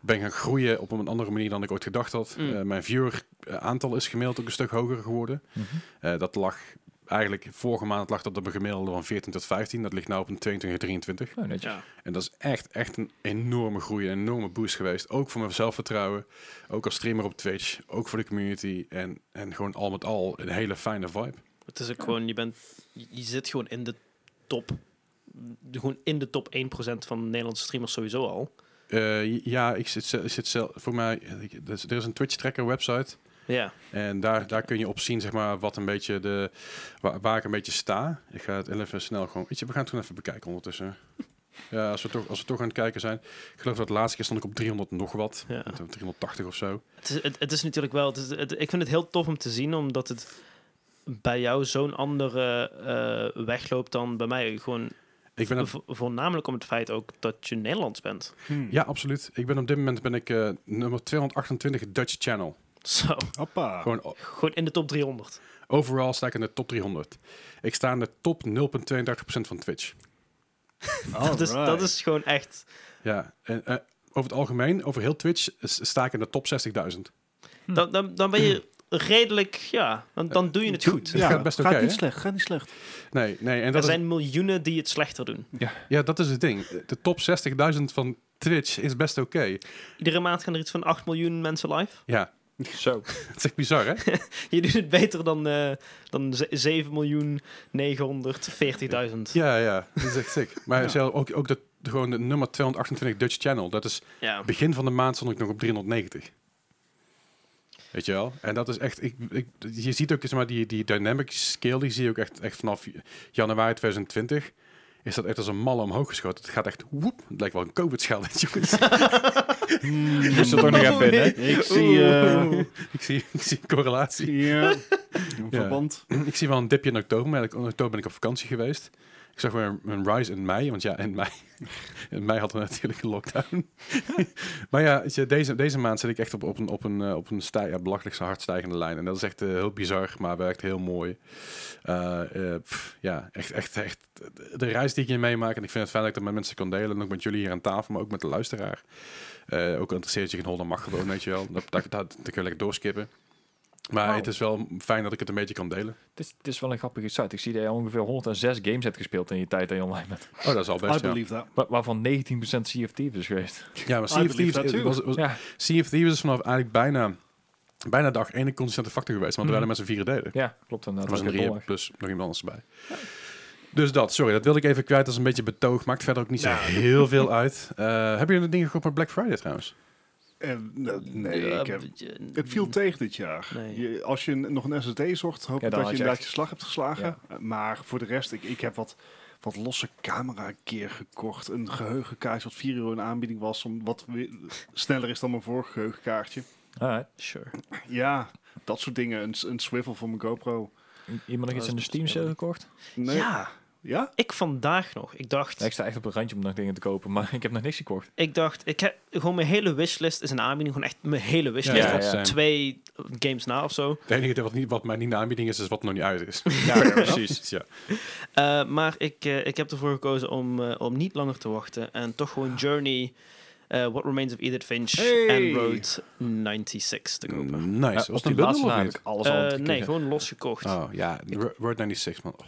S1: ben gaan groeien op een andere manier dan ik ooit gedacht had.
S2: Mm.
S1: Eh, mijn viewer eh, aantal is gemiddeld ook een stuk hoger geworden. Eh, dat lag... Eigenlijk, vorige maand lag dat op een gemiddelde van 14 tot 15. Dat ligt nu op een 22, 23.
S4: Nou, netjes.
S2: Ja.
S1: En dat is echt, echt een enorme groei, een enorme boost geweest. Ook voor mijn zelfvertrouwen, ook als streamer op Twitch, ook voor de community. En, en gewoon al met al een hele fijne vibe.
S2: Het is ook gewoon, je, bent, je je zit gewoon in de top. de- Gewoon in de top 1% van Nederlandse streamers sowieso al.
S1: Eh, ja, ik zit, ze- zit zelf, voor mij, ik- dus er is een Twitch-tracker website.
S2: Ja.
S1: En daar, daar kun je op zien, zeg maar, wat een beetje de, waar, waar ik een beetje sta. Ik ga het even snel gewoon, weet je, we gaan het gewoon even bekijken ondertussen. Ja, als we, toch, als we toch aan het kijken zijn. Ik geloof dat de laatste keer stond ik op 300 nog wat.
S2: Ja.
S1: 380 of zo.
S2: Het, is, het, het is natuurlijk wel, het is, het- ik vind het heel tof om te zien, omdat het bij jou zo'n andere eh, weg loopt dan bij mij. Gewoon
S1: Ik ben op
S2: vo- voornamelijk om het feit ook dat je Nederlands bent. [LAUGHS]
S3: Hmm.
S1: Ja, absoluut. Ik ben op dit moment ben ik eh, nummer 228 Dutch Channel.
S2: Zo, Ah.
S3: Hoppa.
S1: Gewoon o-
S2: gewoon in de top 300.
S1: overal sta ik in de top 300. Ik sta in de top 0,32% van Twitch.
S2: Dat is, Dus dat is gewoon echt...
S1: Ja, en eh, over het algemeen, over heel Twitch, s- sta ik in de top 60.000.
S2: Dan, dan, dan ben je redelijk, ja, want dan doe je het goed.
S1: Het gaat best oké,
S3: gaat niet
S1: hè?
S3: slecht, gaat niet slecht.
S1: Nee, nee. En
S2: Er
S1: dat is,
S2: zijn miljoenen die het slechter doen.
S1: ja, dat is het ding. De top 60.000 van Twitch is best oké.
S2: Iedere maand gaan er iets van 8 miljoen mensen live. [LAUGHS]
S1: Ja, [LAUGHS]
S4: Zo.
S1: het is echt bizar, hè?
S2: Je doet het beter dan, eh dan ze- 7 miljoen 940.000.
S1: Ja, ja. Dat is echt sick. Maar
S3: Ja.
S1: zelf ook, ook dat, gewoon de nummer 228 Dutch Channel, dat is
S2: Ja.
S1: Begin van de maand stond ik nog op 390. Weet je wel? En dat is echt... Ik, ik, je ziet ook zeg maar, die, die dynamic scale, die zie je ook echt, echt vanaf januari 2020. Is dat echt als een malle omhoog geschoten. Het gaat echt woep. Het lijkt wel een [LAUGHS] COVID-schelletje.
S4: Moest er toch nog even in, hè?
S3: Hmm. [LAUGHS] Ik zie... eh,
S1: ik, zie, ik zie een correlatie.
S3: ja, [LAUGHS] een verband.
S1: [CLEARS THROAT] Ik zie wel een dipje in oktober. Maar in oktober ben ik op vakantie geweest. Ik zag weer een- een rise in mei. Want ja, in mei, [LAUGHS] in mei hadden we natuurlijk een lockdown. [LAUGHS] maar ja, weet je, deze, deze maand zit ik echt op, op een, op een, eh, op een stij, ja, belachelijk zo hard stijgende lijn. En dat is echt eh, heel bizar, maar werkt heel mooi. Eh, eh, pff, ja, echt, echt, echt. De reis die ik hier meemaak. En ik vind het fijn dat ik dat met mensen kan delen. En ook met jullie hier aan tafel, maar ook met de luisteraar. Eh, ook al interesseert je geen hol, dan mag gewoon, weet je wel. Dat, dat, dat, dat kun je lekker doorskippen. Maar
S4: Wauw.
S1: het is wel fijn dat ik het een beetje kan delen.
S4: Het is, het is wel een grappige site. Ik zie dat je ongeveer 106 games hebt gespeeld in je tijd dat je online bent.
S1: Oh, dat is al
S3: I
S1: best, ja.
S3: believe that.
S4: Wa- waarvan 19% CFT is geweest.
S1: Ja, maar
S3: I
S1: Sea of
S3: believe
S1: Thieves
S3: that
S1: is-
S3: too.
S1: was, was,
S4: Ja,
S1: Sea of Thieves is vanaf eigenlijk bijna, bijna de dag ene consistente factor geweest. Want we
S4: Mhm.
S1: waren met z'n vieren delen.
S4: ja klopt
S1: Dat was een
S4: inderdaad. Dat was een
S1: drieën
S4: dollar.
S1: plus nog iemand anders erbij. Dus dat, sorry, dat wilde ik even kwijt. Dat is een beetje betoog. Maakt verder ook niet zo
S3: Nou.
S1: heel veel uit. Eh, hebben jullie de dingen gekocht met Black Friday trouwens?
S3: En, eh, nee,
S2: Ja,
S3: ik heb...
S2: eh,
S3: Het viel tegen dit jaar.
S2: Nee.
S3: Je- als je een- nog een SSD zocht, hoop
S4: Ja,
S3: ik dat
S4: dan
S3: je
S4: had je
S3: inderdaad
S4: echt-
S3: je slag hebt geslagen. Eh, Maar voor de rest, ik, ik heb wat, wat losse camera keer gekocht. Een geheugenkaartje wat 4 euro in aanbieding was. Om wat weer sneller is dan mijn vorige geheugenkaartje.
S4: Alright.
S2: Sure.
S3: Ja, dat soort dingen. Een, s- een swivel voor mijn GoPro.
S4: I- Iemand nog
S2: Dat
S4: iets in de
S2: is
S4: Steam sale gekocht?
S3: Nee.
S2: Ja,
S3: Ja?
S2: ik vandaag nog. Ik dacht,
S4: Ja, ik sta echt op het randje om nog dingen te kopen, maar [LAUGHS] ik heb nog niks gekocht.
S2: ik dacht, ik heb gewoon mijn hele wishlist is een aanbieding. Gewoon echt mijn hele wishlist.
S4: Ja,
S2: Tot
S4: ja.
S2: Twee games na of zo.
S1: Het enige wat, niet, wat mij niet de aanbieding is, is wat nog niet uit is. [LAUGHS]
S4: Ja,
S1: precies. Ja.
S2: Eh, maar ik, eh, ik heb ervoor gekozen om, eh, om niet langer te wachten. En toch gewoon Journey, eh, What Remains of Edith Finch
S3: Hey.
S2: en Road 96 te kopen.
S1: Nice. Was
S4: op
S1: het een bundel
S4: die laatste
S1: of
S4: namelijk
S1: niet?
S4: alles
S2: Eh,
S4: al
S2: nee, gewoon losgekocht.
S1: Oh ja, Ro- Road 96 man. Oh,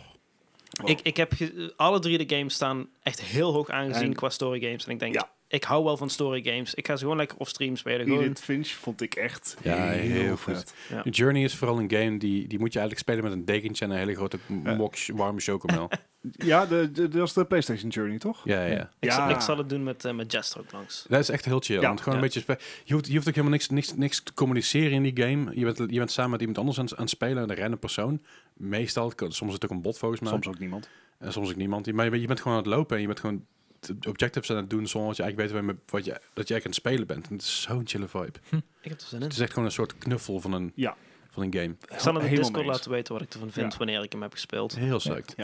S3: Wow.
S2: Ik, ik heb ge- alle drie de games staan echt heel hoog aangezien
S3: En-
S2: qua story games. En ik denk,
S3: Ja.
S2: ik hou wel van story games. Ik ga ze gewoon lekker off-stream spelen. Gewoon.
S3: Edith Finch vond ik echt
S1: Ja,
S3: heel,
S1: heel goed.
S3: vet.
S2: Ja.
S1: Journey is vooral een game die, die moet je eigenlijk spelen met een dekentje en een hele grote mok warme
S3: [LAUGHS]
S1: chocomel.
S3: Ja, de, de, dat was de PlayStation Journey, toch?
S1: ja, ja. ja.
S2: Ik, zal,
S3: Ja.
S2: ik zal het doen met, eh, met Jester ook langs.
S1: Dat is echt heel chill.
S3: Ja.
S1: want gewoon een beetje spe- je, hoeft, je hoeft ook helemaal niks, niks, niks te communiceren in die game. Je bent, je bent samen met iemand anders aan, het- aan het spelen, een random persoon. Meestal, kan- soms is het ook een bot volgens mij.
S3: Soms ook niemand.
S1: En soms ook niemand. Maar je, bent- je bent gewoon aan het lopen en je bent gewoon t- objectives aan het doen zonder dat je eigenlijk weet waar je, mee- wat je, dat je eigenlijk aan het spelen bent. En het is zo'n chille vibe.
S2: Ik heb er zin in.
S1: Het is echt gewoon een soort knuffel van een,
S3: Hm. Ja.
S1: van een game.
S2: Ik zal in de
S3: Helemaal mee
S2: Discord
S3: eens.
S2: laten weten wat ik ervan vind
S3: Ja.
S2: wanneer ik hem heb gespeeld.
S1: Heel psyched.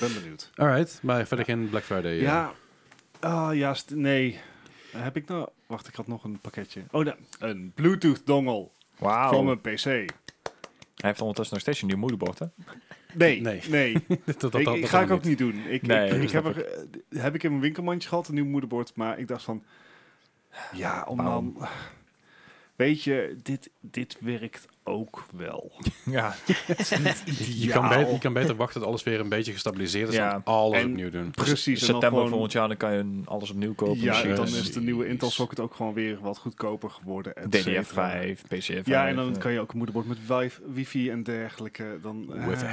S3: Ben benieuwd.
S1: Alright, maar verder geen Black Friday. eh.
S3: Ja, ah ja, st- nee. Heb ik nou... Wacht, ik had nog een pakketje. Oh, nee. Een Bluetooth-dongle
S4: Wauw.
S3: van mijn PC.
S4: Hij heeft ondertussen nog steeds een nieuw moederbord, hè?
S3: Nee,
S1: Nee. [LAUGHS]
S3: nee.
S1: dat, dat,
S3: ik,
S1: dat-
S3: ik
S1: dat
S3: ga ik
S1: allemaal
S3: ook niet doen. Ik,
S4: Nee,
S3: ik, ik
S4: snap
S3: heb, er, eh, heb ik in mijn winkelmandje gehad, een nieuw moederbord. Maar ik dacht van, ja, om
S4: Waarom?
S3: dan... Weet je, dit, dit werkt ook wel.
S4: Ja.
S1: Je, kan beter, je kan beter wachten tot alles weer een beetje gestabiliseerd is.
S4: Ja.
S1: En alles
S3: En-
S1: opnieuw doen.
S3: Precies. en dan
S4: September
S3: gewoon-
S4: volgend jaar dan kan je alles opnieuw kopen.
S3: Ja,
S1: precies.
S3: dan
S4: dan
S3: is de nieuwe Intel socket ook gewoon weer wat goedkoper geworden. et cetera.
S4: DDR5, PCF.
S3: Ja, en
S4: eh,
S3: dan kan je ook een moederbord met wi- wifi en dergelijke. Dan, eh,
S1: Wifi.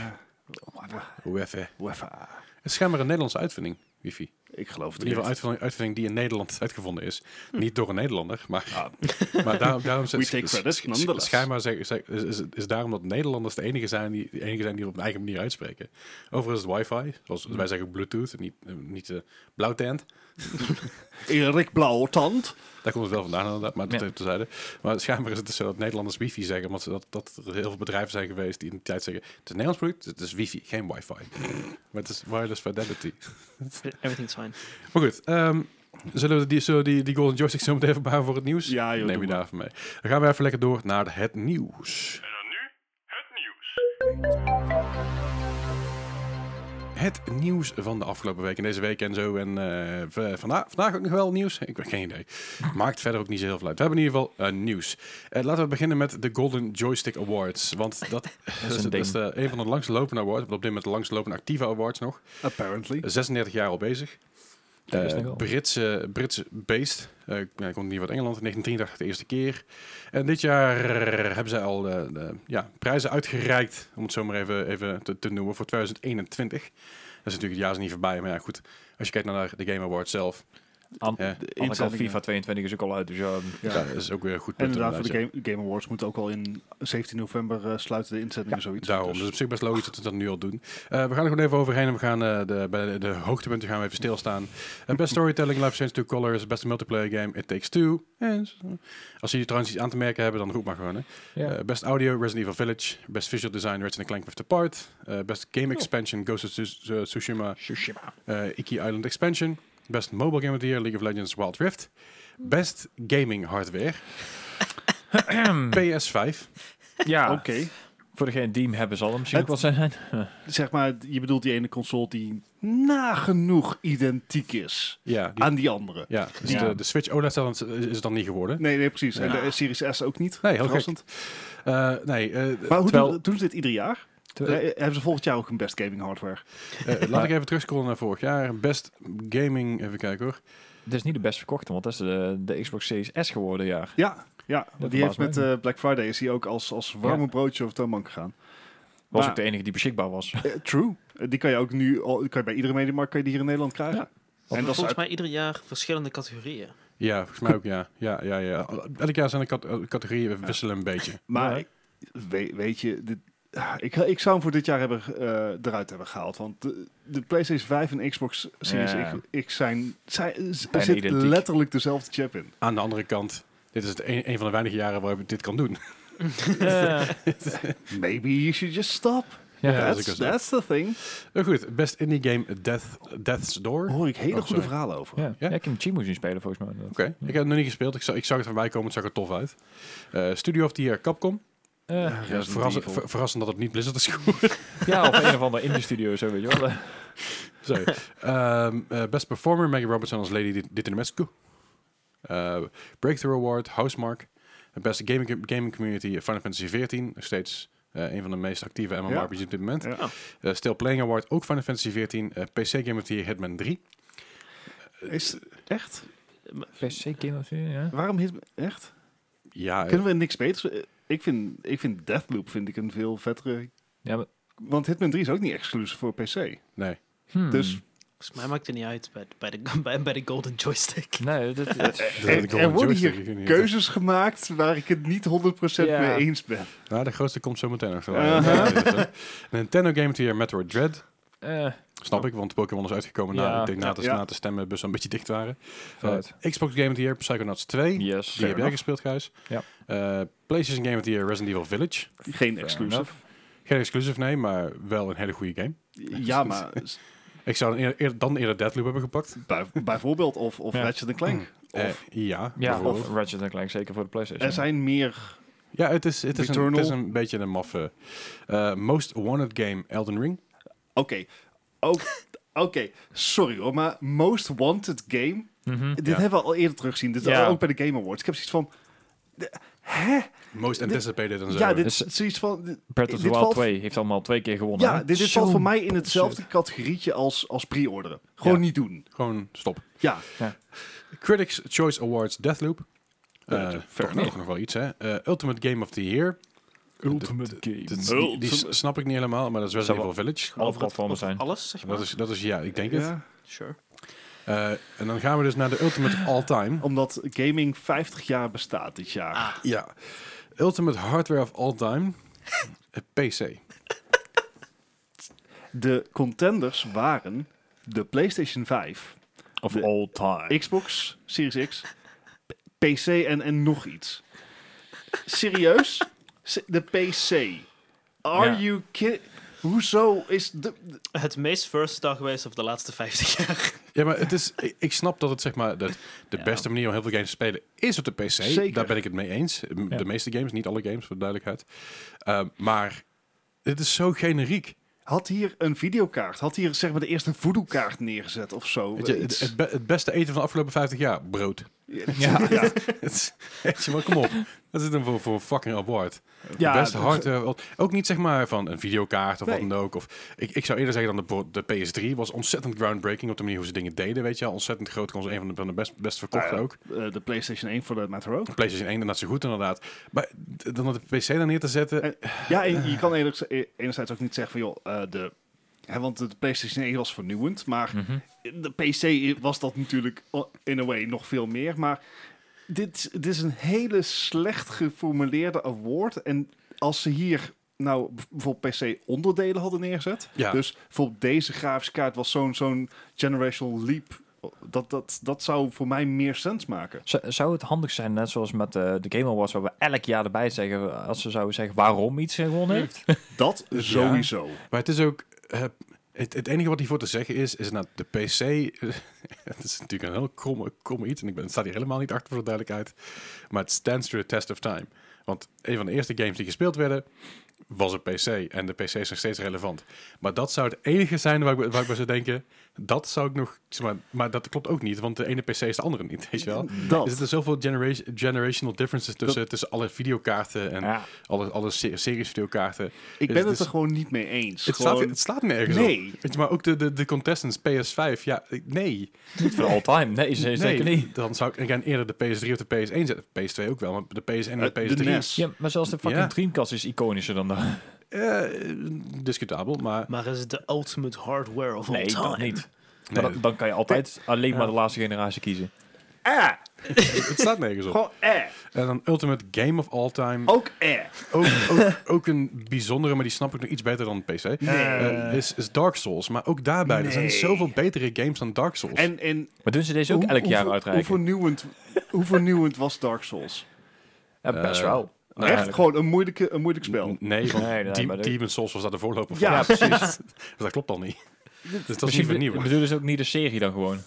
S3: wa-
S1: Hoe even.
S3: wifi.
S1: Het is schijnbaar een Nederlandse uitvinding, wifi.
S3: Ik geloof
S1: Of
S3: het
S1: in ieder geval
S3: niet. Hm.
S1: uitvinding, uitvinding die in Nederland uitgevonden is. Niet door een Nederlander, maar, [LAUGHS] maar daarom, daarom
S3: We take credit, nonetheless.
S1: schijnbaar zeg- zeg- is, is, is daarom dat Nederlanders de enige zijn die, de enige zijn die het op een eigen manier uitspreken. Overigens is het wifi, zoals
S3: Hm.
S1: wij zeggen bluetooth, en niet, eh, niet eh, blauwtand.
S3: Erik Blauwtand.
S1: Daar komt het wel vandaan inderdaad, maar dat
S4: Ja.
S1: heeft terzijde. Maar schijnbaar is het dus zo dat Nederlanders wifi zeggen, want dat, dat er heel veel bedrijven zijn geweest die in de tijd zeggen, het is een Nederlands product, dus het is wifi, geen
S3: [LAUGHS]
S1: wifi. maar het is wireless fidelity.
S2: Everything's fine.
S1: Maar goed, ehm, zullen we die, zullen we die, die golden joystick zo meteen even bewaren voor het nieuws?
S3: Ja, joh.
S1: Neem je
S3: doe maar.
S1: daarvan mee. Dan gaan we even lekker door naar het nieuws.
S5: En dan nu het nieuws.
S1: het nieuws van de afgelopen week en deze week en zo. En eh, v- vandaag, vandaag ook nog wel nieuws. Ik heb geen idee. Maakt verder ook niet zo heel veel uit. We hebben in ieder geval eh, nieuws. Eh, laten we beginnen met de Golden Joystick Awards. Want dat, dat is,
S4: een
S1: dat is
S4: ding.
S1: de- een van de langstlopende awards. Op dit moment de langstlopende actieve awards nog. Eh,
S3: Apparently.
S1: 36 jaar al bezig.
S4: Ja, best
S1: Eh,
S4: nog wel.
S1: Britse, Brits based. Eh, ik- nou, ik kom niet uit Engeland. 1983 de eerste keer. En dit jaar hebben zij al eh, de, ja, prijzen uitgereikt. Om het zo maar even, even te, te noemen. Voor 2021. Dat is natuurlijk het jaar is niet voorbij. Maar ja, goed. Als je kijkt naar de Game Awards zelf.
S4: Aan,
S1: Ja.
S4: anders al
S3: Inzendingen.
S4: FIFA 22 is ook al uit, dus ja,
S1: Ja. dat is ook weer een goed.
S3: En
S1: punt
S3: inderdaad, voor de
S1: inderdaad,
S3: game, Game Awards moet ook al in 17 november eh, sluiten de inzettingen zoiets.
S1: Daarom, dus
S3: Dus-
S1: het is op zich best logisch dat we dat nu al doen. Eh, we gaan er gewoon even overheen en we gaan eh, de, bij de, de hoogtepunten gaan we even stilstaan. Eh, best Storytelling, Life Change 2 Colors, Best Multiplayer Game, It Takes Two. En zo. als jullie trouwens iets aan te merken hebben, dan roep maar gewoon. Hè.
S4: ja.
S1: Eh, best Audio, Resident Evil Village, Best Visual Design, Ratchet Clank Rift Apart. Eh, best Game Expansion, Ghost of Tsu- eh, Tsushima,
S4: Tsushima.
S1: eh, Iki Island Expansion. Best Mobile Game of the Year, League of Legends Wild Rift. Best Gaming Hardware, PS5.
S4: ja,
S3: Oké.
S4: voor degene die hem hebben zal hem misschien ook
S3: Het-
S4: wel zijn.
S3: Zeg maar, je bedoelt die ene console die nagenoeg identiek is
S1: Ja, die,
S3: aan die andere.
S1: ja, dus
S4: Ja.
S1: De, de Switch OLED is het dan niet geworden.
S3: Nee, nee, precies. En
S4: Ja.
S3: de Series S ook niet.
S1: Nee, heel gek.
S3: Verrassend.
S1: Eh, nee, eh,
S3: Maar hoe
S4: Terwijl-
S3: doen, doen ze dit ieder jaar?
S4: Terwijl-
S3: Eh, hebben ze volgend jaar ook een best gaming hardware?
S1: eh, laat ik even terugscrollen naar vorig jaar. Best gaming, even kijken hoor.
S4: Het is niet de best verkochte, want dat is de, de Xbox Series S geworden, ja.
S3: Ja, ja.
S4: Dat
S3: die heeft
S4: verbaast
S3: met
S4: mij.
S3: eh, Black Friday is hij ook als, als warme
S4: Ja.
S3: broodje over de toonbank gegaan.
S4: [LAUGHS] Was
S3: Maar-
S4: ook de enige die beschikbaar
S3: [LAUGHS]
S4: was. [LAUGHS]
S3: Eh, true. Eh, die kan je ook nu al, die kan je bij iedere mediamarkt kan je die hier in Nederland krijgen.
S4: Ja.
S3: En dat is
S2: volgens mij ieder jaar verschillende categorieën.
S1: Ja, volgens mij ook ja. Ja, ja, ja. Elk jaar zijn de cat- eh, categorieën we wisselen een beetje.
S3: Maar
S4: Ja.
S3: ik- weet, weet je, dit, ah, ik, ik zou hem voor dit jaar hebben, eh, eruit hebben gehaald. Want de, de PlayStation 5 en Xbox Series
S4: Ja.
S3: X, X zijn, zijn, z- er
S4: Bijna
S3: zit
S4: identiek.
S3: letterlijk dezelfde chip in.
S1: Aan de andere kant, dit is het een, een van de weinige jaren waarop ik dit kan doen.
S3: Maybe you should just stop.
S4: Ja,
S1: Ja, dat is ook
S3: that's,
S1: zo.
S3: that's the thing.
S1: Eh, goed, best indie game Death, Death's Door. Oké,
S3: Hoor ik hele
S1: Oh,
S3: goede
S1: sorry.
S3: verhalen over.
S4: Ja.
S1: Ja?
S4: Ja, ik heb hem Chimo zien spelen volgens mij. Dat-
S1: ik heb het nog niet gespeeld. Ik zag, ik zag het voorbij komen, het zag er tof uit. Eh, Studio of the Year Capcom.
S4: Eh,
S1: Ja,
S3: Resident
S1: verrassend,
S3: Evil.
S1: ver- verrassend dat het niet Blizzard is geworden.
S4: [LAUGHS] ja, of een of andere indie studio, zo weet je wel.
S1: Zo. Ehm, eh, best Performer, Maggie Robertson als Lady Di- Didinescu. Eh Breakthrough Award, Housemark. Eh, Best Gaming, gaming Community, eh, Final Fantasy XIV. Nog steeds eh, een van de meest actieve MMORPG's op dit moment.
S3: Ja.
S2: Oh.
S1: Eh, Still Playing Award, ook Final Fantasy XIV. eh, PC Game of the Year, Hitman 3. Eh,
S3: Is, echt?
S4: PC Game of the Year, ja.
S3: Waarom hit, echt?
S1: Ja, eh,
S3: Kunnen we niks beters? Eh, Ik vind, ik vind Deathloop vind ik een veel vettere...
S4: ja maar,
S3: Want Hitman 3 is ook niet exclusief voor PC.
S1: nee.
S4: hmm.
S3: Dus
S2: Volgens mij maakt het niet uit bij, bij, de, [LAUGHS] bij, bij de Golden Joystick.
S4: Nee, dat, dat-
S1: Dat had ik
S3: er,
S1: al
S3: er
S1: met
S3: worden
S1: joystick, ik
S3: hier
S1: weet niet.
S3: keuzes gemaakt waar ik het niet 100%
S4: Ja.
S3: mee eens ben.
S1: Nou, de grootste komt zo meteen nog.
S3: Uh-huh.
S1: Nintendo Game of the Year, Metroid Dread.
S4: eh,
S1: Snap ik, want Pokémon is uitgekomen na,
S4: Ja.
S1: ik denk, na, te,
S3: Ja.
S1: na te stemmen, bus een beetje dicht waren. Eh,
S4: Vet.
S1: Xbox Game of the Year, Psychonauts 2.
S4: yes.
S1: Die heb jij gespeeld, Gijs.
S4: Ja.
S1: Eh, PlayStation Game of the Year, Resident Evil Village.
S3: Geen
S4: Fair
S3: exclusive.
S4: enough.
S1: Geen exclusive, nee, maar wel een hele goede game.
S3: Ja, maar s-
S1: Ik zou dan eer- eer- dan eerder Deadloop hebben gepakt.
S3: bij- bijvoorbeeld of, of
S4: Ja.
S3: Ratchet Clank.
S1: Eh,
S3: Of,
S1: ja,
S4: Ja,
S1: bijvoorbeeld.
S4: of Ratchet Clank, zeker voor de PlayStation.
S3: er zijn meer...
S1: ja het, is, het, is een, het is
S3: Returnal.
S1: een beetje een maffe. Eh, most Wanted Game, Elden Ring.
S3: Oké, ook... Oké, sorry hoor, maar Most Wanted Game...
S4: Mhm.
S3: Dit
S1: Ja.
S3: hebben we al eerder teruggezien. Dit
S4: Ja.
S3: ook bij de Game Awards. Ik heb zoiets van... de- Hè?
S1: Most Anticipated en zo.
S3: Ja, dit is
S4: Dus-
S3: zoiets van... dit-
S4: Breath of the
S3: dit
S4: Wild
S3: valt-
S4: 2 heeft allemaal twee keer gewonnen.
S3: Ja,
S4: hè?
S3: dit, dit
S4: Zo
S3: valt voor mij in hetzelfde categorietje als, als pre-orderen. Gewoon
S1: Ja.
S3: niet doen.
S1: Gewoon stop.
S3: Ja,
S1: Critics' Choice Awards Deathloop. Eh,
S3: Ja, fair
S1: toch nog, nog wel iets, hè. Eh, Ultimate Game of the Year.
S4: Ultimate Game.
S1: Dat, die, die s- snap ik niet helemaal, maar dat is Resident
S4: Zou
S1: Evil Village.
S4: Alle
S2: Over het-
S4: platformen
S2: over
S4: zijn.
S2: Alles, zeg maar.
S1: Dat is, dat is, ja, ik denk het.
S3: Ja.
S2: Sure.
S1: Eh, en dan gaan we dus naar de Ultimate of All Time.
S3: Omdat gaming 50 jaar bestaat dit jaar.
S2: Ah.
S1: Ja. Ultimate Hardware of All Time. Eh, PC.
S3: De contenders waren de PlayStation 5,
S4: Of
S3: De-
S4: all time.
S3: Xbox Series X, p- PC en, en nog iets. Serieus? Se- De PC. Are
S4: Ja.
S3: you kidding? Hoezo is de... de-
S2: Het meest versatile geweest over de laatste 50 jaar. [LAUGHS]
S1: Ja, maar het is, ik, ik snap dat het zeg maar dat de
S2: Ja.
S1: beste manier om heel veel games te spelen is op de PC.
S3: Zeker.
S1: Daar ben ik het mee eens. M-
S4: Ja.
S1: Ehm, De meeste games, niet alle games, voor de duidelijkheid. Eh, maar dit is zo generiek.
S3: had hier een videokaart. Had hier zeg maar de eerste voodoo-kaart neergezet of zo.
S1: Weet je, het,
S3: Iets.
S1: het, [LAUGHS] be- het beste eten van de afgelopen 50 jaar, brood. [LAUGHS]
S4: Ja.
S3: ja.
S1: Het is- Weet je wel, kom op. Dat is dan voor, voor een fucking award.
S4: Ja,
S1: Best
S4: dus-
S1: hard. eh, wat- ook niet zeg maar van een videokaart of
S3: Nee.
S1: wat dan ook. Of, ik, ik zou eerder zeggen dan de, bo- de PS3 was ontzettend groundbreaking op de manier hoe ze dingen deden. Weet je wel, ontzettend groot. Kon ze een van de, van de best, best verkochte
S3: Nou ja,
S1: ook.
S3: eh, de PlayStation 1 voor dat matter ook.
S1: De PlayStation 1 inderdaad zo goed inderdaad. Maar d- dan dat de PC daar neer te zetten.
S3: En- Ja, en je kan enerzijds, enerzijds ook niet zeggen van, joh, eh, de, hè, want de PlayStation 1 was vernieuwend, maar
S4: Mhm.
S3: de PC was dat natuurlijk oh, in a way nog veel meer. Maar dit, dit is een hele slecht geformuleerde award. En als ze hier nou b- bijvoorbeeld PC onderdelen hadden neergezet,
S1: ja,
S3: dus bijvoorbeeld deze grafische kaart was zo'n zo'n generational leap. Dat, dat, dat zou voor mij meer sens maken.
S4: Zou- Zou het handig zijn, net zoals met eh, de Game Awards, waar we elk jaar erbij zeggen, als ze zouden zeggen waarom iets gewonnen heeft?
S3: Dat sowieso.
S1: maar het is ook... eh, het, het enige wat hiervoor te zeggen is, is nou, de PC... [LAUGHS] het is natuurlijk een heel kromme, kromme iets. En ik ben, het staat hier helemaal niet achter voor de duidelijkheid. Maar het stands to the test of time. Want een van de eerste games die gespeeld werden, was een PC. En de PC is nog steeds relevant. Maar dat zou het enige zijn waar ik, waar ik bij zou denken... Dat zou ik nog... zeg maar, maar dat klopt ook niet, want de ene PC is de andere niet, weet je wel? Er
S3: Dat.
S1: zitten zoveel genera- generational differences tussen, tussen alle videokaarten en
S4: Ja.
S1: alle, alle se- series videokaarten.
S3: Ik
S1: Dus
S3: ben
S1: het
S3: het
S1: is-
S3: er gewoon niet mee eens.
S1: Het,
S3: Gewoon-
S1: slaat, het slaat nergens op.
S3: Nee.
S1: Weet je, maar ook de, de, de contestants PS5, ja, ik- nee.
S4: Niet voor all time, nee, ze- zeker niet.
S1: Dan zou ik again, eerder de PS3 of de PS1 zetten. PS2 ook wel, maar de PS1 en de
S3: Eh,
S1: PS3.
S3: de NES.
S4: Ja, maar zelfs de fucking
S1: Ja.
S4: Dreamcast is iconischer dan dat.
S1: eh, discutabel, maar...
S2: Maar is het de ultimate hardware of all
S4: Nee,
S2: time?
S4: dat niet.
S1: Nee,
S4: Maar dan, dan kan je altijd alleen maar de laatste generatie kiezen.
S3: Eh,
S1: het slaat nergens op.
S3: gewoon eh.
S1: En dan Ultimate Game of All Time.
S3: Ook eh.
S1: Ook, ook, ook een bijzondere, maar die snap ik nog iets beter dan de PC. Eh, is, is Dark Souls. Maar ook daarbij, er zijn
S3: Nee.
S1: zoveel betere games dan Dark Souls.
S3: En, en
S4: Maar doen ze deze ook
S3: hoe-
S4: elk jaar
S3: hoe-
S4: uitreiken?
S3: Hoe vernieuwend, hoe vernieuwend was Dark
S4: [LAUGHS]
S3: Souls?
S4: ja, best
S1: Eh,
S4: wel.
S1: Nou,
S3: Echt
S1: eigenlijk-
S3: gewoon een, moeilijke, een moeilijk spel.
S1: Nee, want
S4: Nee, nee,
S1: Deep-
S4: maar dat-
S1: Demon's Souls was daar de voorloper van.
S3: Ja,
S1: precies. [LAUGHS] dat klopt al niet. Dus dat is niet
S4: Misschien
S1: vernieuwend.
S4: bedoelen ze ook niet de serie dan gewoon.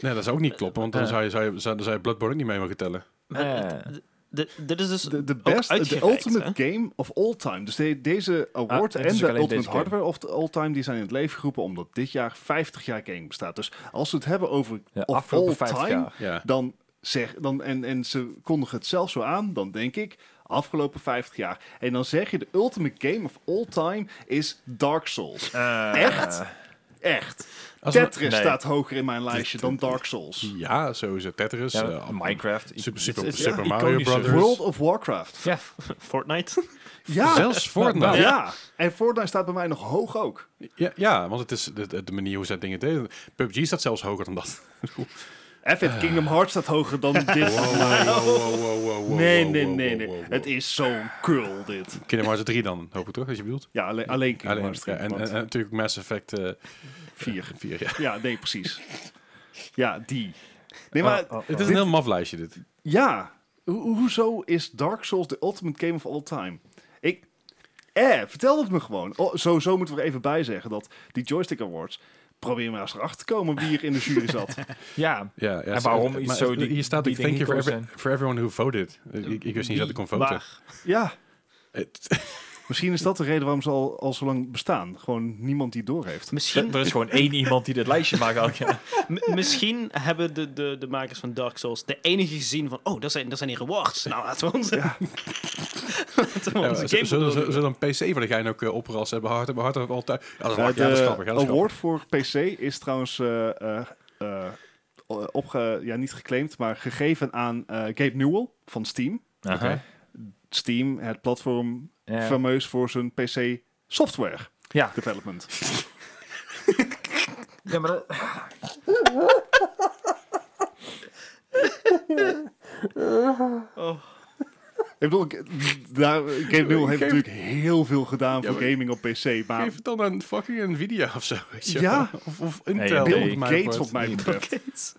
S1: Nee, dat zou ook niet kloppen, want dan
S4: Eh.
S1: zou je, zou je, zou, dan zou je Bloodborne ook niet mee mogen tellen.
S2: Maar
S4: Eh.
S2: d- d- d- dit is dus
S3: De, de
S2: ook
S3: best, de
S2: uitgereikt,
S3: ultimate game of all time. Dus de- deze award
S4: Ah, het is
S3: en
S4: ook
S3: de
S4: alleen deze
S3: ultimate
S4: game.
S3: hardware of the all time... die zijn in het leven geroepen omdat dit jaar 50 jaar game bestaat. Dus als we het hebben over
S4: Ja,
S3: of all
S4: afgelopen 50
S3: time...
S4: jaar.
S1: Ja.
S3: dan zeg, dan, en, en ze kondigen het zelf zo aan, dan denk ik, afgelopen 50 jaar. En dan zeg je, de ultimate game of all time is Dark Souls. Echt? Echt.
S1: Als we-
S3: Tetris
S4: nee.
S3: staat hoger in mijn lijstje dan Dark Souls.
S1: ja, sowieso. Tetris,
S4: Ja,
S1: eh,
S4: Minecraft. i-
S1: Super, super,
S4: het is
S1: super
S4: ja,
S1: Mario
S4: iconischer.
S1: Brothers.
S3: World of Warcraft.
S4: Ja,
S2: hè? Fortnite.
S1: [LAUGHS]
S3: Ja,
S1: Zelfs
S4: Nou,
S1: Fortnite.
S3: ja.
S1: Ja,
S3: En Fortnite staat bij mij nog hoog ook.
S1: ja, want het is de, de- de manier hoe zij dingen deden. PUBG staat zelfs hoger dan dat.
S3: Even Kingdom Hearts staat
S1: [LAUGHS]
S3: hoger dan dit. Nee, nee, nee, nee. Het is zo'n kul, dit.
S1: Kingdom Hearts 3 dan, hoop ik toch, wat je bedoelt?
S3: Ja, alleen, alleen Kingdom
S1: Alleen,
S3: Hearts
S1: ja, en, en, en natuurlijk Mass Effect eh
S3: 4.
S1: 4, ja.
S3: Ja, nee, precies. Ja, die. Nee, maar
S1: [LAUGHS] Het is een heel maf lijstje, dit.
S3: ja, ho- hoezo is Dark Souls de ultimate game of all time? Ik, eh, vertel het me gewoon. Oh, sowieso moeten we er even bij zeggen dat die Joystick Awards... Probeer maar eens erachter te komen wie er in de jury
S1: [LAUGHS]
S3: zat.
S4: ja.
S1: Ja, ja,
S4: En
S1: zo-
S4: waarom
S1: maar
S4: iets zo die-
S1: Hier staat ook,
S4: die
S1: thank you for,
S4: dingen gekozen
S1: every- for everyone who voted. Ik, ik, ik wist niet dat ik kon voten.
S2: Waar?
S3: ja,
S1: Het-
S3: misschien is dat de reden waarom ze al, al zo lang bestaan. Gewoon niemand die het doorheeft.
S2: Misschien,
S4: Er is gewoon één iemand die dit lijstje maakt elk jaar.
S2: m- misschien hebben de, de, de makers van Dark Souls de enige gezien van... Oh, dat zijn, dat zijn die rewards. Nou, laten we onze, [LAUGHS] laten we
S1: ja,
S2: onze
S1: z-
S2: game
S1: Zullen
S2: bedoelen.
S1: zullen- zullen een PC van de gein ook eh, opgerast hebben? Hard hebben, hard hebben, altijd. Ja, dat is grappig, ja, dat is grappig. ja,
S3: Eh, de
S1: dat is
S3: award voor PC is trouwens eh, eh, eh, opge, ja, niet geclaimd, maar gegeven aan eh, Gabe Newell van Steam.
S1: Oké.
S3: Steam, het platform,
S4: Ja.
S3: fameus voor zijn PC software
S4: Ja.
S3: development.
S4: ja, maar dat-
S2: Oh,
S3: Ik bedoel, ik- daar, Game Newell heeft natuurlijk heel veel gedaan
S1: Ja,
S3: voor
S1: maar-
S3: gaming op PC,
S1: grappig.
S3: maar
S1: Geef het dan aan fucking Nvidia of zo, weet je
S3: Ja.
S1: wel. Of, of Intel.
S4: nee.
S1: wat
S3: Bill
S1: mij
S3: Gates
S1: betreft.
S3: op mij
S2: [LAUGHS]
S3: betreft.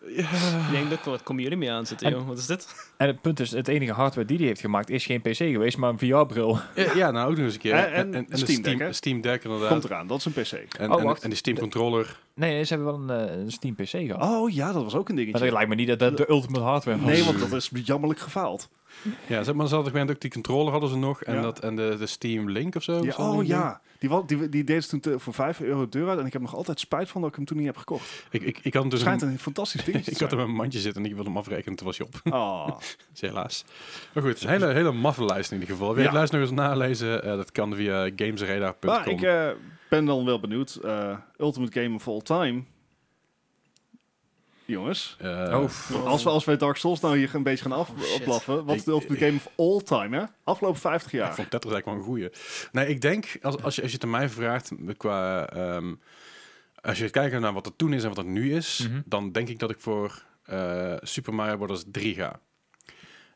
S2: ik denk dat wat komen jullie mee aan zitten,
S4: En-
S2: joh. Wat is dit?
S4: En het punt is, het enige hardware die die heeft gemaakt is geen PC geweest, maar een VR-bril.
S1: Ja, ja, nou ook nog eens een keer.
S3: En- en
S1: de
S3: Steam Deck, hè?
S1: Steam Deck inderdaad.
S3: Komt eraan, dat is een PC.
S1: En,
S4: Oh,
S1: en,
S4: wacht.
S1: en die Steam Controller.
S4: Nee, nee, ze hebben wel een, eh, een Steam PC gehad.
S3: Oh ja, dat was ook een
S4: Maar dat
S3: dingetje.
S4: lijkt me niet dat dat de ultimate hardware was.
S3: Nee, want dat is jammerlijk gefaald.
S1: Ja, ze- maar ze hadden ook die controller hadden ze nog. En,
S3: Ja.
S1: dat, en de, de Steam Link of zo.
S3: Ja,
S1: of zo,
S3: oh
S1: die ding.
S3: ja, die, wa- die, die deed ze toen te- voor 5 euro de deur uit. En ik heb nog altijd spijt van dat ik hem toen niet heb gekocht.
S1: Ik, ik, ik had hem
S3: Het
S1: dus
S3: schijnt
S1: een,
S3: een fantastisch ding
S1: [LAUGHS]
S3: te
S1: ik had hem
S3: zijn.
S1: in mijn mandje zitten en ik wilde hem afrekenen. Toen was hij op. [LAUGHS]
S3: Ah.
S1: Dus helaas. Maar goed, het is een hele, hele maffe lijst in ieder geval. Wil je
S3: Ja.
S1: de lijst nog eens nalezen? Eh, dat kan via gamesradar.com.
S3: Maar ik eh, ben dan wel benieuwd. eh, Ultimate Game of All Time. Jongens,
S1: Eh,
S4: Oh,
S3: als we, als we Dark Souls nou hier een beetje gaan af
S2: shit.
S3: afblaffen, wat is de
S1: Ik-
S3: Ultimate Game of All Time, hè? Afgelopen 50
S1: Ik
S3: jaar.
S1: vond Tetris eigenlijk wel een goeie. Nee, ik denk, als, als, je, als je het aan mij vraagt, qua, ehm, als je kijkt naar wat er toen is en wat er nu is,
S4: Mhm.
S1: dan denk ik dat ik voor eh, Super Mario Bros. 3 ga.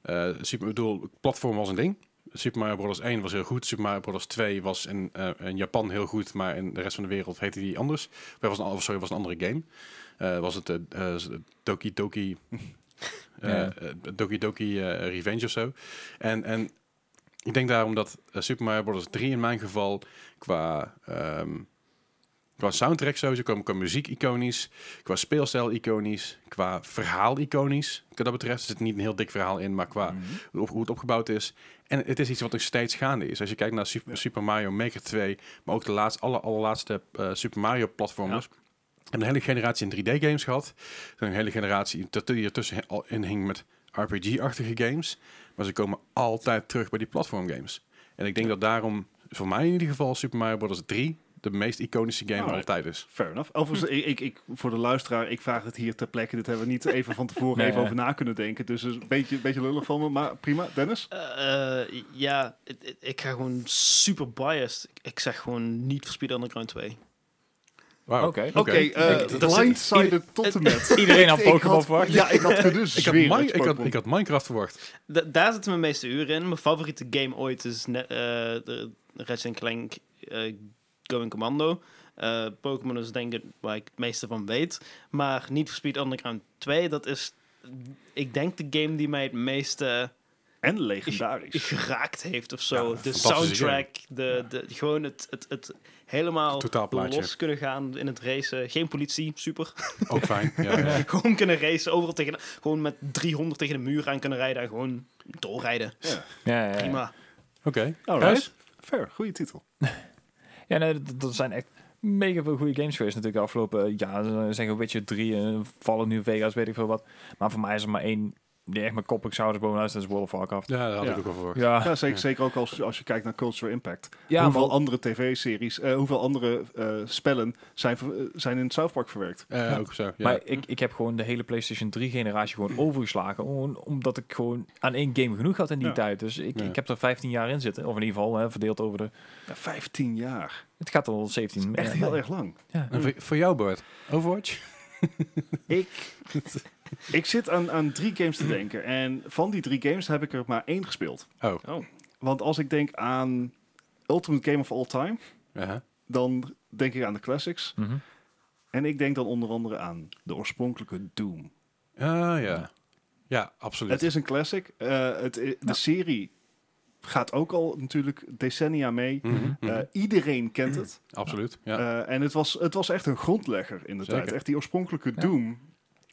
S1: Eh, super, ik bedoel, platform was een ding. Super Mario Bros. 1 was heel goed. Super Mario Bros. 2 was in, eh, in Japan heel goed, maar in de rest van de wereld heette die anders. Wij was een, of sorry, was een andere game. Eh, was het eh eh, Doki Doki... [LAUGHS] eh,
S4: Ja.
S1: eh, Doki Doki eh, Revenge of zo. En, en ik denk daarom dat eh, Super Mario Bros. 3 in mijn geval qua, ehm, qua soundtrack sowieso, qua, qua muziek iconisch, qua speelstijl iconisch, qua verhaal iconisch. Wat dat betreft zit er niet een heel dik verhaal in, maar qua
S4: Mhm.
S1: hoe- hoe het opgebouwd is. En het is iets wat nog steeds gaande is. Als je kijkt naar Super, Super Mario Maker 2, maar ook de laatste, alle allerlaatste eh, Super Mario platformers. En een hele generatie in 3D-games gehad. Een hele generatie dat- die ertussen he- al in hing met RPG-achtige games. Maar ze komen altijd terug bij die platformgames. En ik denk dat daarom, voor mij in ieder geval, Super Mario Bros. 3 de meest iconische game
S3: Alright.
S1: altijd is.
S3: Fair enough. Overigens, ik, ik, ik, voor de luisteraar, ik vraag het hier ter plekke. Dit hebben we niet even
S1: [LAUGHS]
S3: van tevoren
S4: Nee,
S3: even
S4: ja.
S3: over na kunnen denken. Dus het is een beetje, een beetje lullig van me, maar prima. Dennis?
S2: Eh, eh, ja, het- het- ik ga gewoon super biased. Ik, ik zeg gewoon niet voor Speed Underground 2.
S1: Wauw.
S4: Oké.
S1: Oké.
S3: Oké, eh,
S1: Ik- dat-
S3: blindsided tot en
S1: [LAUGHS]
S3: met.
S4: [LAUGHS] Iedereen [LAUGHS] had
S3: Ik had-
S4: Pokémon verwacht.
S3: Ja, ik had kunnen
S1: Ik, had
S3: zweren dat
S1: Mi-
S3: je
S1: ik, had,
S3: Pokémon-
S1: ik had Minecraft verwacht.
S2: Da- daar zitten mijn meeste uren in. Mijn favoriete game ooit is net, eh, de Ratchet Clank eh, Going Commando. Eh, Pokémon is denk ik waar ik het meeste van weet. Maar niet voor Speed Underground 2, dat is... Ik denk de game die mij het meeste
S3: En legendarisch.
S2: geraakt heeft of zo.
S1: Ja,
S2: de
S1: fantastische
S2: soundtrack, de, de, gewoon het, het, het helemaal
S1: Totaalplaatje.
S2: los kunnen gaan in het racen. Geen politie, super.
S1: Ook fijn.
S3: [LAUGHS]
S1: Ja, ja.
S2: [LAUGHS] gewoon kunnen racen, overal tegen... Gewoon met 300 tegen de muur aan kunnen rijden en gewoon doorrijden.
S4: Ja, ja, ja.
S2: Prima.
S1: Oké.
S3: Alright. Fair, goede titel.
S4: Ja, nee, dat, dat zijn echt mega veel goede games geweest natuurlijk de afgelopen jaar. Er zijn gewoon Witcher 3, eh, Fallout New Vegas, weet ik veel wat. Maar voor mij is er maar één die echt mijn kop ik zou boven huis, dat is World of Warcraft.
S1: Ja, dat had ik
S3: Ja.
S1: ook al verwacht.
S4: Ja,
S3: Ja, zeker, zeker ook als, als je kijkt naar Cultural Impact.
S4: ja
S3: hoeveel
S4: maar-
S3: andere tv-series, eh, hoeveel andere eh, spellen zijn, ver- eh, zijn in het South Park verwerkt.
S1: Eh,
S4: Ja.
S1: Ook zo, ja.
S4: Maar ik, ik heb gewoon de hele PlayStation 3 generatie
S3: [CLEARS THROAT]
S4: gewoon overgeslagen. om- omdat ik gewoon aan één game genoeg had in die
S3: Ja.
S4: tijd. Dus ik,
S1: Ja.
S4: ik heb er 15 jaar in zitten. Of in ieder geval hè, verdeeld over de.
S3: Ja, 15 jaar.
S4: Het gaat al 17.
S3: Echt
S4: ja,
S3: heel
S4: nee.
S3: erg lang.
S4: Ja.
S1: En voor, voor jou, Bart, Overwatch?
S3: Ik, ik zit aan, aan drie games
S4: [CLEARS THROAT]
S3: te denken. En van die drie games heb ik er maar één gespeeld.
S1: Oh.
S2: Oh.
S3: Want als ik denk aan Ultimate Game of All Time,
S1: Aha.
S3: dan denk ik aan de classics.
S4: Mhm.
S3: En ik denk dan onder andere aan de oorspronkelijke Doom.
S1: Ah, ja. Ja, absoluut.
S3: Het is een classic. Eh, het, i- de
S4: Nou.
S3: serie gaat ook al natuurlijk decennia mee.
S1: Mhm, mhm.
S3: Eh, iedereen kent het.
S1: absoluut, ja.
S3: Eh, en het was, het was echt een grondlegger in de
S1: Zeker.
S3: tijd. Echt die oorspronkelijke
S4: Ja.
S3: Doom.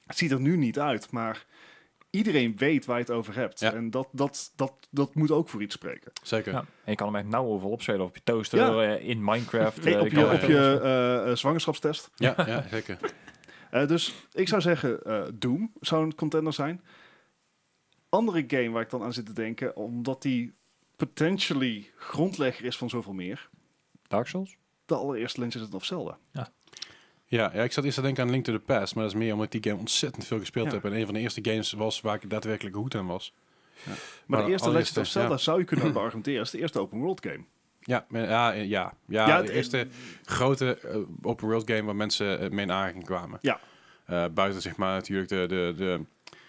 S3: Het ziet er nu niet uit, maar iedereen weet waar je het over hebt.
S1: Ja.
S3: En dat, dat, dat, dat moet ook voor iets spreken.
S1: Zeker.
S4: Ja. En je kan hem echt nauw overal opspelen. Of op je toaster,
S3: Ja.
S4: eh, in Minecraft.
S3: Nee,
S4: eh,
S3: op
S4: kan
S3: je, op
S4: het-
S3: je eh, eh, zwangerschapstest.
S1: Ja, ja, zeker.
S3: Eh, dus ik zou zeggen, eh, Doom zou een contender zijn. Andere game waar ik dan aan zit te denken, omdat die potentially grondlegger is van zoveel meer.
S4: Dark Souls?
S3: de allereerste Legend of Zelda.
S1: Ja, ja, ik zat eerst te denken aan Link to the Past, maar dat is meer omdat ik die game ontzettend veel gespeeld
S3: Ja.
S1: heb. En een van de eerste games was waar ik daadwerkelijk goed aan was.
S3: Maar
S1: Maar
S3: de eerste Legend
S1: Nou, allereerste,
S3: of Zelda
S1: ja.
S3: zou je kunnen
S1: [CLEARS THROAT]
S3: argumenteren als de eerste open world game.
S1: Ja, maar- ja, eh, ja, ja,
S3: Ja, het-
S1: de eerste grote eh, open world game waar mensen eh, mee in aanraking kwamen.
S3: Ja.
S1: Eh, buiten zeg maar natuurlijk de, de, de,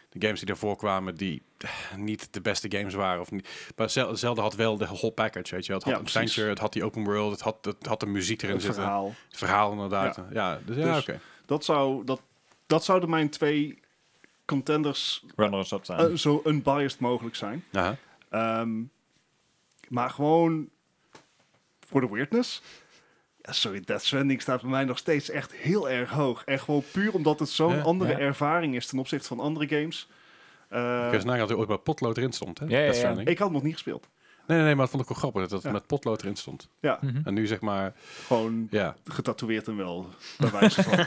S1: de games die daarvoor kwamen die eh, niet de beste games waren. Of niet. Maar Zel- Zelda had wel de whole package, weet je wel. Het had
S3: Ja,
S1: een
S3: precies.
S1: adventure, het had die open world, het had, het had de muziek erin
S3: Het
S1: zitten.
S3: verhaal.
S1: Het verhaal inderdaad. Ja, dus, ja
S3: Dus-
S1: oké.
S3: Dat, zou, dat, dat zouden mijn twee contenders
S4: Runners-up zijn.
S3: eh, zo unbiased mogelijk zijn.
S1: Aha.
S3: Ehm, maar gewoon voor de weirdness. Ja, sorry, Death Stranding staat bij mij nog steeds echt heel erg hoog. En gewoon puur omdat het zo'n
S1: Ja,
S3: andere
S4: ja.
S3: ervaring is ten opzichte van andere games. Eh, Eh,
S1: Ik was nagaan dat er ooit bij potlood erin stond, hè?
S4: Ja, ja,
S1: Death
S4: ja.
S1: Stranding.
S3: ik had hem nog niet gespeeld.
S1: Nee, nee, nee, maar dat vond ik wel grappig dat dat
S3: Ja.
S1: met potlood erin stond.
S3: Ja,
S4: Mhm.
S1: En nu zeg maar,
S3: gewoon
S1: ja,
S3: getatoeëerd en wel,
S1: [LAUGHS]
S3: bij wijze van.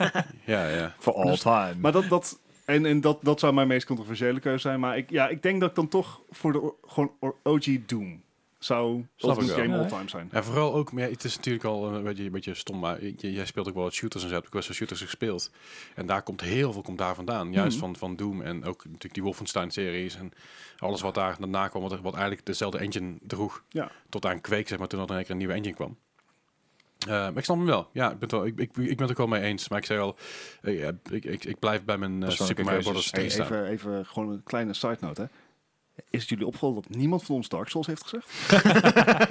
S1: ja, ja.
S4: For all time.
S3: dus- Maar dat, dat, en, en dat, dat zou mijn meest controversiële keuze zijn. Maar ik, ja, ik denk dat ik dan toch voor de o- gewoon o- OG Doom zou
S1: Snap
S3: als
S1: ik
S3: een
S1: wel.
S3: game
S4: Ja, hè?
S3: all-time zijn.
S1: En vooral ook, maar ja, het is natuurlijk al eh, een beetje, een beetje stom, maar j- jij speelt ook wel wat shooters en zo, heb ik wel eens wat shooters gespeeld. En daar komt heel veel komt daar vandaan, juist
S3: Mhm.
S1: van, van Doom en ook natuurlijk die Wolfenstein-series en alles wat daar daarna kwam, wat, er- wat eigenlijk dezelfde engine droeg.
S3: Ja.
S1: Tot aan Quake, zeg maar, toen er in één keer een nieuwe engine kwam. Eh, maar ik snap hem wel. Ja, ik ben, het wel, ik, ik, ik ben het ook wel mee eens. Maar ik zei al, eh, ja, ik, ik, ik blijf bij mijn eh,
S4: Persoonlijke
S1: Super Mario Bros.
S4: keuzes.
S1: 3 staan.
S3: even, even gewoon een kleine side note, hè. Is het jullie opgevallen dat niemand van ons Dark Souls heeft gezegd?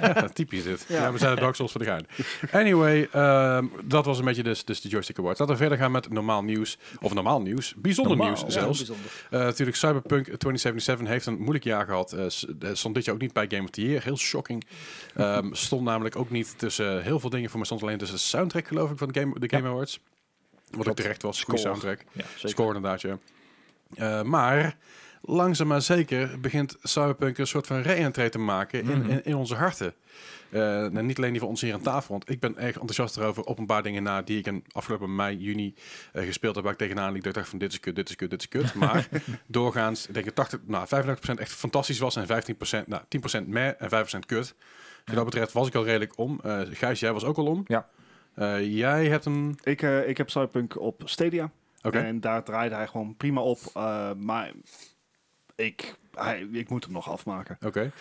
S1: Ja, [LAUGHS] typisch dit. Ja. we zijn de Dark Souls voor de gein. Anyway, ehm, dat was een beetje dus, dus de Joystick Awards. Laten we verder gaan met normaal nieuws. Of normaal nieuws. Bijzonder
S4: Normaal.
S1: nieuws zelfs. Eh, natuurlijk, Cyberpunk 2077 heeft een moeilijk jaar gehad. Eh, s- eh, stond dit jaar ook niet bij Game of the Year. Heel shocking. Ehm, stond namelijk ook niet tussen eh, heel veel dingen. Voor mij stond alleen tussen de soundtrack, geloof ik, van de Game, de game Awards. Wat ook terecht was. Goede
S4: Score.
S1: soundtrack.
S4: ja, zeker.
S1: Score inderdaad, ja. Eh, maar langzaam maar zeker begint Cyberpunk een soort van re-entree te maken in,
S4: Mhm.
S1: in, in onze harten. Eh, en niet alleen die van ons hier aan tafel, want ik ben erg enthousiast erover op een paar dingen na die ik in afgelopen mei, juni eh, gespeeld heb, waar ik tegenaan liep. Dat ik dacht van dit is kut, dit is kut, dit is
S4: [LAUGHS]
S1: kut. Maar doorgaans, ik denk dat 80, nou, 35% echt fantastisch was en 15%, nou, 10% meh en 5% kut. Dus wat dat betreft was ik al redelijk om. Eh Gijs, jij was ook al om.
S4: Ja.
S1: Eh, jij hebt hem...
S3: Ik, eh, ik heb Cyberpunk op Stadia.
S1: Oké.
S3: En daar draaide hij gewoon prima op. eh, maar ik, hij, ik moet hem nog afmaken.
S1: Oké.
S2: Jij,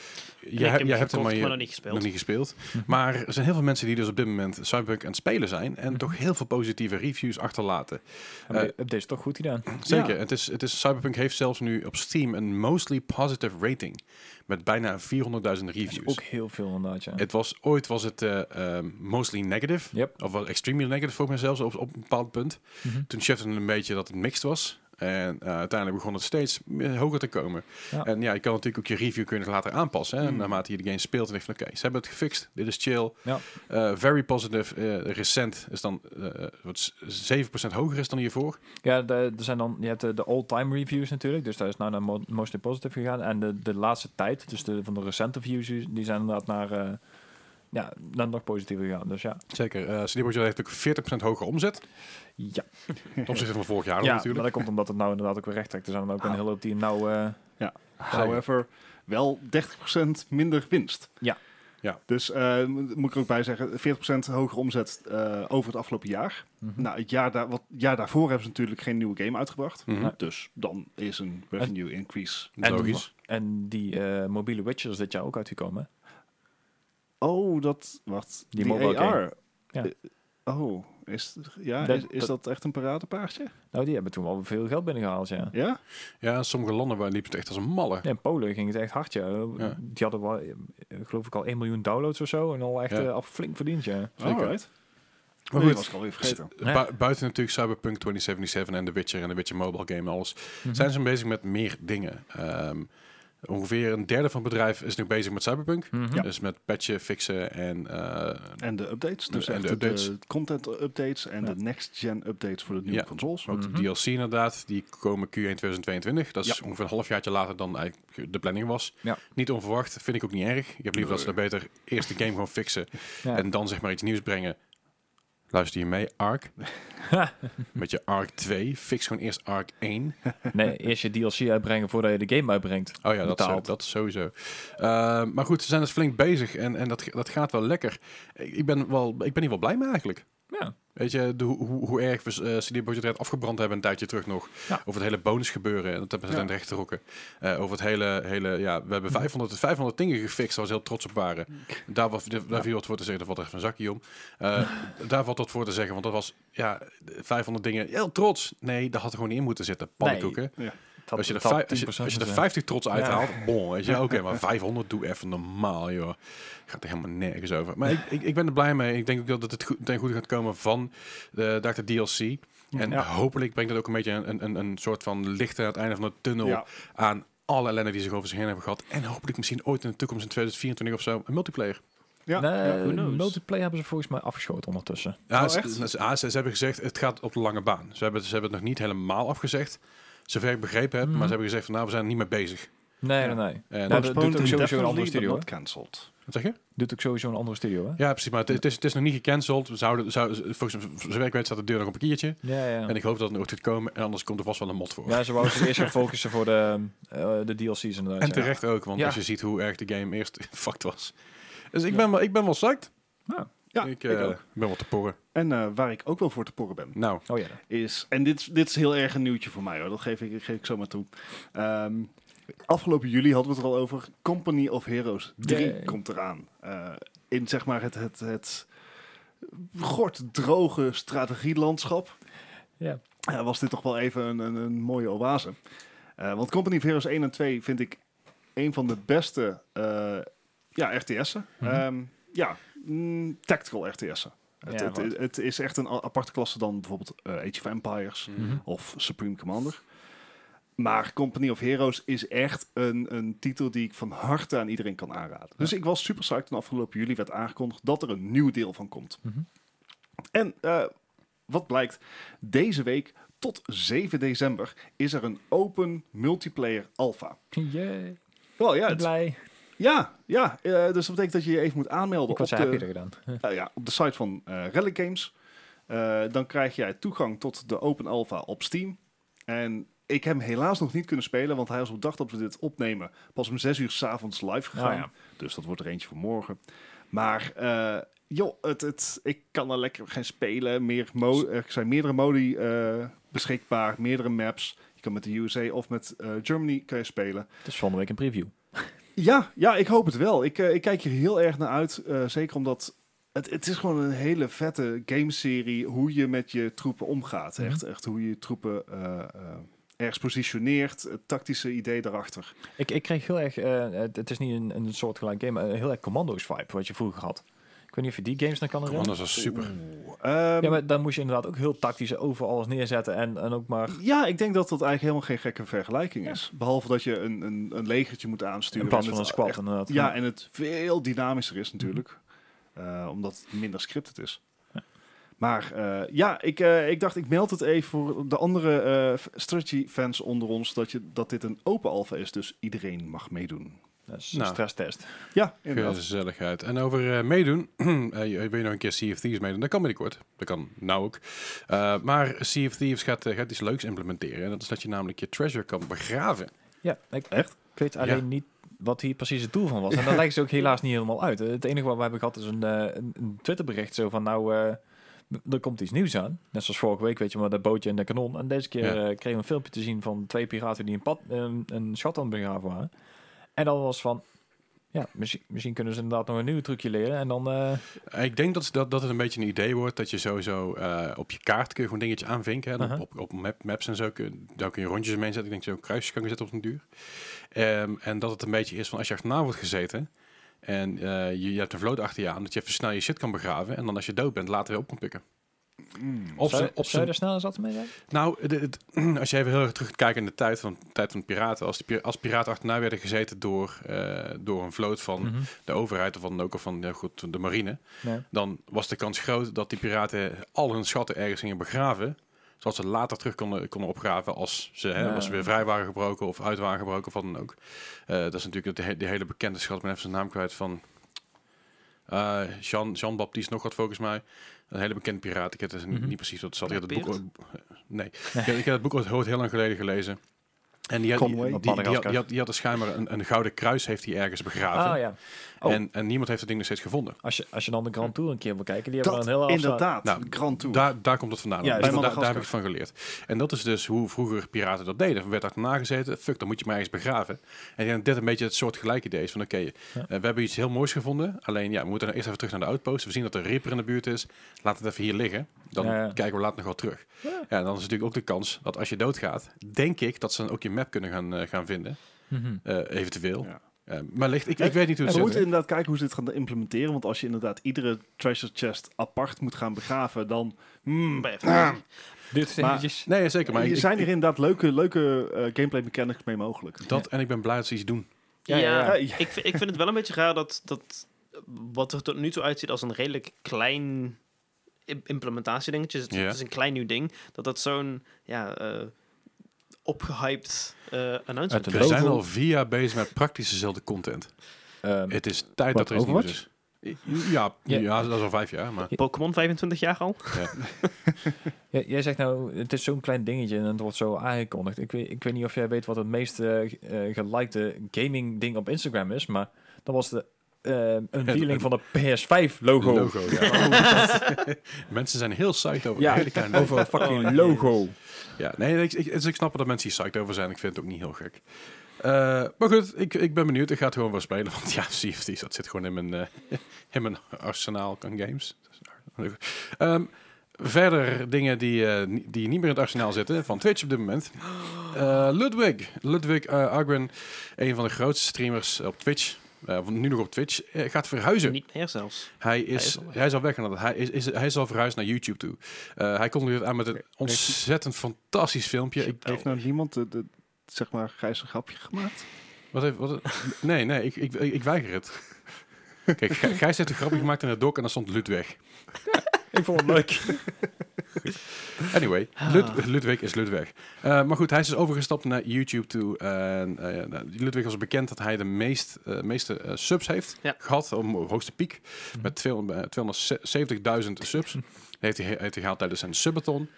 S1: Jij, hebt- jij hebt hem, maar je-
S2: maar nog niet gespeeld.
S1: nog niet gespeeld. Maar er zijn heel veel mensen die dus op dit moment Cyberpunk aan het spelen zijn
S4: Mhm.
S1: en toch heel veel positieve reviews achterlaten.
S4: Maar
S1: eh,
S4: de update is toch goed gedaan.
S1: Zeker, het is, het is, Cyberpunk heeft zelfs nu op Steam een mostly positive rating met bijna 400.000
S4: Dat is
S1: reviews.
S4: ook heel veel inderdaad, ja.
S1: Het was ooit was het eh, ehm, mostly negative,
S4: Yep.
S1: of wel extremely negative volgens mij zelfs op, op een bepaald punt.
S4: Mhm.
S1: Toen shifte het een beetje dat het mixed was. En eh, uiteindelijk begon het steeds eh, hoger te komen.
S4: Ja. Mhm.
S1: En ja, je kan natuurlijk ook je review kun je later aanpassen. Hè?
S3: Mm.
S1: Naarmate je de game speelt en denkt van oké, ze hebben het gefixt. Dit is chill.
S4: Ja.
S1: Eh, very positive. eh, recent is dan eh, wat s- 7% hoger is dan hiervoor.
S4: Ja, de- er zijn dan, je hebt de, de all-time reviews natuurlijk, dus daar is nou naar mo- mostly positive gegaan. En de, de laatste tijd, dus de, van de recente views, die zijn inderdaad naar, eh, ja, naar nog positiever gegaan. Dus ja,
S1: Zeker. eh CD Projekt heeft ook 40% hoger
S4: [LAUGHS]
S1: omzet.
S4: ja.
S1: Ten opzichte van vorig jaar
S4: ja maar
S1: natuurlijk.
S4: dat komt omdat het nou inderdaad ook weer recht trekt. Er zijn dan ook een
S3: Ah.
S4: hele hoop die hem nou... eh,
S3: However, wel 30% minder winst.
S4: Ja.
S1: Ja.
S3: Dus eh, moet ik er ook bij zeggen, 40% hogere omzet eh, over het afgelopen jaar.
S4: mhm.
S3: Nou, het jaar, daar, wat, jaar daarvoor hebben ze natuurlijk geen nieuwe game uitgebracht.
S1: Mhm.
S3: Dus dan is een revenue increase.
S4: En-
S1: Logisch.
S4: En die eh, mobiele Witcher is dit jaar ook uitgekomen. hè?
S3: Oh, dat... Wacht.
S4: Die mobile game. Ja.
S3: Eh, Oh, is, ja,
S4: Dat-
S3: is, is dat echt een paradepaardje?
S4: Nou, die hebben toen wel veel geld binnengehaald, ja.
S3: Ja?
S1: Ja, in sommige landen waar liep het echt als een malle.
S4: Ja, in Polen ging het echt hard, ja.
S1: Ja.
S4: Die hadden wel, eh, geloof ik, al 1 miljoen downloads of zo. En al echt
S1: Ja.
S4: eh, al flink verdiend, ja.
S1: Zeker.
S3: Alright.
S1: Maar
S3: Nee,
S1: goed.
S3: was ik alweer vergeten.
S1: Bu-
S4: Ja.
S1: buiten natuurlijk Cyberpunk 2077 en The Witcher en The Witcher Mobile Game en alles.
S4: Mhm.
S1: Zijn ze bezig met meer dingen? Ehm, ongeveer een derde van het bedrijf is nu bezig met Cyberpunk.
S4: Mhm.
S1: Dus met patchen, fixen en eh,
S3: En de updates. Dus
S1: En de
S3: echt de,
S1: updates.
S3: de content updates en
S4: Ja.
S3: de next-gen updates voor de nieuwe
S1: Ja.
S3: consoles.
S1: ook
S4: Mhm.
S1: de DLC inderdaad. Die komen Q1 2022. Dat is
S3: Ja.
S1: ongeveer een halfjaartje later dan eigenlijk de planning was.
S4: Ja.
S1: Niet onverwacht, vind ik ook niet erg. Ik heb liever dat ze dan beter eerst de game gewoon fixen
S4: Ja.
S1: en dan zeg maar iets nieuws brengen. Luister je mee,
S4: [LAUGHS]
S1: Ark? Met je Ark 2. Fix gewoon eerst Ark 1.
S4: Nee, eerst je DLC uitbrengen voordat je de game uitbrengt.
S1: Oh ja, dat, zo,
S4: Betaald.
S1: dat sowieso. Eh, maar goed, ze zijn dus flink bezig en, en dat, dat gaat wel lekker. Ik ik ben, wel, ik ben hier wel blij mee eigenlijk.
S4: Ja.
S1: Weet je, de, hoe, hoe- hoe erg we eh, CD Projekt Red afgebrand hebben een tijdje terug nog.
S4: Ja.
S1: Over het hele bonus gebeuren. En dat hebben ze
S3: Ja.
S1: aan de rechter rokken. Eh, over het hele, hele, ja, we hebben 500, 500 dingen gefixt waar ze heel trots op waren. Daar, was, daar viel wat voor te zeggen, daar valt echt een zakje om. Eh, daar valt wat voor te zeggen, want dat was, ja, 500 dingen, heel trots. Nee, dat had er gewoon niet in moeten zitten, pannenkoeken.
S4: Dat-
S1: als, je er
S4: dat
S1: vijf- als, je,
S4: 10%
S1: als je er
S4: is, hè.
S1: 50 trots uithaalt, bon, weet je,
S3: [LAUGHS]
S1: oké,
S3: Ja.
S1: maar 500 doe even normaal, joh. Gaat er helemaal nergens over. Maar ik, ik, ik ben er blij mee. Ik denk ook wel dat het goed, ten goede gaat komen van de, de DLC. En
S4: Ja.
S1: hopelijk brengt dat ook een beetje een, een, een soort van licht aan het einde van de tunnel
S3: Ja.
S1: aan alle ellende die zich over zich heen hebben gehad. En hopelijk misschien ooit in de toekomst in 2024 of zo een multiplayer.
S3: Ja.
S4: nee,
S2: who knows?
S4: multiplayer hebben ze volgens mij afgeschoten ondertussen.
S1: Ja,
S3: Oh,
S1: Ah, ze,
S3: echt?
S1: ze- ze- ze hebben gezegd, het gaat op de lange baan. Ze hebben, ze hebben het nog niet helemaal afgezegd. zover ik begrepen heb.
S4: Mhm.
S1: Maar ze hebben gezegd van nou, we zijn er niet mee bezig.
S4: Nee,
S3: Ja. dus-
S4: nee, nee.
S1: En,
S4: Nou, dat doet ook sowieso een andere
S3: definitely,
S4: studio.
S3: but
S4: hè?
S3: not cancelled.
S1: wat zeg je?
S4: Doet ook sowieso een andere studio, hè?
S1: Ja, precies. Maar het, het is, het is nog niet gecanceld. We zouden, zouden, volgens zover ik weet staat de deur nog op een kiertje.
S4: Ja, ja.
S1: En ik hoop dat het nog gaat komen. En anders komt er vast wel een mod voor.
S4: Ja, ze wouden zich eerst gaan focussen voor de, eh, de DLC's inderdaad.
S1: en
S4: ja.
S1: terecht ook, want
S4: Ja.
S1: als je ziet hoe erg de game eerst [LAUGHS] fucked was. Dus ik,
S4: Ja.
S1: ben, wel, ik ben wel psyched.
S3: Ja,
S1: ik,
S3: ik,
S1: eh,
S3: ook.
S1: ben wel te porren.
S3: En eh, waar ik ook wel voor te porren ben,
S1: Nou,
S4: Oh ja.
S3: is... En dit, dit is heel erg een nieuwtje voor mij, hoor. Dat geef ik, geef ik zo maar toe. Ehm, afgelopen juli hadden we het er al over. Company of Heroes 3
S4: Yay.
S3: komt eraan. Eh, in, zeg maar, het... het, het gort droge strategielandschap.
S4: Ja.
S3: eh, was dit toch wel even een, een, een mooie oase. Eh, want Company of Heroes 1 en 2 vind ik een van de beste eh, ja, RTS'en.
S4: Mhm.
S3: Ehm, ja, mm, tactical RTS'en. het,
S4: Ja,
S3: het,
S4: wat.
S3: het is echt een a- aparte klasse dan bijvoorbeeld eh, Age of Empires
S4: Mhm.
S3: of Supreme Commander. Maar Company of Heroes is echt een, een titel die ik van harte aan iedereen kan aanraden. Dus ik was super psyched toen afgelopen juli werd aangekondigd dat er een nieuw deel van komt.
S4: Mhm.
S3: En eh, wat blijkt, deze week tot 7 december is er een open multiplayer alpha.
S4: Yay.
S3: Wel ja,
S4: Ik ben
S3: het-
S4: blij.
S3: ja, ja eh, dus dat betekent dat je je even moet aanmelden
S4: Ik was
S3: op,
S4: heb je
S3: de,
S4: er gedaan.
S3: eh, ja, op de site van eh Relic Games. Eh, dan krijg jij toegang tot de open alpha op Steam. En ik heb hem helaas nog niet kunnen spelen, want hij was op dag dat we dit opnemen pas om 6 uur s'avonds live gegaan.
S4: ja.
S3: Dus dat wordt er eentje voor morgen. Maar eh, joh, het, het, ik kan er lekker gaan spelen. Meer mo- er zijn meerdere modi eh, beschikbaar, meerdere maps. Je kan met de USA of met eh, Germany kan je spelen.
S4: Het is van de week een preview.
S3: Ja, ja, ik hoop het wel. Ik, eh, ik kijk hier heel erg naar uit. eh, zeker omdat het, het is gewoon een hele vette gameserie hoe je met je troepen omgaat.
S4: Mhm.
S3: Echt, echt hoe je je troepen eh, eh, ergens positioneert. Het tactische idee daarachter.
S4: Ik, ik kreeg heel erg, eh, het, het is niet een, een soort gelijk game, maar een heel erg commando's vibe wat je vroeger had. Ik weet niet of je die games nog kan herinneren.
S1: anders was super.
S3: Ehm,
S4: Ja, maar dan moest je inderdaad ook heel tactisch over alles neerzetten en, en ook maar
S3: ja, ik denk dat dat eigenlijk helemaal geen gekke vergelijking is. Behalve dat je een, een, een legertje moet aansturen.
S4: in plaats
S3: en
S4: van een
S3: het
S4: squad
S3: echt-
S4: inderdaad.
S3: ja, en het veel dynamischer is natuurlijk. Eh, omdat het minder scripted is. Maar eh, ja, ik, eh, ik dacht ik meld het even voor de andere eh strategy fans onder ons. Dat, je, dat dit een open alpha is, dus iedereen mag meedoen.
S4: Dat is een
S1: Nou.
S4: stresstest.
S3: Ja, inderdaad.
S1: Gezelligheid. En over eh, meedoen, [CLEARS THROAT] eh, je- wil je nog een keer Sea of Thieves meedoen? Dat kan binnenkort. Dat kan nou ook. Eh, maar Sea of Thieves gaat, eh, gaat iets leuks implementeren. En dat is dat je namelijk je treasure kan begraven.
S4: Ja, ik,
S3: Echt?
S4: ik weet alleen
S1: Ja.
S4: niet wat hier precies het doel van was.
S3: [LAUGHS]
S4: En dat lijkt ze ook helaas niet helemaal uit. Eh, Het enige wat we hebben gehad is een, eh, een, een Twitterbericht zo van nou, eh, er komt iets nieuws aan. Net zoals vorige week, weet je, maar dat bootje en de kanon. En deze keer
S1: Ja.
S4: eh, kregen we een filmpje te zien van twee piraten die een, pad, een, een schat aan het begraven waren. En dan was van, ja, misschien, misschien kunnen ze inderdaad nog een nieuw trucje leren. En dan, eh,
S1: Eh, Ik denk dat, dat, dat het een beetje een idee wordt dat je sowieso eh, op je kaart kun je gewoon dingetjes aanvinken. Hè? Dan
S4: Aha.
S1: Op, op map, maps en zo kun, daar kun je rondjes mee zetten. Ik denk dat je ook kruisjes kan zetten op een duur. Ehm, en dat het een beetje is van als je achterna wordt gezeten en eh, je, je hebt een vloot achter je aan, dat je even snel je shit kan begraven. En dan als je dood bent, later weer op kan pikken.
S3: Mm.
S1: Op
S4: zou,
S1: z'n- op
S4: zou
S1: z'n
S4: je er snel eens wat mee zijn?
S1: Nou, het- [CLEARS THROAT] het- als je even heel erg terugkijkt in de tijd van, de tijd van de piraten. Als, de pi- als piraten achterna werden gezeten door, eh, door een vloot van
S4: Mhm.
S1: de overheid of van, ook, of van ja, goed, de marine.
S4: Ja.
S1: Dan was de kans groot dat die piraten al hun schatten ergens gingen begraven. Zodat ze later terug konden, konden opgraven als ze, hè,
S4: Ja.
S1: als ze weer vrij waren gebroken of uit waren gebroken of wat dan ook. Eh, dat is natuurlijk de, he- die hele bekende schat, ik ben even zijn naam kwijt van... eh, Jean, Jean-Baptiste nog wat volgens mij. Een hele bekende piraat. Ik heb het
S4: Mhm.
S1: niet precies wat zat. Ik heb het boek,
S2: Blackbeard?
S1: ooit- eh, Nee. Ik heb, ik heb dat boek ooit ooit heel lang geleden gelezen. En die had, die,
S3: Conway.
S1: die, die, had,
S4: Madagaskar.
S1: die, had, die had dus schijnbaar een, een gouden kruis heeft hij ergens begraven.
S4: Ah ja, Oh.
S1: En, en niemand heeft het ding nog steeds gevonden.
S4: als je, als je dan de Grand Tour een keer wil kijken, die hebben
S3: Dat
S4: we een hele afspraak.
S3: inderdaad,
S1: Nou,
S3: Grand Tour.
S1: Daar, daar komt het vandaan.
S4: Ja,
S1: Dus
S4: bij
S1: daar- daar,
S3: Madagaskar.
S1: heb ik het van geleerd. En dat is dus hoe vroeger piraten dat deden. Er werd achterna gezeten, fuck, dan moet je maar ergens begraven. En ik denk dat dit een beetje het soort gelijk idee is van oké, eh, we hebben iets heel moois gevonden. Alleen ja, we moeten nou eerst even terug naar de outpost. We zien dat er een Reaper in de buurt is. Laat het even hier liggen. Dan
S4: Ja, ja.
S1: kijken we later nog wel terug. Ja. en dan is natuurlijk ook de kans dat als je doodgaat, denk ik dat ze dan ook je map kunnen gaan, eh, gaan vinden.
S4: Mhm.
S1: Eh, eventueel.
S3: Ja.
S1: Eh, maar ligt, ik, ik weet niet hoe het
S3: En we
S1: zit.
S3: moeten inderdaad kijken hoe ze dit gaan implementeren. Want als je inderdaad iedere treasure chest apart moet gaan begraven, dan... Hmm,
S2: Bij even-
S4: Dit
S3: Maar-
S4: steentjes.
S1: Nee, zeker. Maar
S3: hier
S1: ik-
S3: zijn
S1: ik-
S3: er inderdaad leuke, leuke eh, gameplay mechanics mee mogelijk.
S1: dat en ik ben blij dat ze iets doen.
S4: Ja,
S2: Ja,
S4: ja,
S3: ja. Ja.
S2: Ik, vind- ik vind het wel een beetje raar dat, dat wat er tot nu toe uitziet als een redelijk klein implementatie dingetje. Het, is-
S1: Ja.
S2: het is een klein nieuw ding. Dat dat zo'n ja, eh, opgehyped eh announcement.
S4: Uit de
S1: We
S4: dood.
S1: zijn al vier jaar bezig met praktisch dezelfde content.
S4: Ehm,
S1: Het is tijd
S5: Wat,
S1: dat er iets nieuws
S5: Overwatch?
S1: is. Ja,
S4: Ja.
S1: ja. dat is al vijf jaar, maar...
S2: Pokémon 25 jaar al.
S4: Jij, jij zegt nou, het is zo'n klein dingetje en het wordt zo aangekondigd. Ik weet, ik weet niet of jij weet wat het meest eh eh, gelikte gaming ding op Instagram is, maar dat was de eh, een
S1: [LAUGHS]
S4: unveiling van de PS5 logo.
S1: Logo,
S4: [LAUGHS]
S1: ja. Mensen zijn heel psyched over
S4: Ja,
S1: een hele kleine
S4: Over een fucking
S2: Oh,
S4: logo.
S1: Ja, nee, ik, ik, dus ik snap dat mensen hier psyched over zijn. Ik vind het ook niet heel gek. Eh, maar goed, ik, ik ben benieuwd. Ik ga het gewoon wel spelen. Want ja, [LAUGHS] Sea of Thieves, dat zit gewoon in mijn, eh, in mijn arsenaal aan games. Dus, Ehm, verder dingen die, eh, ni- die niet meer in het arsenaal zitten van Twitch op dit moment. Eh, Ludwig. Ludwig eh Agren, een van de grootste streamers op Twitch. eh, nu nog op Twitch. eh, gaat verhuizen.
S2: Niet meer zelfs.
S1: Hij is,
S2: is
S1: hij is, al
S2: al weg.
S1: weg. inderdaad. Hij is, is, hij is al verhuisd naar YouTube toe. Eh, hij kondigde het aan met een ontzettend fantastisch filmpje. Ik,
S3: Heeft nou niemand de, de, zeg maar, grijze grapje gemaakt?
S1: wat heeft, wat, nee, nee, ik, ik, ik weiger het.
S4: [LAUGHS]
S1: Kijk, Gij- Gijs heeft een grapje gemaakt in het doc en dan stond Ludwig.
S4: Ik vond het leuk.
S1: Anyway, Lud, Ludwig is Ludwig. Eh, maar goed, hij is dus overgestapt naar YouTube toe. En, eh, ja, nou, Ludwig was bekend dat hij de meest, eh, meeste eh, subs heeft
S2: Ja.
S1: gehad. Op hoogste piek.
S4: Mhm.
S1: Met 200, eh, 270.000
S4: [LAUGHS]
S1: subs. heeft hij, heeft hij gehaald tijdens zijn subathon.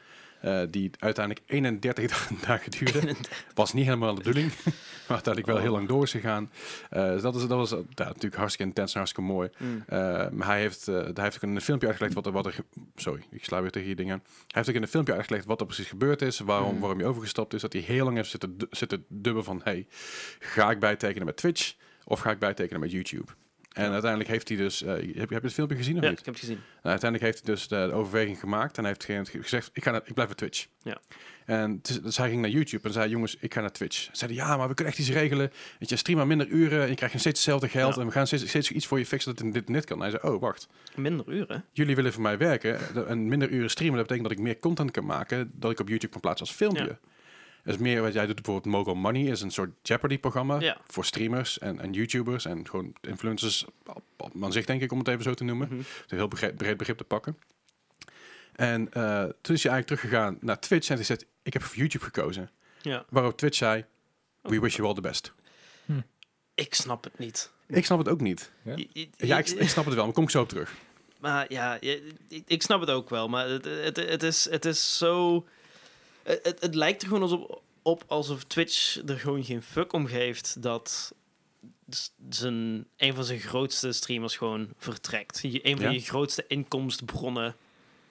S1: eh, die uiteindelijk 31 da- dagen duurde. Was niet helemaal de bedoeling. maar uiteindelijk wel heel lang door is gegaan. Eh, dus dat, is, dat was eh, ja, natuurlijk hartstikke intens en hartstikke mooi.
S2: Mm.
S1: Eh, maar hij heeft, eh, hij heeft ook in een filmpje uitgelegd wat er, wat er... ge- Sorry, ik sla weer tegen die dingen. Hij heeft ook in een filmpje uitgelegd wat er precies gebeurd is. Waarom,
S2: Mm.
S1: waarom hij overgestapt is. Dat hij heel lang heeft zitten, du- zitten dubben van... Hey, ga ik bijtekenen met Twitch? Of ga ik bijtekenen met YouTube? En uiteindelijk heeft hij dus... eh, heb, je- heb je het filmpje gezien of
S2: Ja, ik
S1: niet?
S2: heb het gezien.
S1: Nou, uiteindelijk heeft hij dus de overweging gemaakt en hij heeft geen- gezegd, ik, ga naar, ik blijf bij Twitch.
S2: Ja.
S1: En het is- dus hij ging naar YouTube en zei, jongens, ik ga naar Twitch. Zeiden, ja, maar we kunnen echt iets regelen. Weet je, stream maar minder uren en je krijgt nog steeds hetzelfde geld.
S2: Ja.
S1: En we gaan steeds, steeds iets voor je fixen dat dit net kan. Hij zei, oh, wacht.
S2: Minder uren.
S1: Jullie willen voor mij werken en minder uren streamen. Dat betekent dat ik meer content kan maken dat ik op YouTube kan plaatsen als filmpje.
S2: Ja.
S1: Dus meer wat jij doet, bijvoorbeeld Mogul Money is een soort Jeopardy-programma
S2: Ja.
S1: voor streamers en, en YouTubers en gewoon influencers op- op- aan zich, denk ik, om het even zo te noemen
S2: Mhm.
S1: het een heel begre- breed begrip te pakken. En eh, toen is hij eigenlijk teruggegaan naar Twitch en hij zegt, ik heb voor YouTube gekozen.
S2: Ja.
S1: Waarop Twitch zei,
S4: Oh.
S1: we wish you all the best.
S2: Ik snap het niet.
S1: Ik snap het ook niet.
S4: Ja.
S2: Je- je-
S1: Ja, ik, ik snap het wel, maar kom ik zo op terug.
S2: Maar ja, je- ik, ik snap het ook wel. Maar het, het, het, is, het is zo. Het, het- het lijkt er gewoon alsof, op alsof Twitch er gewoon geen fuck om geeft dat s- zijn, een van zijn grootste streamers gewoon vertrekt. Je- Een van
S1: Ja.
S2: je grootste inkomstenbronnen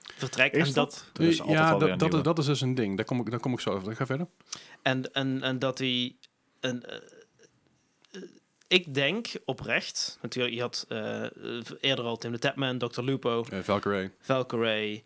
S2: vertrekt.
S3: Is
S2: en
S3: dat?
S2: dat
S4: Er is altijd
S1: ja,
S4: wel weer
S1: dat,
S4: een
S1: dat, is,
S4: nieuwe.
S1: dat is dus een ding. Daar kom ik, daar kom ik zo over. Ik ga verder.
S2: En, en, en dat hij. Een, eh, eh, ik denk oprecht. Natuurlijk, je had eh, eh, eerder al Tim de Tapman, Dr. Lupo,
S1: Eh Valkyrie.
S2: Valkyrie.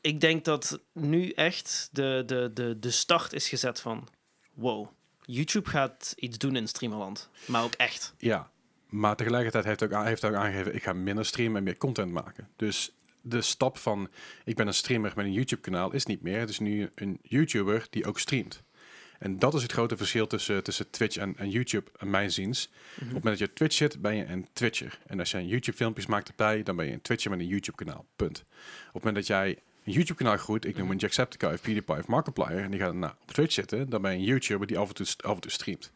S2: Ik denk dat nu echt de, de, de, de start is gezet van: wow, YouTube gaat iets doen in streamerland. Maar ook echt.
S1: Ja, maar tegelijkertijd heeft hij ook, aan- heeft hij ook aangegeven... ik ga minder streamen en meer content maken. Dus de stap van ik ben een streamer met een YouTube-kanaal is niet meer. Het is nu een YouTuber die ook streamt. En dat is het grote verschil tussen, tussen Twitch en, en YouTube, aan mijn ziens. Op het moment dat je op Twitch zit, ben je een Twitcher. En als je een YouTube-filmpjes maakt erbij, dan ben je een Twitcher met een YouTube-kanaal. Punt. Op het moment dat jij een YouTube-kanaal groeit, ik noem een Jacksepticeye of PewDiePie of Markiplier, en die gaat nou, op Twitch zitten, dan ben je een YouTuber die af en toe, st- af en toe streamt.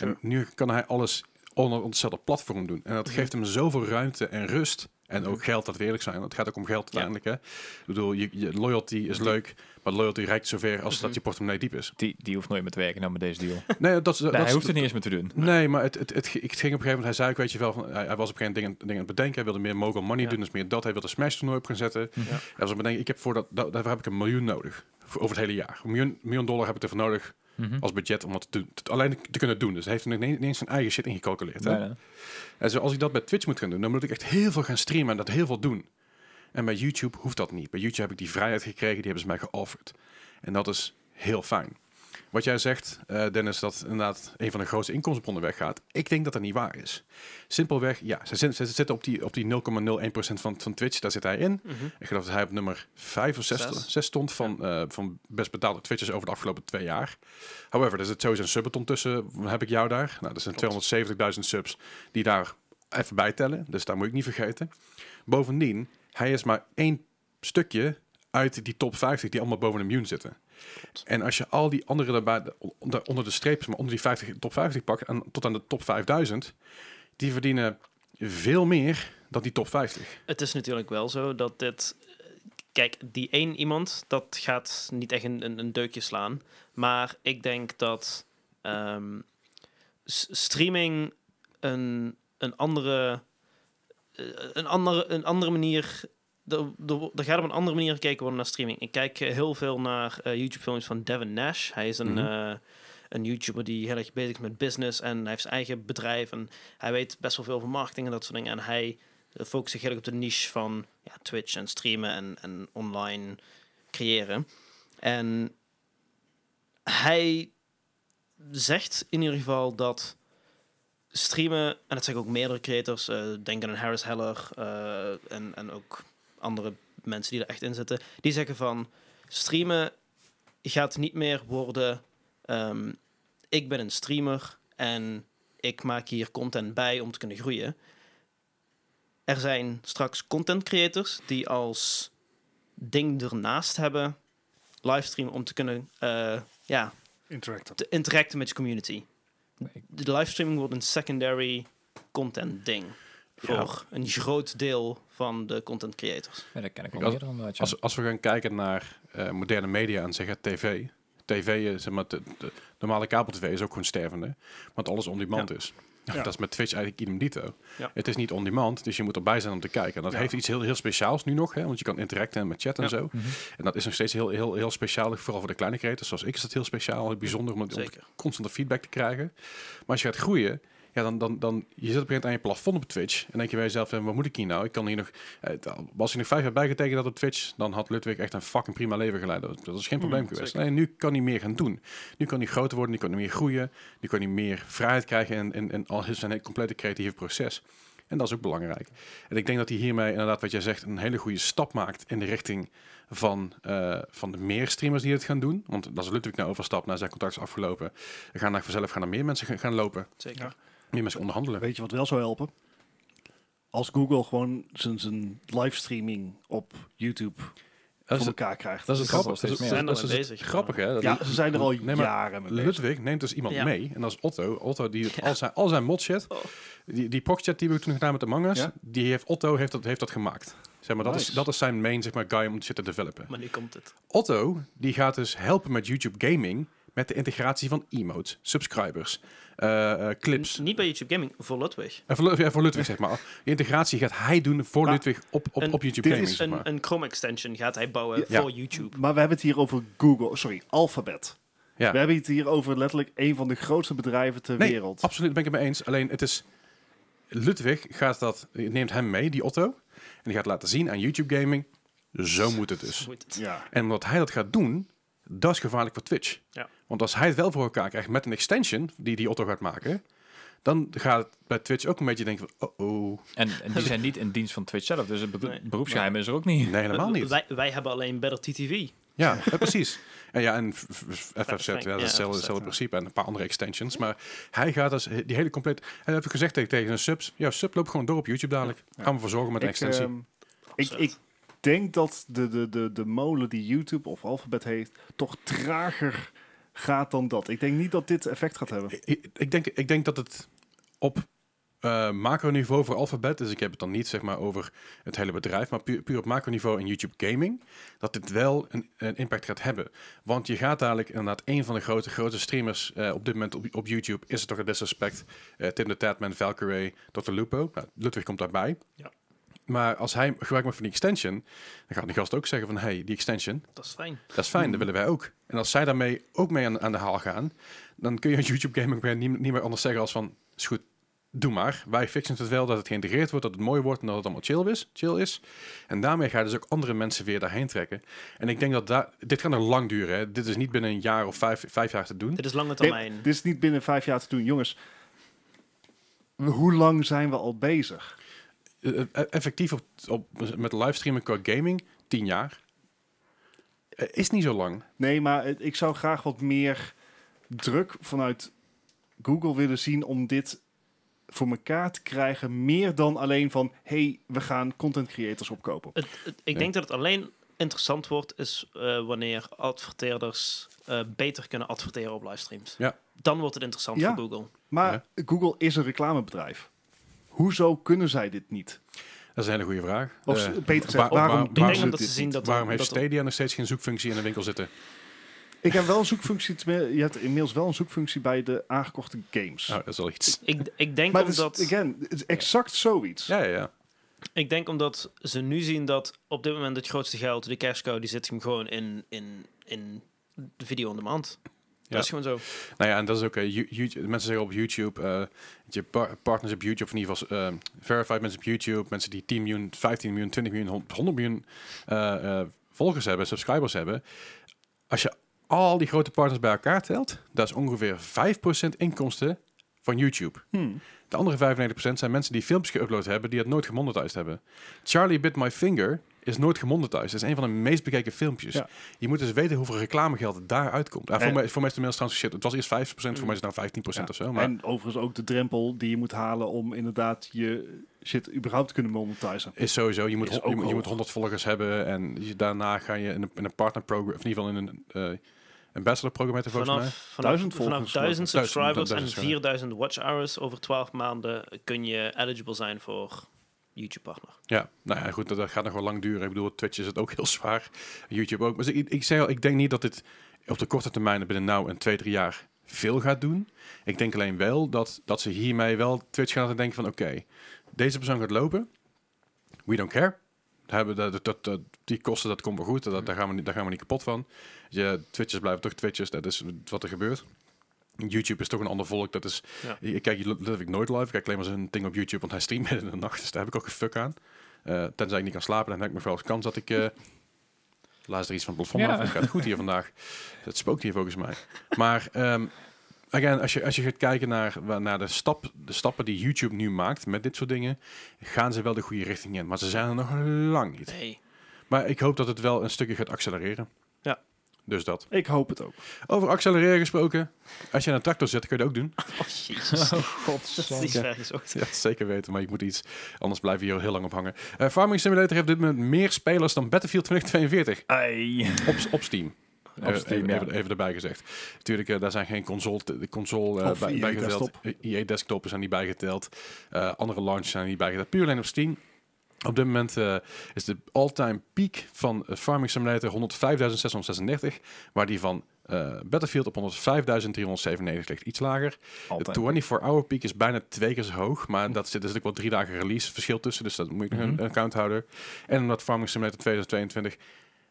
S1: En nu kan hij alles onder hetzelfde platform doen. En dat geeft hem zoveel ruimte en rust. En ook geld, dat we eerlijk zijn. Het gaat ook om geld
S2: Ja.
S1: uiteindelijk. Hè? Ik bedoel, je, je loyalty is leuk, maar loyalty reikt zover als
S4: Mhm.
S1: dat je portemonnee diep is.
S4: Die, die hoeft nooit meer te werken nou met deze deal. Nee,
S1: Nee, [LAUGHS] dat, is- dat,
S4: hij
S1: is-
S4: hoeft er niet eens meer te doen.
S1: Nee, maar het, het, het, ge- het ging op een gegeven moment. Hij zei ook, weet je wel, van, hij, hij was op een gegeven moment dingen, dingen aan het bedenken. Hij wilde meer mogul money
S2: Ja.
S1: doen, dus meer dat. Hij wilde een smash toernooi op gaan zetten.
S4: Mhm.
S1: Hij was aan het bedenken, ik heb voor dat, dat- daarvoor heb ik een miljoen nodig. Voor, over het hele jaar. Een miljoen, miljoen dollar heb ik ervoor nodig
S4: Mhm.
S1: als budget om dat te doen. te- alleen te kunnen doen. Dus hij heeft er niet niet eens zijn eigen shit ingecalculeerd. Hè?
S4: Bijna.
S1: En zo, als ik dat bij Twitch moet gaan doen, dan moet ik echt heel veel gaan streamen en dat heel veel doen. En bij YouTube hoeft dat niet. Bij YouTube heb ik die vrijheid gekregen, die hebben ze mij geofferd. En dat is heel fijn. Wat jij zegt, eh, Dennis, dat inderdaad een van de grootste inkomstenbronnen weggaat. Ik denk dat dat niet waar is. Simpelweg, ja, ze, zit- ze zitten op die, op die 0,01% van, van Twitch, daar zit hij in. Ik geloof dat hij op nummer 5 of 6,
S2: Zes.
S1: stond van, eh, van best betaalde Twitchers over de afgelopen twee jaar. However, er zit sowieso een subathon tussen. Heb ik jou daar? Nou, dat zijn 270.000 subs die daar even bij tellen. Dus daar moet ik niet vergeten. Bovendien, hij is maar één stukje uit die top 50 die allemaal boven een miljoen zitten. En als je al die andere daarbij, daar onder de streep, maar onder die 50, top 50 pakt, en tot aan de top 5000, die verdienen veel meer dan die top 50.
S2: Het is natuurlijk wel zo dat dit. Kijk, die één iemand, dat gaat niet echt een, een, een deukje slaan. Maar ik denk dat ehm, s- streaming een, een, andere, eh, een, andere, een andere manier. Er er- er gaat op een andere manier gekeken worden naar streaming. Ik kijk eh, heel veel naar eh, YouTube-films van Devin Nash. Hij is een,
S1: Mhm.
S2: eh, een YouTuber die heel erg bezig is met business. En hij heeft zijn eigen bedrijf. En hij weet best wel veel van marketing en dat soort dingen. En hij eh, focust zich heel erg op de niche van ja, Twitch en streamen en, en online creëren. En hij zegt in ieder geval dat streamen, en dat zeggen ook meerdere creators, eh, denk aan Harris Heller eh, en, en ook andere mensen die er echt in zitten, die zeggen van streamen gaat niet meer worden, ehm, ik ben een streamer en ik maak hier content bij om te kunnen groeien. Er zijn straks content creators die als ding ernaast hebben livestream om te kunnen eh, ja,
S3: Interactive.
S2: te interacten met je community. De livestreaming wordt een secondary content ding. Voor een groot deel van de content creators.
S4: Ja, dat ken ik wel
S1: Als-
S4: meer dan wat, ja.
S1: Als, als we gaan kijken naar eh, moderne media en zeggen tv. TV, is, zeg maar, de, de normale kabel-tv is ook gewoon stervende. Want alles on-demand is.
S3: Ja.
S1: Dat is met Twitch eigenlijk idem dito.
S2: Ja.
S1: Het is niet on-demand, dus je moet erbij zijn om te kijken. En dat
S3: Ja.
S1: heeft iets heel, heel speciaals nu nog, hè, want je kan interacten en met chat en
S2: Ja.
S1: zo.
S4: Mhm.
S1: En dat is nog steeds heel, heel, heel speciaal, vooral voor de kleine creators. Zoals ik is dat heel speciaal, heel bijzonder om, om
S2: Zeker.
S1: constante feedback te krijgen. Maar als je gaat groeien, ja, dan, dan, dan je zit op een gegeven moment aan je plafond op Twitch. En denk je bij jezelf, eh, wat moet ik hier nou? Ik kan hier nog, eh, als ik nog vijf jaar bijgetekend had op Twitch, dan had Ludwig echt een fucking prima leven geleid. Dat, dat is geen probleem geweest.
S2: zeker.
S1: Nee, nu kan hij meer gaan doen. Nu kan hij groter worden, nu kan hij meer groeien. Nu kan hij meer vrijheid krijgen en, en, en al zijn complete creatieve proces. En dat is ook belangrijk. En ik denk dat hij hiermee inderdaad, wat jij zegt, een hele goede stap maakt in de richting van, eh, van de meer streamers die het gaan doen. Want dat is Ludwig nou overstapt, na zijn contract is afgelopen. Er gaan daar vanzelf gaan er meer mensen gaan- gaan lopen,
S2: Zeker.
S3: Ja.
S1: meer mensen onderhandelen.
S3: Weet je wat wel zou helpen? Als Google gewoon zijn, zijn livestreaming op YouTube
S1: Dat
S3: voor
S1: is het,
S3: elkaar krijgt.
S1: dat is het
S4: Dat is
S1: grappige.
S4: wel steeds
S1: Dat is-
S4: meer.
S1: dat is
S2: Zijn
S1: het
S2: er bezig, ja.
S1: grappige, hè? Dat
S3: Ja, ze zijn er al
S1: Nee, maar
S3: jaren mee bezig.
S1: Ludwig neemt dus iemand
S2: Ja.
S1: mee. En dat is Otto. Otto die doet
S2: Ja.
S1: al zijn, al zijn modchat.
S2: Oh.
S1: Die, die proxchat die we toen gedaan met Among Us.
S3: Ja.
S1: Die heeft Otto heeft dat, heeft dat gemaakt. Zeg maar, dat, is,
S3: Nice.
S1: dat is zijn main zeg maar, guy om te zitten developen.
S2: Maar nu komt het.
S1: Otto die gaat dus helpen met YouTube Gaming. Met de integratie van emotes, subscribers, eh, eh, clips.
S2: N- niet bij YouTube Gaming, voor Ludwig.
S1: En voor, Lu- ja, voor Ludwig, zeg maar. De integratie gaat hij doen voor
S3: Maar
S1: Ludwig op, op,
S2: een-
S1: op YouTube
S3: dit
S1: Gaming,
S3: is
S1: zeg maar.
S2: Een, een Chrome extension gaat hij bouwen
S1: Ja.
S2: voor YouTube.
S3: Maar we hebben het hier over Google, sorry, Alphabet.
S1: Ja.
S3: We hebben het hier over letterlijk een van de grootste bedrijven ter
S1: Nee,
S3: wereld.
S1: Absoluut, ben ik het mee eens. Alleen het is... Ludwig gaat dat, neemt hem mee, die Otto. En die gaat laten zien aan YouTube Gaming. Zo moet het dus.
S2: Goed.
S3: Ja.
S1: En omdat hij dat gaat doen, dat is gevaarlijk voor Twitch.
S2: Ja.
S1: Want als hij het wel voor elkaar krijgt met een extension die die Otto gaat maken, dan gaat het bij Twitch ook een beetje denken van, oh, oh.
S4: En, en die zijn niet in dienst van Twitch zelf, dus het be-
S2: Nee.
S4: beroepsgeheim is er ook niet.
S1: nee, helemaal niet.
S2: Wij, wij hebben alleen Better TTV.
S1: Ja, ja, precies. [LAUGHS] En ja, en f- f- FFZ, ja,
S2: Frank,
S1: dat
S2: ja,
S1: is hetzelfde-
S2: FFZ,
S1: hetzelfde principe en een paar andere extensions. Maar hij gaat dus die hele compleet, hij heeft gezegd tegen, tegen zijn subs, ja, sub loopt gewoon door op YouTube dadelijk. Gaan we voor zorgen met een
S3: Ik,
S1: extensie.
S3: ehm, ik, ik denk dat de, de, de, de molen die YouTube of Alphabet heeft, toch trager gaat dan dat. Ik denk niet dat dit effect gaat hebben.
S1: Ik, ik, denk, ik denk dat het op eh macroniveau voor Alphabet, dus ik heb het dan niet zeg maar over het hele bedrijf, maar puur, puur op macroniveau in YouTube Gaming, dat dit wel een, een impact gaat hebben. Want je gaat dadelijk inderdaad een van de grote, grote streamers eh, op dit moment op, op YouTube, is het toch een disrespect, eh, Tim de Tatman, Valkyrie, Dr. Lupo, nou, Ludwig komt daarbij.
S2: Ja.
S1: Maar als hij gebruik maakt van die extension, dan gaat die gast ook zeggen van, hey, die extension,
S2: Dat is fijn.
S1: dat is fijn, dat willen wij ook. En als zij daarmee ook mee aan, aan de haal gaan, dan kun je als YouTube Gaming Brand niet, niet meer anders zeggen als van, is goed, doe maar. Wij fixen het wel dat het geïntegreerd wordt, dat het mooi wordt en dat het allemaal chill is. Chill is. En daarmee ga je dus ook andere mensen weer daarheen trekken. En ik denk dat daar, dit kan nog lang duren. Hè. Dit is niet binnen een jaar of vijf, vijf jaar te doen.
S2: Dit is lange
S3: Nee,
S2: termijn.
S3: dit is niet binnen vijf jaar te doen. Jongens, hoe lang zijn we al bezig?
S1: Eh, eh, Effectief op, op, met livestreamen qua gaming, tien jaar. Eh, Is niet zo lang.
S3: Nee, maar het- ik zou graag wat meer druk vanuit Google willen zien om dit voor elkaar te krijgen. Meer dan alleen van, hey, we gaan content creators opkopen.
S2: Het, het- ik
S1: Nee.
S2: denk dat het alleen interessant wordt, is eh, wanneer adverteerders eh, beter kunnen adverteren op livestreams.
S1: Ja.
S2: Dan wordt het interessant
S3: Ja.
S2: voor Google.
S3: Maar Google is een reclamebedrijf. Hoezo kunnen zij dit niet?
S1: Dat is een hele goede vraag.
S3: Of
S1: Eh,
S3: ze- beter gezegd,
S1: waar-
S3: waarom
S1: waar-
S3: doen
S1: waarom-
S2: Ik denk
S3: dit
S2: dat ze zien
S3: niet?
S2: dat...
S1: Waarom heeft
S2: dat
S1: Stadia nog steeds geen zoekfunctie in de winkel zitten?
S3: Ik heb wel een zoekfunctie. te- Je hebt inmiddels wel een zoekfunctie bij de aangekochte games.
S1: Nou, dat is wel iets.
S2: Ik, ik, denk
S1: dus
S3: maar het is,
S2: omdat,
S3: again, het is exact zoiets.
S1: Ja, ja, ja.
S2: ik denk omdat ze nu zien dat op dit moment het grootste geld, de cash cow, die zit hem gewoon in, in, in de video on demand.
S1: Ja.
S2: Dat is gewoon zo.
S1: Nou ja, en dat is ook... eh, Yo- YouTube- mensen zeggen op YouTube... eh, dat je par- partners op YouTube, of in ieder geval... eh, verified mensen op YouTube. Mensen die 10 miljoen, 15 miljoen, 20 miljoen, hond- 100 miljoen eh, eh, volgers hebben. Subscribers hebben. Als je al die grote partners bij elkaar telt... Dat is ongeveer 5% inkomsten van YouTube.
S3: Hmm.
S1: De andere 95% zijn mensen die filmpjes geüpload hebben die het nooit gemonetized hebben. Charlie Bit My Finger is nooit gemonetized. Dat is een van de meest bekeken filmpjes.
S3: Ja.
S1: Je moet dus weten hoeveel reclamegeld het daaruit komt. Ah, voor,
S3: En-
S1: mij, voor mij is het inmiddels trouwens shit. Het was eerst 5%, voor
S2: Mm.
S1: mij is het nou 15%
S3: Ja.
S1: of zo. Maar
S3: En overigens ook de drempel die je moet halen om inderdaad je shit überhaupt te kunnen monetizen.
S1: is sowieso, je moet,
S3: Is
S1: hon- je,
S3: ook
S1: moet- je moet
S3: hoog.
S1: 100 volgers hebben en je- daarna ga je in een, in een partnerprogramma, of in ieder geval in een eh ambassadorprogramma te volgens mij.
S2: Vanaf, vanaf
S3: Duizend volgers,
S2: vanaf
S3: geloof ik.
S2: 1000
S1: Duizend,
S2: subscribers
S1: duizend,
S2: en
S1: sorry.
S2: 4000 watch hours over 12 maanden kun je eligible zijn voor YouTube partner.
S1: Ja, nou ja, goed, dat, dat gaat nog wel lang duren. Ik bedoel, Twitch is het ook [LAUGHS] heel zwaar. YouTube ook. Maar ik, ik zeg al, ik denk niet dat dit op de korte termijn, binnen nou en twee, drie jaar, veel gaat doen. Ik denk alleen wel dat, dat ze hiermee wel Twitch gaan laten denken van, oké, deze persoon gaat lopen. We don't care. We Hebben dat, dat, dat, die kosten, dat komt wel goed. Dat, daar, gaan we niet, daar gaan we niet kapot van. Je, Twitchers blijven toch Twitchers. Dat is wat er gebeurt. YouTube is toch een ander volk. Dat is,
S2: Ja.
S1: ik, ik kijk ik nooit live. Ik kijk alleen maar zijn ding op YouTube, want hij streamt midden in de nacht. Dus daar heb ik ook een fuck aan. Eh, tenzij ik niet kan slapen, dan heb ik nog wel eens kans dat ik... eh laatst er iets van het plafond
S4: Ja.
S1: af. Het gaat goed hier vandaag. Het spookt hier volgens mij. Maar ehm, again, als, je, als je gaat kijken naar, wa- naar de, stap, de stappen die YouTube nu maakt met dit soort dingen, gaan ze wel de goede richting in. Maar ze zijn er nog lang niet.
S2: Nee. [LAUGHS]
S1: Maar ik hoop dat het wel een stukje gaat accelereren.
S2: Ja.
S1: Dus dat.
S3: Ik hoop het ook.
S1: Over accelereren gesproken. Als je in een tractor zit, kun je dat ook
S2: [LAUGHS]
S1: doen.
S2: Oh, jezus. Dat is iets
S1: Ja.
S2: vergezocht.
S1: Ja, zeker weten, maar ik moet iets. Anders blijf je hier heel lang op hangen. Eh, Farming Simulator heeft op dit moment meer spelers dan Battlefield 2042
S4: Ei.
S1: op, op Steam.
S4: Op
S1: Eh,
S4: Steam,
S1: even,
S4: ja.
S1: even, even erbij gezegd. Natuurlijk, eh, daar zijn geen console, de console eh,
S3: Of
S4: E
S1: bij,
S3: EA
S1: bijgeteld. Eh,
S3: desktop.
S1: EA desktop zijn niet bijgeteld. Eh, andere launches zijn niet bijgeteld. Puur alleen op Steam. Op dit moment eh, is de all-time peak van eh, Farming Simulator 105.636, waar die van eh, Battlefield op 105.397 ligt, iets lager.
S4: Altijd.
S1: De 24-hour peak is bijna twee keer zo hoog. Maar dat zit, er zit ook wel drie dagen release verschil tussen. Dus dat moet je nog een-
S4: Mhm.
S1: een account houden. En omdat Farming Simulator 2022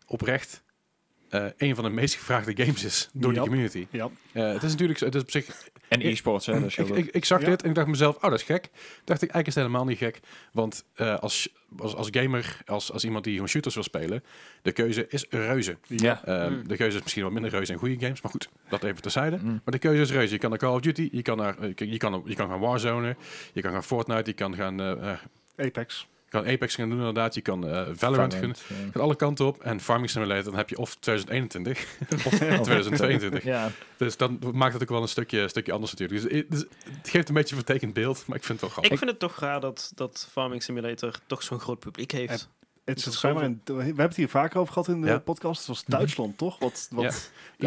S1: oprecht eh, een van de meest gevraagde games is door
S3: Ja.
S1: die community.
S3: Ja.
S1: Eh, het is natuurlijk zo- het is op zich...
S4: En e-sports, hè. Dus
S1: Ik, ik, ik zag
S3: Ja.
S1: dit en ik dacht mezelf, oh dat is gek. dacht ik, eigenlijk is het helemaal niet gek. Want eh, als, als, als gamer, als, als iemand die gewoon shooters wil spelen, de keuze is reuze.
S4: ja.
S1: Ehm,
S2: Mm.
S1: De keuze is misschien wat minder reuze in goede games, maar goed, dat even terzijde.
S4: Mm.
S1: Maar de keuze is reuze. Je kan naar Call of Duty, je kan, naar, eh, je kan, je kan gaan Warzone, je kan gaan Fortnite, je kan gaan eh, eh,
S3: Apex.
S1: je kan Apex gaan doen inderdaad, je kan eh, Valorant, gaan.
S4: Valorant,
S1: Je kan alle kanten op. En Farming Simulator, dan heb je of 2021 of 2022.
S4: Ja. Ja.
S1: Dus dan maakt het ook wel een stukje, stukje anders natuurlijk. Dus, eh, dus het geeft een beetje een vertekend beeld, maar ik vind het wel grappig.
S2: Ik vind het toch raar dat, dat Farming Simulator toch zo'n groot publiek
S1: Eh,
S2: heeft.
S3: Het is
S2: dat
S3: schijnbaar in- we hebben het hier vaker over gehad in de
S1: Ja.
S3: podcast. Het was Duitsland, toch? Wat, wat,
S1: Ja.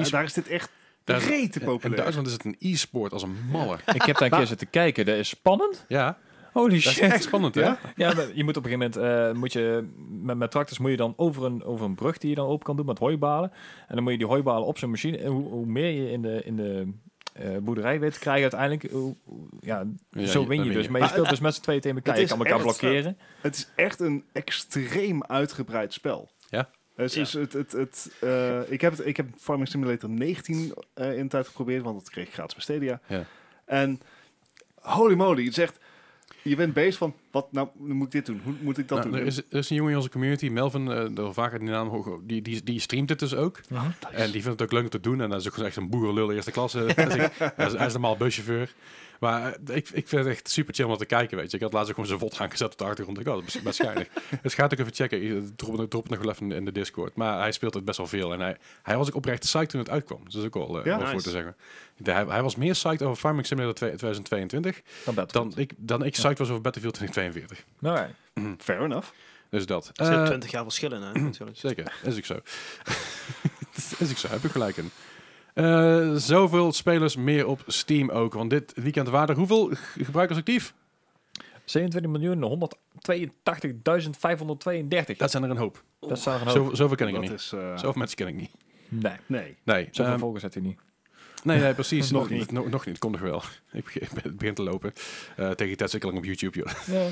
S3: daar, daar is dit echt
S1: Daar-
S3: rete
S1: in
S3: populair.
S1: Duitsland is het een e-sport als een malle.
S4: Ik heb daar een keer zitten kijken. Dat is spannend.
S1: Ja,
S4: Holy
S1: dat is
S4: shit.
S1: echt spannend hè?
S3: Ja?
S4: Ja, maar je moet op een gegeven moment, eh, moet je, met, met tractors moet je dan over een, over een brug die je dan open kan doen met hooibalen. En dan moet je die hooibalen op zo'n machine. En hoe, hoe meer je in de, in de eh, boerderij weet te krijgen uiteindelijk, hoe- hoe- ja,
S1: Ja,
S4: zo
S1: je-
S4: win
S1: dan
S4: je dus. Maar je
S3: Maar
S4: speelt
S3: het-
S4: dus met z'n tweeën tegen elkaar.
S3: het
S4: Je
S3: is
S4: kan elkaar
S3: echt-
S4: blokkeren.
S3: Het is echt een extreem uitgebreid spel.
S1: Ja.
S3: Dus
S2: Ja.
S3: is het, het, het, eh, ik, heb het, ik heb Farming Simulator 19 eh, in de tijd geprobeerd, want dat kreeg ik gratis bij Stadia.
S1: Ja.
S3: En holy moly, het is echt... Je bent bezig van, wat nou moet ik dit doen? Hoe moet ik dat
S1: Nou,
S3: doen?
S1: er, is, er is een jongen in onze community, Melvin, eh daar vaker die naam hoog, die, die, die streamt het dus ook. En die vindt het ook leuk om te doen. En dat is ook gewoon echt een boerenlul eerste klasse. hij, is, hij is- hij is normaal buschauffeur. Maar eh, ik, ik vind het echt super chill om naar te kijken, weet je. Ik had laatst ook gewoon zijn vod gaan gezet op de achtergrond. Ik dacht, oh, dat is best geinig. dus ga het ook even checken. Ik Drop, het- drop het nog wel even in de Discord. Maar hij speelt het best wel veel. En hij, hij was ook oprecht psyched toen het uitkwam. Dus dat is ook wel eh,
S3: Ja,
S1: wat voor
S2: nice.
S1: te zeggen. De- hij, hij was meer psyched over Farming Simulator 2022
S4: Dan dat.
S1: dan ik, dan ik
S4: Ja.
S1: psyched was over Battlefield 2042.
S4: Nou, Alright.
S3: Fair enough.
S1: Dus dat.
S2: Er zit
S1: Eh,
S2: 20 jaar verschil in, hè, natuurlijk.
S1: Zeker, is ik zo. [LAUGHS] is ik zo, heb ik gelijk in. Eh, zoveel spelers meer op Steam ook. Want dit weekend waren er hoeveel g- gebruikers actief?
S4: 27.182.532.
S1: Dat zijn er een hoop.
S4: Dat zou er een hoop.
S1: Zo, zoveel ken ik er
S3: Dat
S1: niet.
S3: is... eh,
S1: Zoveel mensen ken ik niet.
S4: Nee,
S3: Nee.
S1: Nee,
S4: zoveel
S1: ehm,
S4: volgers heeft hij niet.
S1: nee, [LAUGHS] nee precies.
S3: Nog
S1: nog
S3: niet.
S1: niet. Nog, nog niet, komt nog wel. [LAUGHS] ik begin- het begint te lopen. Eh, tegen die tijd zit ik al lang op YouTube, joh.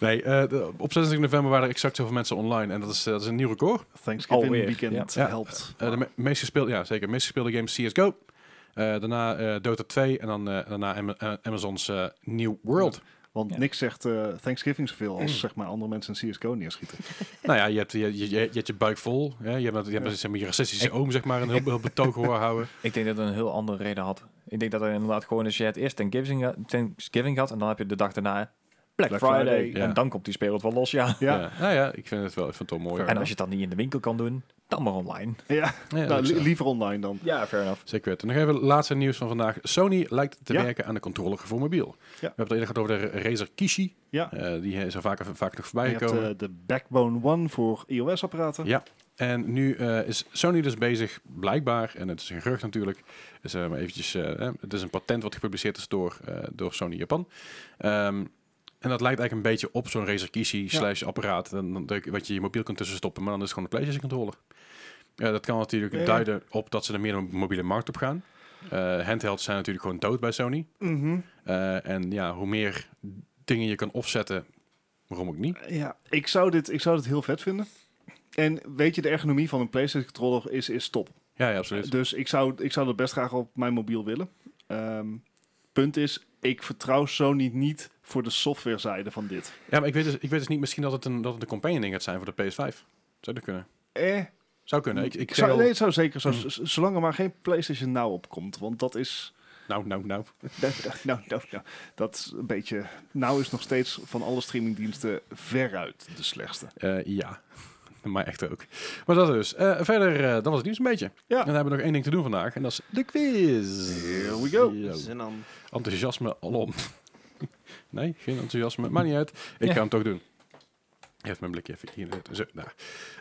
S1: nee, eh, de- op 26 november waren er exact zoveel mensen online. En dat is, eh, dat is een nieuw record.
S3: Thanksgiving
S4: Alweer,
S3: weekend
S1: ja.
S3: helpt.
S1: Eh, de me- meest gespeelde, ja zeker, meest gespeelde game is CSGO. Eh, daarna eh, Dota 2 en dan eh, daarna Ama- eh, Amazon's eh, New World.
S3: Want
S4: Ja.
S3: niks zegt eh, Thanksgiving zoveel als zeg maar andere mensen in CSGO neerschieten.
S1: nou ja, je hebt je, je, je, je hebt je buik vol. Hè? Je hebt, dat- je, hebt dat- zeg maar, je racistische oom, zeg maar, een heel, heel betoog horen houden.
S4: Ik denk dat het een heel andere reden had. Ik denk dat er inderdaad gewoon als je het eerst Thanksgiving, had- Thanksgiving had en dan heb je de dag daarna Black,
S3: Black
S4: Friday.
S3: Friday.
S1: Ja.
S4: En dan komt die speelt wel los, ja.
S1: Ja.
S3: Ja,
S1: Nou ja, ik vind het wel, ik vind het wel mooi.
S3: Fair
S4: En als je het dan niet in de winkel kan doen, dan maar online.
S3: ja.
S1: Ja,
S3: nou,
S1: dat
S3: li-
S1: is, eh,
S3: liever online dan.
S4: Ja, fair enough.
S1: Zeker weten. Nog even het laatste nieuws van vandaag. Sony lijkt te
S3: Ja.
S1: werken aan de controller voor mobiel. We hebben het al eerder gehad over de Razer Kishi.
S3: Ja.
S1: Eh, die is al vaker, vaak nog
S3: Je
S1: voorbij
S3: hebt
S1: gekomen.
S3: eh, de Backbone One voor iOS-apparaten.
S1: Ja. En nu eh, is Sony dus bezig, blijkbaar, en het is een gerucht natuurlijk, is, eh, maar eventjes, eh, hè, het is een patent wat gepubliceerd is door, eh, door Sony Japan. Ehm, en dat lijkt eigenlijk een beetje op zo'n Razer Kishi slash apparaat, dan, dan- dat- wat je je mobiel kunt tussen stoppen, maar dan is het gewoon een PlayStation controller. Eh, dat kan natuurlijk
S3: Ja.
S1: duiden op dat ze er meer een mobiele markt op gaan. Eh, handhelds zijn natuurlijk gewoon dood bij Sony.
S3: Mhm.
S1: Eh, en ja, hoe meer dingen je kan offsetten, waarom ook niet?
S3: Ja, ik zou, dit, ik zou dit heel vet vinden. En weet je, de ergonomie van een PlayStation controller is, is top.
S1: Ja, ja absoluut.
S3: Dus ik zou, ik zou dat best graag op mijn mobiel willen. Ehm, punt is, ik vertrouw Sony niet voor de softwarezijde van dit.
S1: Ja, maar ik weet dus, ik weet dus niet misschien dat het een, dat het een companion ding gaat zijn voor de PS5. Zou dat kunnen?
S3: Eh,
S1: Zou kunnen. Ik, Mm. ik zeg
S3: zou,
S1: al-
S3: nee, het zou zeker zo, z- z- zolang er maar geen PlayStation Now opkomt. Want dat is, [LAUGHS]
S1: Nou, nou, nou.
S3: nou, nou, nou, nou, dat is een beetje, nou is nog steeds van alle streamingdiensten veruit de slechtste.
S1: Eh, ja. [LAUGHS] Maar echt ook. Maar dat dus. Eh, verder, eh, dat was het nieuws een beetje.
S3: Ja.
S1: En dan hebben we nog één ding te doen vandaag. En dat is de quiz.
S3: Here we go.
S1: Yo.
S2: Zin aan.
S1: Enthousiasme alom. [LAUGHS] nee, geen enthousiasme. Maakt niet uit. Ik
S4: Ja.
S1: ga hem toch doen. Even mijn blikje even hier. neerzetten. Zo, daar.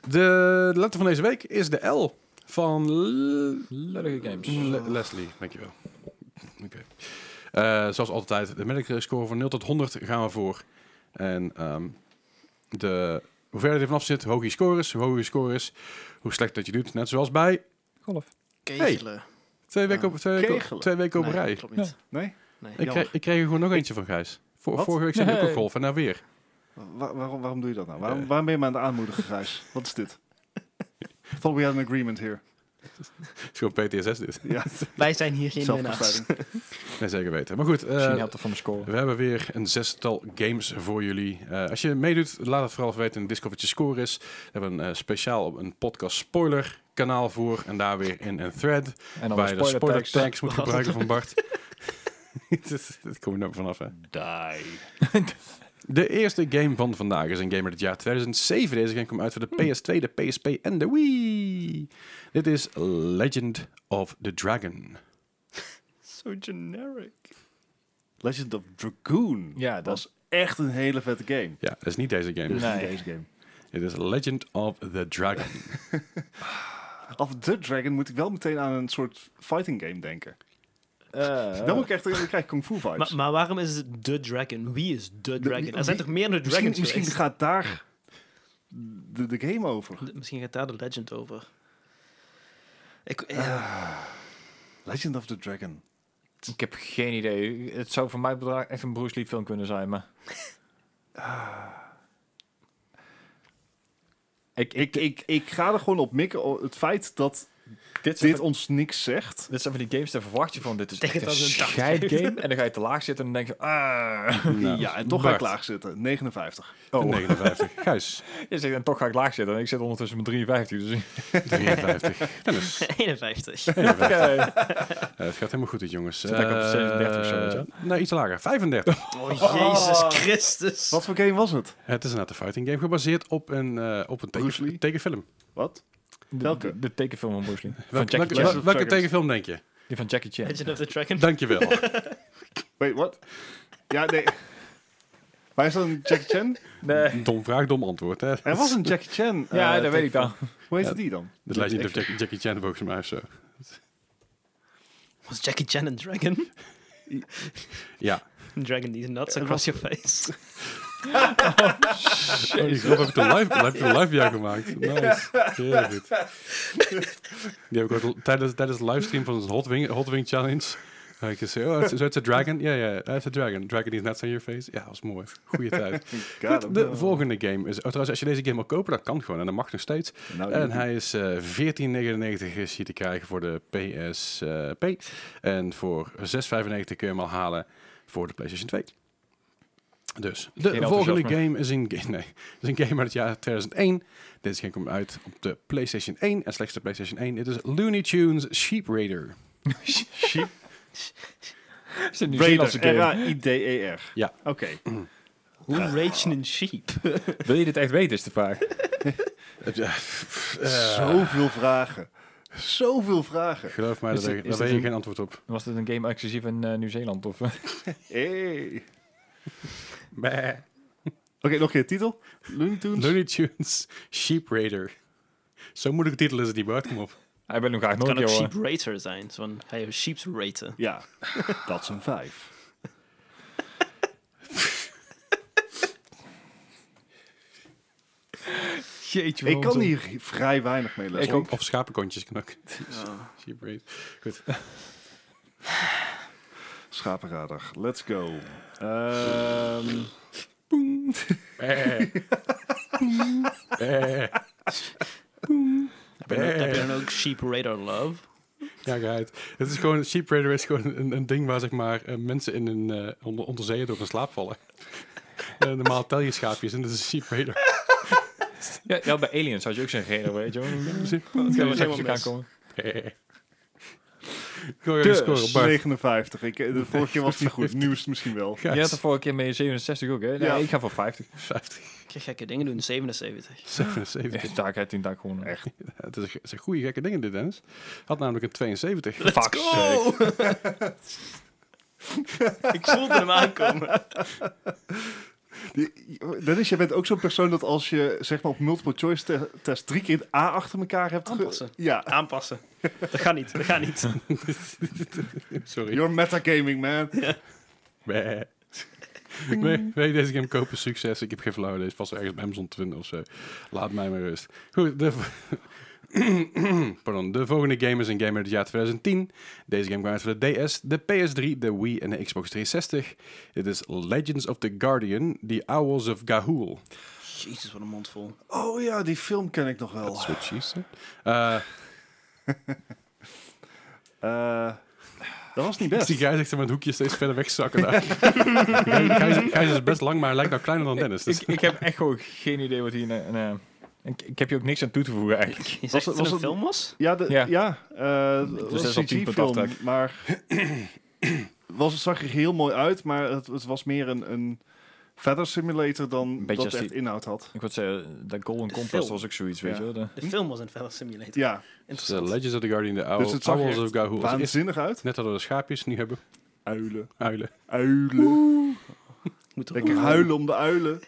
S1: De letter van deze week is de L van L-
S4: Lullige games.
S1: Le- Leslie, dankjewel. Oké. Eh, zoals altijd, de medical score van 0 tot 100 gaan we voor. En ehm, de, hoe verder je er vanaf zit, hoe hoger je score is, hoe hoger je score is, hoe slecht dat je doet. Net zoals bij
S4: Golf.
S2: Kegelen.
S1: twee weken op, twee weken op,
S3: Kegelen.
S1: twee weken op
S2: Nee,
S1: rij.
S2: klopt niet.
S3: Nee?
S2: Nee,
S1: Ik
S2: jammer.
S1: kreeg, ik kreeg er gewoon nog eentje van Gijs. Vo-
S3: Wat?
S1: vorige week zat ik ook
S4: Nee.
S1: op golf en nou weer. [LAUGHS]
S3: Wa- waarom, waarom doe je dat nou? Waarom,
S1: Eh.
S3: waarom ben je me aan het aanmoedigen, Gijs? Wat is dit? Thought we had an agreement here.
S1: Het is gewoon PTSS dit.
S3: Ja,
S2: Wij zijn [LAUGHS] hier geen winnaars.
S3: zelfbestrijding.
S1: dus. Nee, zeker weten. Maar goed, eh,
S4: Misschien helpt dat van de score.
S1: we hebben weer een zestal games voor jullie. Eh, als je meedoet, laat het vooral even weten in de Discord wat je score is. We hebben een eh, speciaal op een podcast spoiler kanaal voor. En daar weer in een thread.
S4: En dan
S1: waar je de spoiler tags,
S4: tags.
S1: moet gebruiken van Bart. [LAUGHS] dat kom je nooit vanaf, hè?
S3: Die.
S1: De eerste game van vandaag is een game uit het jaar 2007. Deze game kwam uit voor de
S4: Hmm.
S1: PS2, de PSP en de Wii. Dit is Legend of the Dragon.
S2: Zo generic.
S3: Legend of Dragoon
S4: Ja, dat-
S3: was echt een hele vette game.
S1: Ja, dat is niet deze game.
S3: Dus
S4: Nee.
S3: deze game.
S1: Dit is Legend of the Dragon.
S3: Of The Dragon moet ik wel meteen aan een soort fighting game denken.
S4: [LAUGHS] Eh,
S3: Dan, moet ik echt, dan krijg ik kung fu vibes.
S2: Maar, maar waarom is het de dragon? Wie is de dragon?
S3: wie-
S2: Er zijn toch meerdere
S3: misschien
S2: dragons
S3: misschien
S2: geweest?
S3: gaat daar de, de game over.
S2: De- Misschien gaat daar de legend over. Ik, ja,
S3: Legend of the Dragon.
S4: Ik heb geen idee. Het zou voor mij bedrag echt een Bruce Lee film kunnen zijn, maar... ik,
S3: Ik, ik, ik ga er gewoon op mikken. o- Het feit dat
S4: dit, zijn
S3: dit
S4: van,
S3: ons niks zegt.
S4: dit zijn van die games, daar verwacht je van. Dit is
S2: Denk
S4: echt
S2: het
S4: een
S2: als een dag.
S4: scheidgame. [LAUGHS] En dan ga je te laag zitten en dan denk je... [LAUGHS] ah.
S1: Nou,
S3: ja, en toch ga
S1: Bart,
S3: ik laag zitten. 59.
S4: Oh.
S1: de 59.
S4: [LAUGHS]
S1: Gijs,
S4: Je zegt, en toch ga ik laag zitten. En ik zit ondertussen met 53, dus... [LAUGHS]
S1: 53.
S2: [LAUGHS]
S1: Dennis, 51.
S2: 51.
S4: Oké.
S1: Eh, het gaat helemaal goed dit, jongens. Eh,
S4: Zit lekker op 36 of zo, weet je
S1: Nee, iets lager. 35.
S2: Oh, Jezus Christus.
S3: Wat voor game was het?
S1: het is inderdaad een fighting game gebaseerd op een, eh, op een
S3: Bruce
S1: teken,
S3: Lee?
S1: tekenfilm.
S3: Wat?
S4: De,
S3: Welke?
S4: de, de tekenfilm van Bruce Lee. Van
S1: Welke, welke,
S4: Jackie Chan.
S1: welke,
S3: Chan. Fuckers.
S1: tekenfilm denk je?
S4: Die van Jackie Chan. [LAUGHS]
S2: Legend of the Dragon.
S1: Dankjewel.
S3: [LAUGHS] Wait, what? Ja, nee. Oké, Waar is dat een Jackie Chan?
S4: Nee.
S1: Dom vraag, dom antwoord. Hè?
S3: Er was een Jackie Chan.
S4: [LAUGHS] Ja,
S3: eh,
S4: dat weet ik
S3: van-
S4: wel.
S3: Hoe heet
S1: Ja.
S3: het die dan?
S1: Dat lijkt niet op
S3: Ik-
S1: Jackie, Jackie Chan volgens mij of zo.
S2: Was Jackie Chan een dragon?
S1: Ja.
S2: Een dragon die nuts across your face.
S1: Oh, die grap heb ik toen live, heb ik toen live jou gemaakt. Nice. Heel goed. Die heb ik ook tijdens, tijdens de livestream van onze Hot Wing, Hot Wing Challenge. heb ik gezegd, oh, it's, so it's a dragon? Ja, ja, it's a dragon. Dragon is net on your face. Ja, dat was mooi. Goeie tijd.
S3: God,
S1: Goed, de volgende game is... Oh, trouwens, als je deze game wil kopen, dat kan gewoon. En dat mag nog steeds.
S4: Oh,
S3: Nou,
S1: En hij is eh 14,99 is hier te krijgen voor de PSP. en voor 6,95 kun je hem al halen voor de PlayStation 2. Dus, de
S4: Geen
S1: volgende
S4: enthousiasme.
S1: game is een, ga- [LAUGHS] nee, is een game uit het jaar 2001. Deze game komt uit op de PlayStation 1 en slechts de PlayStation 1. Dit is Looney Tunes Sheep Raider.
S3: Sheep
S4: Is een Nieuw-Zeelandse
S3: Raider.
S4: game.
S3: R-A-I-D-E-R.
S1: Ja.
S3: E Oké.
S2: [LAUGHS] Hoe rage een sheep?
S4: Wil je dit echt weten, is de vraag.
S1: Eh.
S3: Zoveel vragen. Zoveel vragen.
S1: Geloof mij,
S4: Is
S1: daar
S4: dit-
S1: weet je-
S4: is
S1: daar weet je
S4: dit een-
S1: geen antwoord op.
S4: Was dit een game exclusief in eh, Nieuw-Zeeland? Of, eh? [LAUGHS]
S3: Hey. Oké, nog een keer titel. Looney Tunes.
S1: Looney Tunes Sheep Raider. Zo moeilijke titel is het niet, Bart. Kom op.
S4: Hij wil hem graag
S2: Het
S4: nooit,
S2: kan ook
S4: joh.
S2: sheep rater zijn. Zo van, hij heeft sheeps raten.
S3: Ja, [LAUGHS] dat is een vijf.
S4: Jeetje,
S3: Ik kan hier vrij weinig mee lezen.
S4: Ik ook.
S1: Of schapenkontjes kan ook.
S2: Ja.
S1: Sheep Raider.
S3: Schapenradar, let's go. Ehm,
S1: Eh. Eh.
S2: Heb, je dan, heb je dan ook sheep rater love?
S1: Ja, geheid. Het is gewoon, Sheep Raider is gewoon een, een ding waar zeg maar eh, mensen in een eh, onder, onder zeeën door in slaap vallen. [LAUGHS] Eh, normaal tel je schaapjes en dit is Sheep Raider.
S4: Ja, ja, bij Aliens had je ook zo'n reden, weet je wel. Dat
S2: helemaal
S4: kan wel
S2: mis.
S4: aankomen.
S1: Eh. Kom
S4: Dus
S1: je scoren, Bart.
S3: 59. Ik, eh, de vorige keer was het niet [LAUGHS] goed. Nu is het misschien wel.
S1: Gijs,
S4: Je had de vorige keer met 67 ook, hè? Nee,
S3: Ja.
S4: ik ga voor 50.
S1: 50,
S2: Ik ga gekke dingen doen, 77.
S1: 77.
S4: [LAUGHS] Echt taak, hè, 10 taak gewoon. Echt.
S1: Het is, het zijn goede gekke dingen dit, Dennis. Had namelijk een 72.
S4: Fuck sake.
S2: [LAUGHS] ik voelde hem aankomen.
S3: Die- Dennis, jij bent ook zo'n persoon dat als je zeg maar op multiple choice te- test drie keer het A achter elkaar hebt... ge-
S2: Aanpassen.
S3: Ja,
S2: Aanpassen. Dat gaat niet, dat gaat niet.
S1: Sorry.
S3: you're metagaming, man.
S1: [LAUGHS] Bleh.
S3: Mm.
S1: Nee, nee, deze game kopen, succes. Ik heb geen flauw idee. Het is vast ergens bij Amazon te vinden of zo. Laat mij maar rust. Goed, de, vo- [COUGHS] Pardon, de volgende game is een game uit het jaar 2010. Deze game kwam uit voor de DS, de PS3, de Wii en de Xbox 360. Dit is Legends of the Guardian, The Owls of Gahul.
S2: Jezus, wat een mond [LAUGHS] vol.
S3: Oh ja, die film ken ik nog wel.
S1: That's what she said. Eh,
S3: Eh, dat was niet
S1: ik zie
S3: best.
S1: Gijs echt met het hoekje steeds verder wegzakken. daar. [LAUGHS] Gijs, Gijs is best lang, maar hij lijkt nou kleiner dan Dennis. Dus
S4: Ik, ik heb echt gewoon geen idee wat hier... nou- nou, ik, ik heb hier ook niks aan toe te voegen, eigenlijk.
S2: Je zegt
S3: Was het-
S2: dat het
S3: was
S2: een
S3: het-
S2: film was?
S3: Ja, de,
S4: Ja.
S3: ja. eh, het
S4: Dus
S3: was
S4: dat is al
S3: een
S4: 10 punt
S3: CG-film,
S4: aftrek.
S3: maar [CLEARS THROAT] was, het zag er heel mooi uit, maar het, het was meer een, een feather simulator dan
S4: Beetje
S3: dat
S4: als
S3: het echt
S4: die-
S3: inhoud had.
S4: Ik wou zeggen, dat Golden
S2: De
S4: Compass
S2: film.
S4: was ook zoiets, weet
S3: Ja.
S4: je wel. de-
S2: De film was een Feather Simulator.
S3: Ja,
S1: Dus, eh,
S2: Interessant.
S1: Legends of the Guardian, The Owl,
S3: Dus het zag
S1: Owls
S3: echt
S1: of Gahul. Dus eerst-
S3: waanzinnig uit.
S1: Net hadden we de schaapjes, nu hebben we
S3: Uilen,
S1: uilen.
S3: uilen.
S2: Moet er
S3: Lekker huilen om de uilen.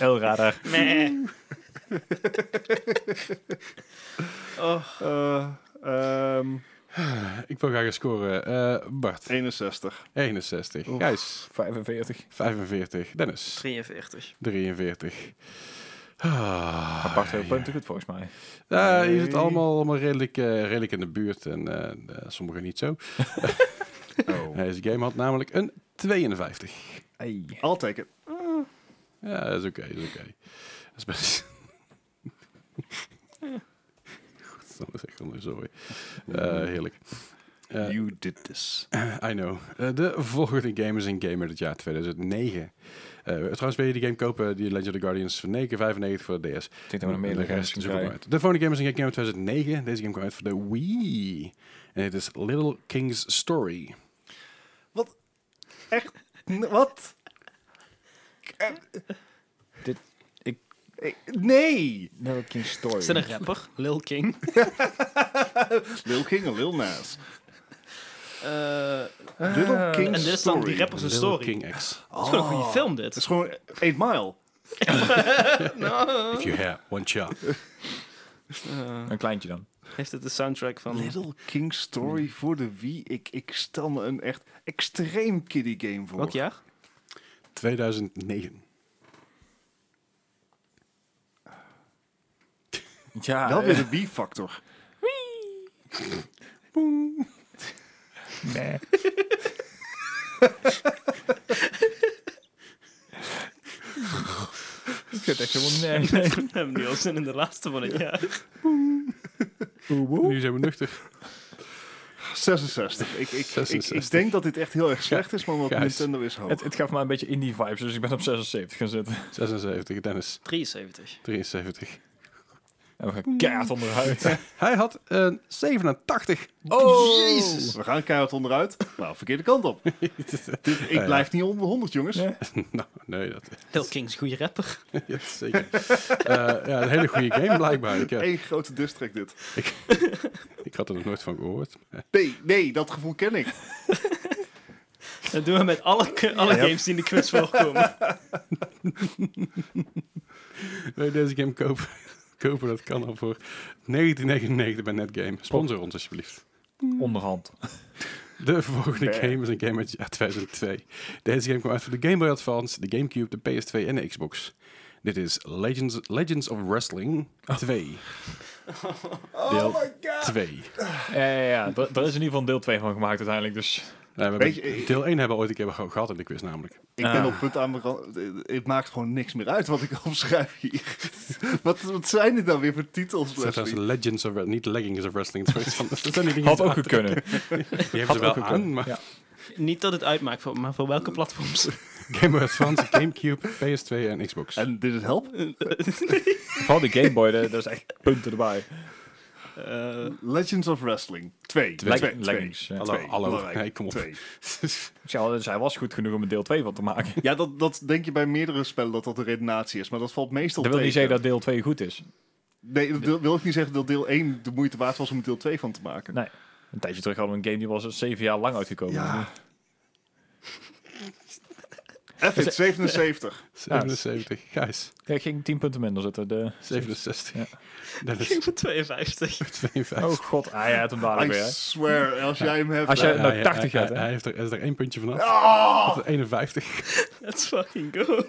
S4: Elradar.
S2: Nee. oh,
S3: Eh, ehm,
S1: Ik wil graag eens scoren. Eh, Bart, [LAUGHS]
S3: 61.
S1: 61.
S3: Oef.
S1: Gijs,
S4: 45.
S1: 45. Dennis,
S2: 43.
S1: 43. Ah,
S4: Apart heel punten goed, volgens mij.
S1: Ja, hier zit
S3: Nee.
S1: allemaal, allemaal redelijk, eh, redelijk in de buurt en eh, eh, sommigen niet zo.
S3: Oh.
S1: Deze game had namelijk een 52.
S4: Ei.
S3: I'll take it.
S1: Ja, dat is oké, dat is oké. Dat is
S4: [LAUGHS]
S1: best... [LAUGHS] Goed, dat is echt anders, sorry. Eh, heerlijk. Eh,
S3: You did this.
S1: I know. Eh, de volgende game is een game uit het jaar 2009. Eh trouwens, wil je die game kopen, die Legend of the Guardians van 9,95 voor de DS.
S4: Ik denk dat we nog
S1: de
S4: meer
S1: rest
S4: rest
S1: zoeken we uit. De volgende game is een game uit 2009. Deze game kwam uit voor de Wii. En het is Little King's Story.
S3: Echt? N- Wat?
S4: Dit- ik-
S3: Eh, Nee!
S4: Little King Story.
S2: Is dat een rapper? Lil King?
S3: Lil King en Lil Nas.
S2: Eh,
S3: Little King
S2: en dit is dan die
S3: Story.
S2: rappers een
S1: Little
S2: story.
S1: King X.
S2: Het is gewoon een goede film,
S3: Het is
S2: dit.
S3: gewoon 8 Mile.
S2: Nou,
S1: If you have one
S2: [LAUGHS]
S1: shot.
S2: eh,
S4: Een kleintje dan.
S2: heeft het de soundtrack van...
S3: Little King Story
S2: Hmm.
S3: voor de Wii. Ik, ik stel me een echt extreem kiddie game voor.
S2: Welk jaar?
S1: 2009.
S4: Ja,
S3: Wel
S4: eh,
S3: weer de Wii-factor. [LAUGHS]
S4: nee. Ik vind het echt helemaal
S2: En
S4: nee.
S2: we hebben nu al zin in de laatste van het jaar.
S1: Nu zijn we nuchter.
S3: 66. Ik, ik, Ik,
S1: 66.
S3: ik denk dat dit echt heel erg slecht is, maar wat
S1: Gijs.
S3: Nintendo is hoog.
S4: [LAUGHS] Het, het gaf me een beetje indie vibes, dus ik ben op 76 gaan zitten.
S1: 76, Dennis.
S2: 73.
S1: 73.
S4: En we gaan keihard onderuit. [LAUGHS]
S1: Hij had een 87.
S4: Oh!
S3: We gaan keihard onderuit. Nou, verkeerde
S1: [LAUGHS]
S3: kant op. Dit- ik
S1: ja.
S3: blijf niet onder de 100, jongens.
S4: Nee.
S1: nou, nee, dat [LAUGHS]
S2: Lil King's goede rapper.
S1: ja,
S2: [LAUGHS]
S1: zeker. Eh, ja, een hele goede game blijkbaar. Ik, eh,
S3: Eén grote district dit.
S1: ik had er nog nooit van gehoord.
S3: Nee, nee, dat gevoel ken ik.
S2: Dat doen we met alle, alle games die in de quiz voorkomen.
S1: Wil je deze game kopen? [LAUGHS] kopen, dat kan al voor 1999 bij Netgame. Sponsor ons alsjeblieft.
S4: Onderhand.
S1: De volgende
S3: Nee.
S1: game is een game uit het jaar 2002. Deze game kwam uit voor de Game Boy Advance, de Gamecube, de PS2 en de Xbox. Dit is Legends, Legends of Wrestling 2.
S4: Oh
S1: Deel 2.
S4: Ja, ja, ja. Er, er is in ieder geval deel 2 van gemaakt uiteindelijk, [LAUGHS] dus...
S1: Nou, we
S3: Weet je,
S1: hebben-
S3: ik-
S1: deel 1 hebben we ooit een keer ge- gehad in de quiz namelijk.
S3: Ik ben
S4: Ah.
S3: op punt aan mijn rand- Het maakt gewoon niks meer uit wat ik [LAUGHS] opschrijf hier. [LAUGHS] wat, wat zijn dit nou weer voor titels,
S1: Het
S3: Leslie?
S1: zijn Legends of Wrestling, niet Leggings of Wrestling. Het is van- Dat zijn die dingen
S4: Had
S1: die
S4: ook kunnen.
S1: die hebben ze
S4: had ook
S1: wel
S4: gekund.
S1: aan, maar
S4: Ja.
S2: [LAUGHS] Niet dat het uitmaakt, voor, maar voor welke platforms.
S1: Game Boy Advance, Gamecube, PS2 en Xbox.
S3: En dit is help?
S4: Vooral die Game Boy, daar daar is echt punten erbij.
S2: Eh,
S3: Legends of Wrestling. Twee.
S1: Twee.
S3: Twee.
S4: Leggings. ja.
S1: Hallo,
S3: Twee.
S1: hallo.
S3: Belangrijk.
S1: Nee, kom op.
S3: Twee.
S4: Ik zei al, dus hij was goed genoeg om een deel 2 van te maken.
S3: Ja, dat, dat denk je bij meerdere spellen dat dat de redenatie is, maar dat valt meestal
S4: Dat wil niet
S3: tegen.
S4: zeggen dat deel 2 goed is.
S3: Nee, dat wil- wil ik niet zeggen dat deel 1 de moeite waard was om er deel 2 van te maken.
S4: Nee. Een tijdje terug hadden we een game die was zeven jaar lang uitgekomen.
S3: Ja. F
S4: [LAUGHS]
S3: it, 77.
S1: 77, Gijs.
S4: Ja, ik ging 10 punten minder zitten. De...
S1: 67.
S4: Ja.
S1: [LAUGHS] Dat is
S2: [LAUGHS] Ik ben 52.
S1: 52.
S4: Oh god, ah, hij had hem
S3: I
S4: dadelijk weer. hè.
S3: swear, als jij hem hebt... eh,
S4: Als jij- nou,
S1: hij-
S4: 80
S1: hij-
S4: had, hè? Oh.
S1: Hij heeft er, is er één puntje vanaf.
S3: Ah!
S1: 51.
S2: Let's fucking go.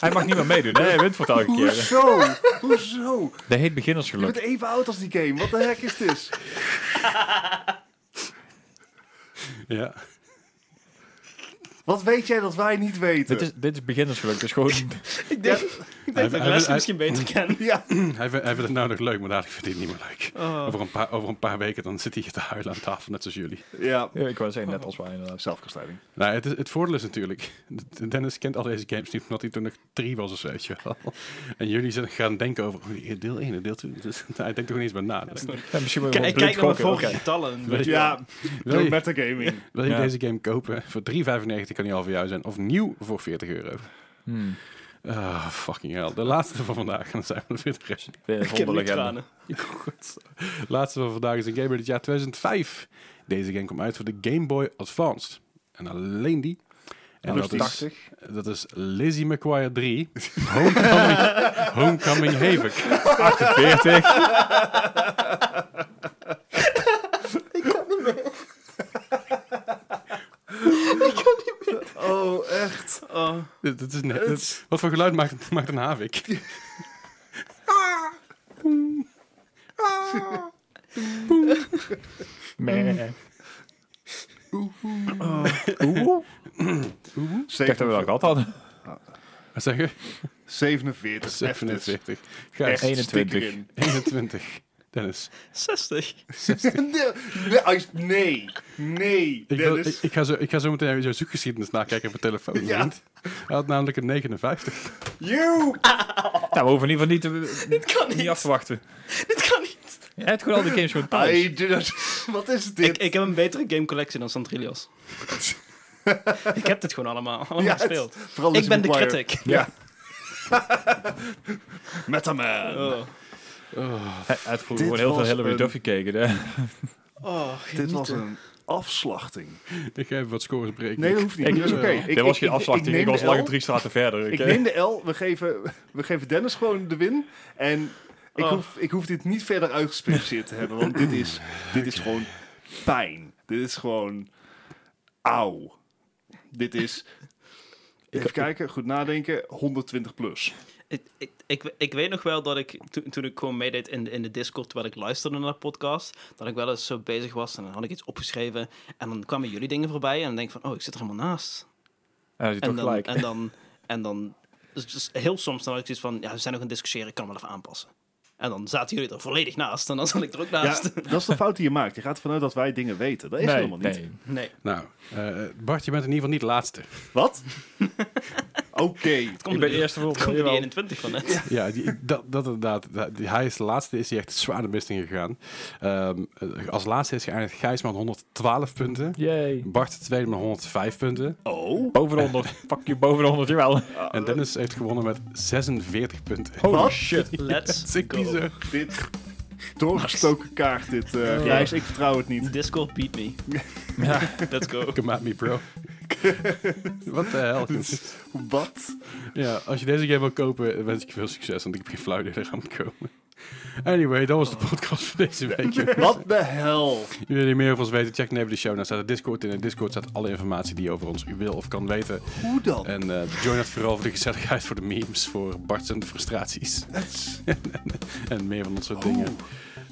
S4: Hij mag niet meer meedoen. Nee, hij wint voor het elke keer.
S3: Hoezo? Hoezo?
S4: Dat heet
S3: Je
S4: beginnersgeluk.
S3: bent even oud als die game. Wat de heck is dit?
S1: [LAUGHS] Ja.
S3: Wat weet jij dat wij niet weten?
S4: Dit is, dit is beginnersgeluk, dus gewoon...
S2: Ik denk, ik denk dat ik
S1: hij-
S2: Leslie
S1: hij-
S2: misschien beter
S3: [LAUGHS]
S2: ken.
S3: Ja,
S1: Hij, vindt- hij vindt het nou nog leuk, maar dadelijk vindt hij het niet meer leuk.
S2: Oh.
S1: Over, een paar, over een paar weken dan zit hij hier te huilen aan tafel, net zoals jullie.
S3: ja.
S4: Ja, ik wou zeggen, net als wij inderdaad.
S3: Zelfkastijding.
S1: Nou, het, is- het voordeel is natuurlijk... Dennis kent al deze games niet, omdat hij toen nog drie was of zo, weet je wel. En jullie zijn gaan denken over oh, deel 1 en deel 2. Dus, [LAUGHS] nou, hij denkt er gewoon eens bij na. Dus,
S4: Ja, misschien moet je
S2: Kijk,
S4: gewoon
S2: ik kijk
S4: blind
S2: naar mijn
S4: gokken,
S2: vorige
S4: oké.
S2: getallen.
S1: Weet je-
S3: Ja,
S1: wil
S3: door
S1: je,
S3: metagaming.
S1: wil je
S4: Ja.
S1: deze game kopen? Voor 3,95 kan hij al voor jou zijn. Of nieuw voor 40 euro.
S2: [LAUGHS]
S4: Hmm.
S1: Ah, fucking hell. De laatste van vandaag. En dan zijn we er weer de rest.
S4: Weer een
S2: Ik heb nu
S4: hondenlegende.
S2: tranen.
S1: Goed. Laatste van vandaag is een game uit het jaar 2005. Deze game kwam uit voor de Game Boy Advanced. En alleen die. En
S3: Plus
S1: dat is,
S3: 80.
S1: dat is Lizzie McGuire 3. Homecoming, Homecoming Havoc.
S4: 48.
S3: Oh, echt.
S2: Oh,
S1: Dit- dit is net, dit- wat voor geluid maakt, maakt een havik?
S2: Hmm.
S4: Meh. Ik dacht dat
S3: 47.
S4: we dat gehad
S2: [LAUGHS]
S4: hadden.
S1: Wat zeg je?
S3: 47.
S1: 47. Gijs,
S4: 21.
S1: 21. Dennis.
S2: 60.
S3: [LAUGHS] Nee, nee, als- nee, nee,
S1: Ik, wil, ik,
S3: Dennis.
S1: ik ga zo, ik ga zo meteen even jouw zoekgeschiedenis nakijken op mijn telefoon.
S3: Ja.
S1: vriend. Hij had namelijk een 59.
S3: You!
S2: Ah,
S4: Nou, we hoeven in ieder geval niet, te,
S2: Dit kan
S4: niet af
S2: niet.
S4: te wachten.
S2: Dit kan niet.
S4: Hij heeft gewoon al die games gewoon thuis.
S3: I did not. Wat is dit?
S2: Ik, ik heb een betere gamecollectie dan Santrilios. ik heb dit gewoon allemaal, allemaal
S3: Ja, het-
S2: gespeeld.
S3: Vooral
S2: Ik
S3: Lizzie
S2: ben de
S3: McGuire.
S2: critic.
S4: Ja.
S3: Metaman.
S2: Oh,
S4: Hij, hij heeft
S3: Dit
S4: vroeger gewoon heel veel
S3: was
S4: Hillary
S3: een-
S4: Duff gekeken. Hè?
S2: oh
S3: dit was
S2: genieten.
S3: een afslachting.
S1: [LAUGHS] Ik ga even wat scores breken.
S3: Nee, dat hoeft niet.
S4: Ik-
S3: dat is oké.
S1: eh,
S3: Ik-
S4: Dit
S3: ik-
S4: was geen
S3: ik-
S4: afslachting, ik,
S3: neem
S4: was
S3: de
S4: langer
S3: L.
S4: drie straten verder.
S3: Ik
S4: oké?
S3: neem de L, we geven, we geven Dennis gewoon de win. En ik,
S2: Oh.
S3: hoef, ik hoef dit niet verder uitgespecificeerd te hebben, want dit
S4: [LAUGHS]
S3: is, dit is gewoon pijn. Dit is gewoon auw. Dit is, even kijken, goed nadenken, 120 plus.
S2: Ik, ik, ik, ik weet nog wel dat ik, toen- toen ik gewoon meedeed in, de- in de Discord, terwijl ik luisterde naar de podcast, dat ik wel eens zo bezig was en dan had ik iets opgeschreven en dan kwamen jullie dingen voorbij en dan denk ik van, oh, ik zit er helemaal naast.
S4: Ja, je
S2: En
S4: toch
S2: dan,
S4: gelijk.
S2: en dan, en dan dus, dus heel soms dan had ik zoiets van, ja, we zijn nog aan het discussiëren, ik kan hem wel even aanpassen. En dan zaten jullie er volledig naast en dan zat ik er ook
S3: Ja,
S2: naast.
S3: dat is de fout die je maakt. Je gaat ervan uit dat wij dingen weten. Dat is
S4: nee,
S3: helemaal niet.
S4: nee.
S2: Nee,
S1: Nou, eh, Bart, je bent in ieder geval niet laatste.
S3: Wat? [LAUGHS] Oké.
S2: komt
S4: Ik ben
S2: er-
S4: eerste
S2: het komt er die 21 van net.
S1: Ja, die, dat, dat inderdaad. Dat- die- hij is de laatste, is hij echt zwaar de mist in gegaan. Ehm, eh, als laatste is geëindigd Gijs met 112 punten.
S4: Yay.
S1: Bart de tweede met 105 punten.
S3: Oh,
S4: Boven de 100. Fuck je, boven de 100, jawel.
S1: En Dennis heeft gewonnen met 46 punten.
S4: Holy
S3: Wat?
S4: shit.
S1: Dat
S2: Let's
S3: Oh
S1: is
S2: go.
S1: bizar.
S3: dit... Doorgestoken kaart, dit. eh
S4: Ja.
S3: Gijs, ik vertrouw het niet.
S2: Discord beat me.
S4: Ja.
S2: [LAUGHS] Let's go.
S1: Come at me,
S3: [LAUGHS]
S1: bro. Wat de hel.
S3: Wat?
S1: Ja, als je deze game wil kopen, wens ik je veel succes. Want ik heb geen flauw idee dat er aan moet komen. Anyway, dat was de podcast voor deze week.
S3: Wat de hel?
S1: Jullie die meer van ons weten, check dan even de show. Daar staat de Discord in. In Discord staat alle informatie die je over ons wil of kan weten.
S3: Hoe dan?
S1: En eh, join het vooral voor de gezelligheid, voor de memes, voor Bart's en de frustraties. [LAUGHS] en meer van dat soort dingen.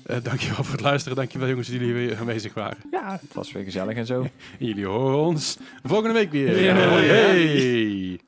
S1: Eh, dankjewel voor het luisteren. Dankjewel jongens dat jullie weer aanwezig waren.
S4: ja, het was weer gezellig en zo.
S1: En jullie horen ons volgende week weer.
S4: Ja.
S1: Hey.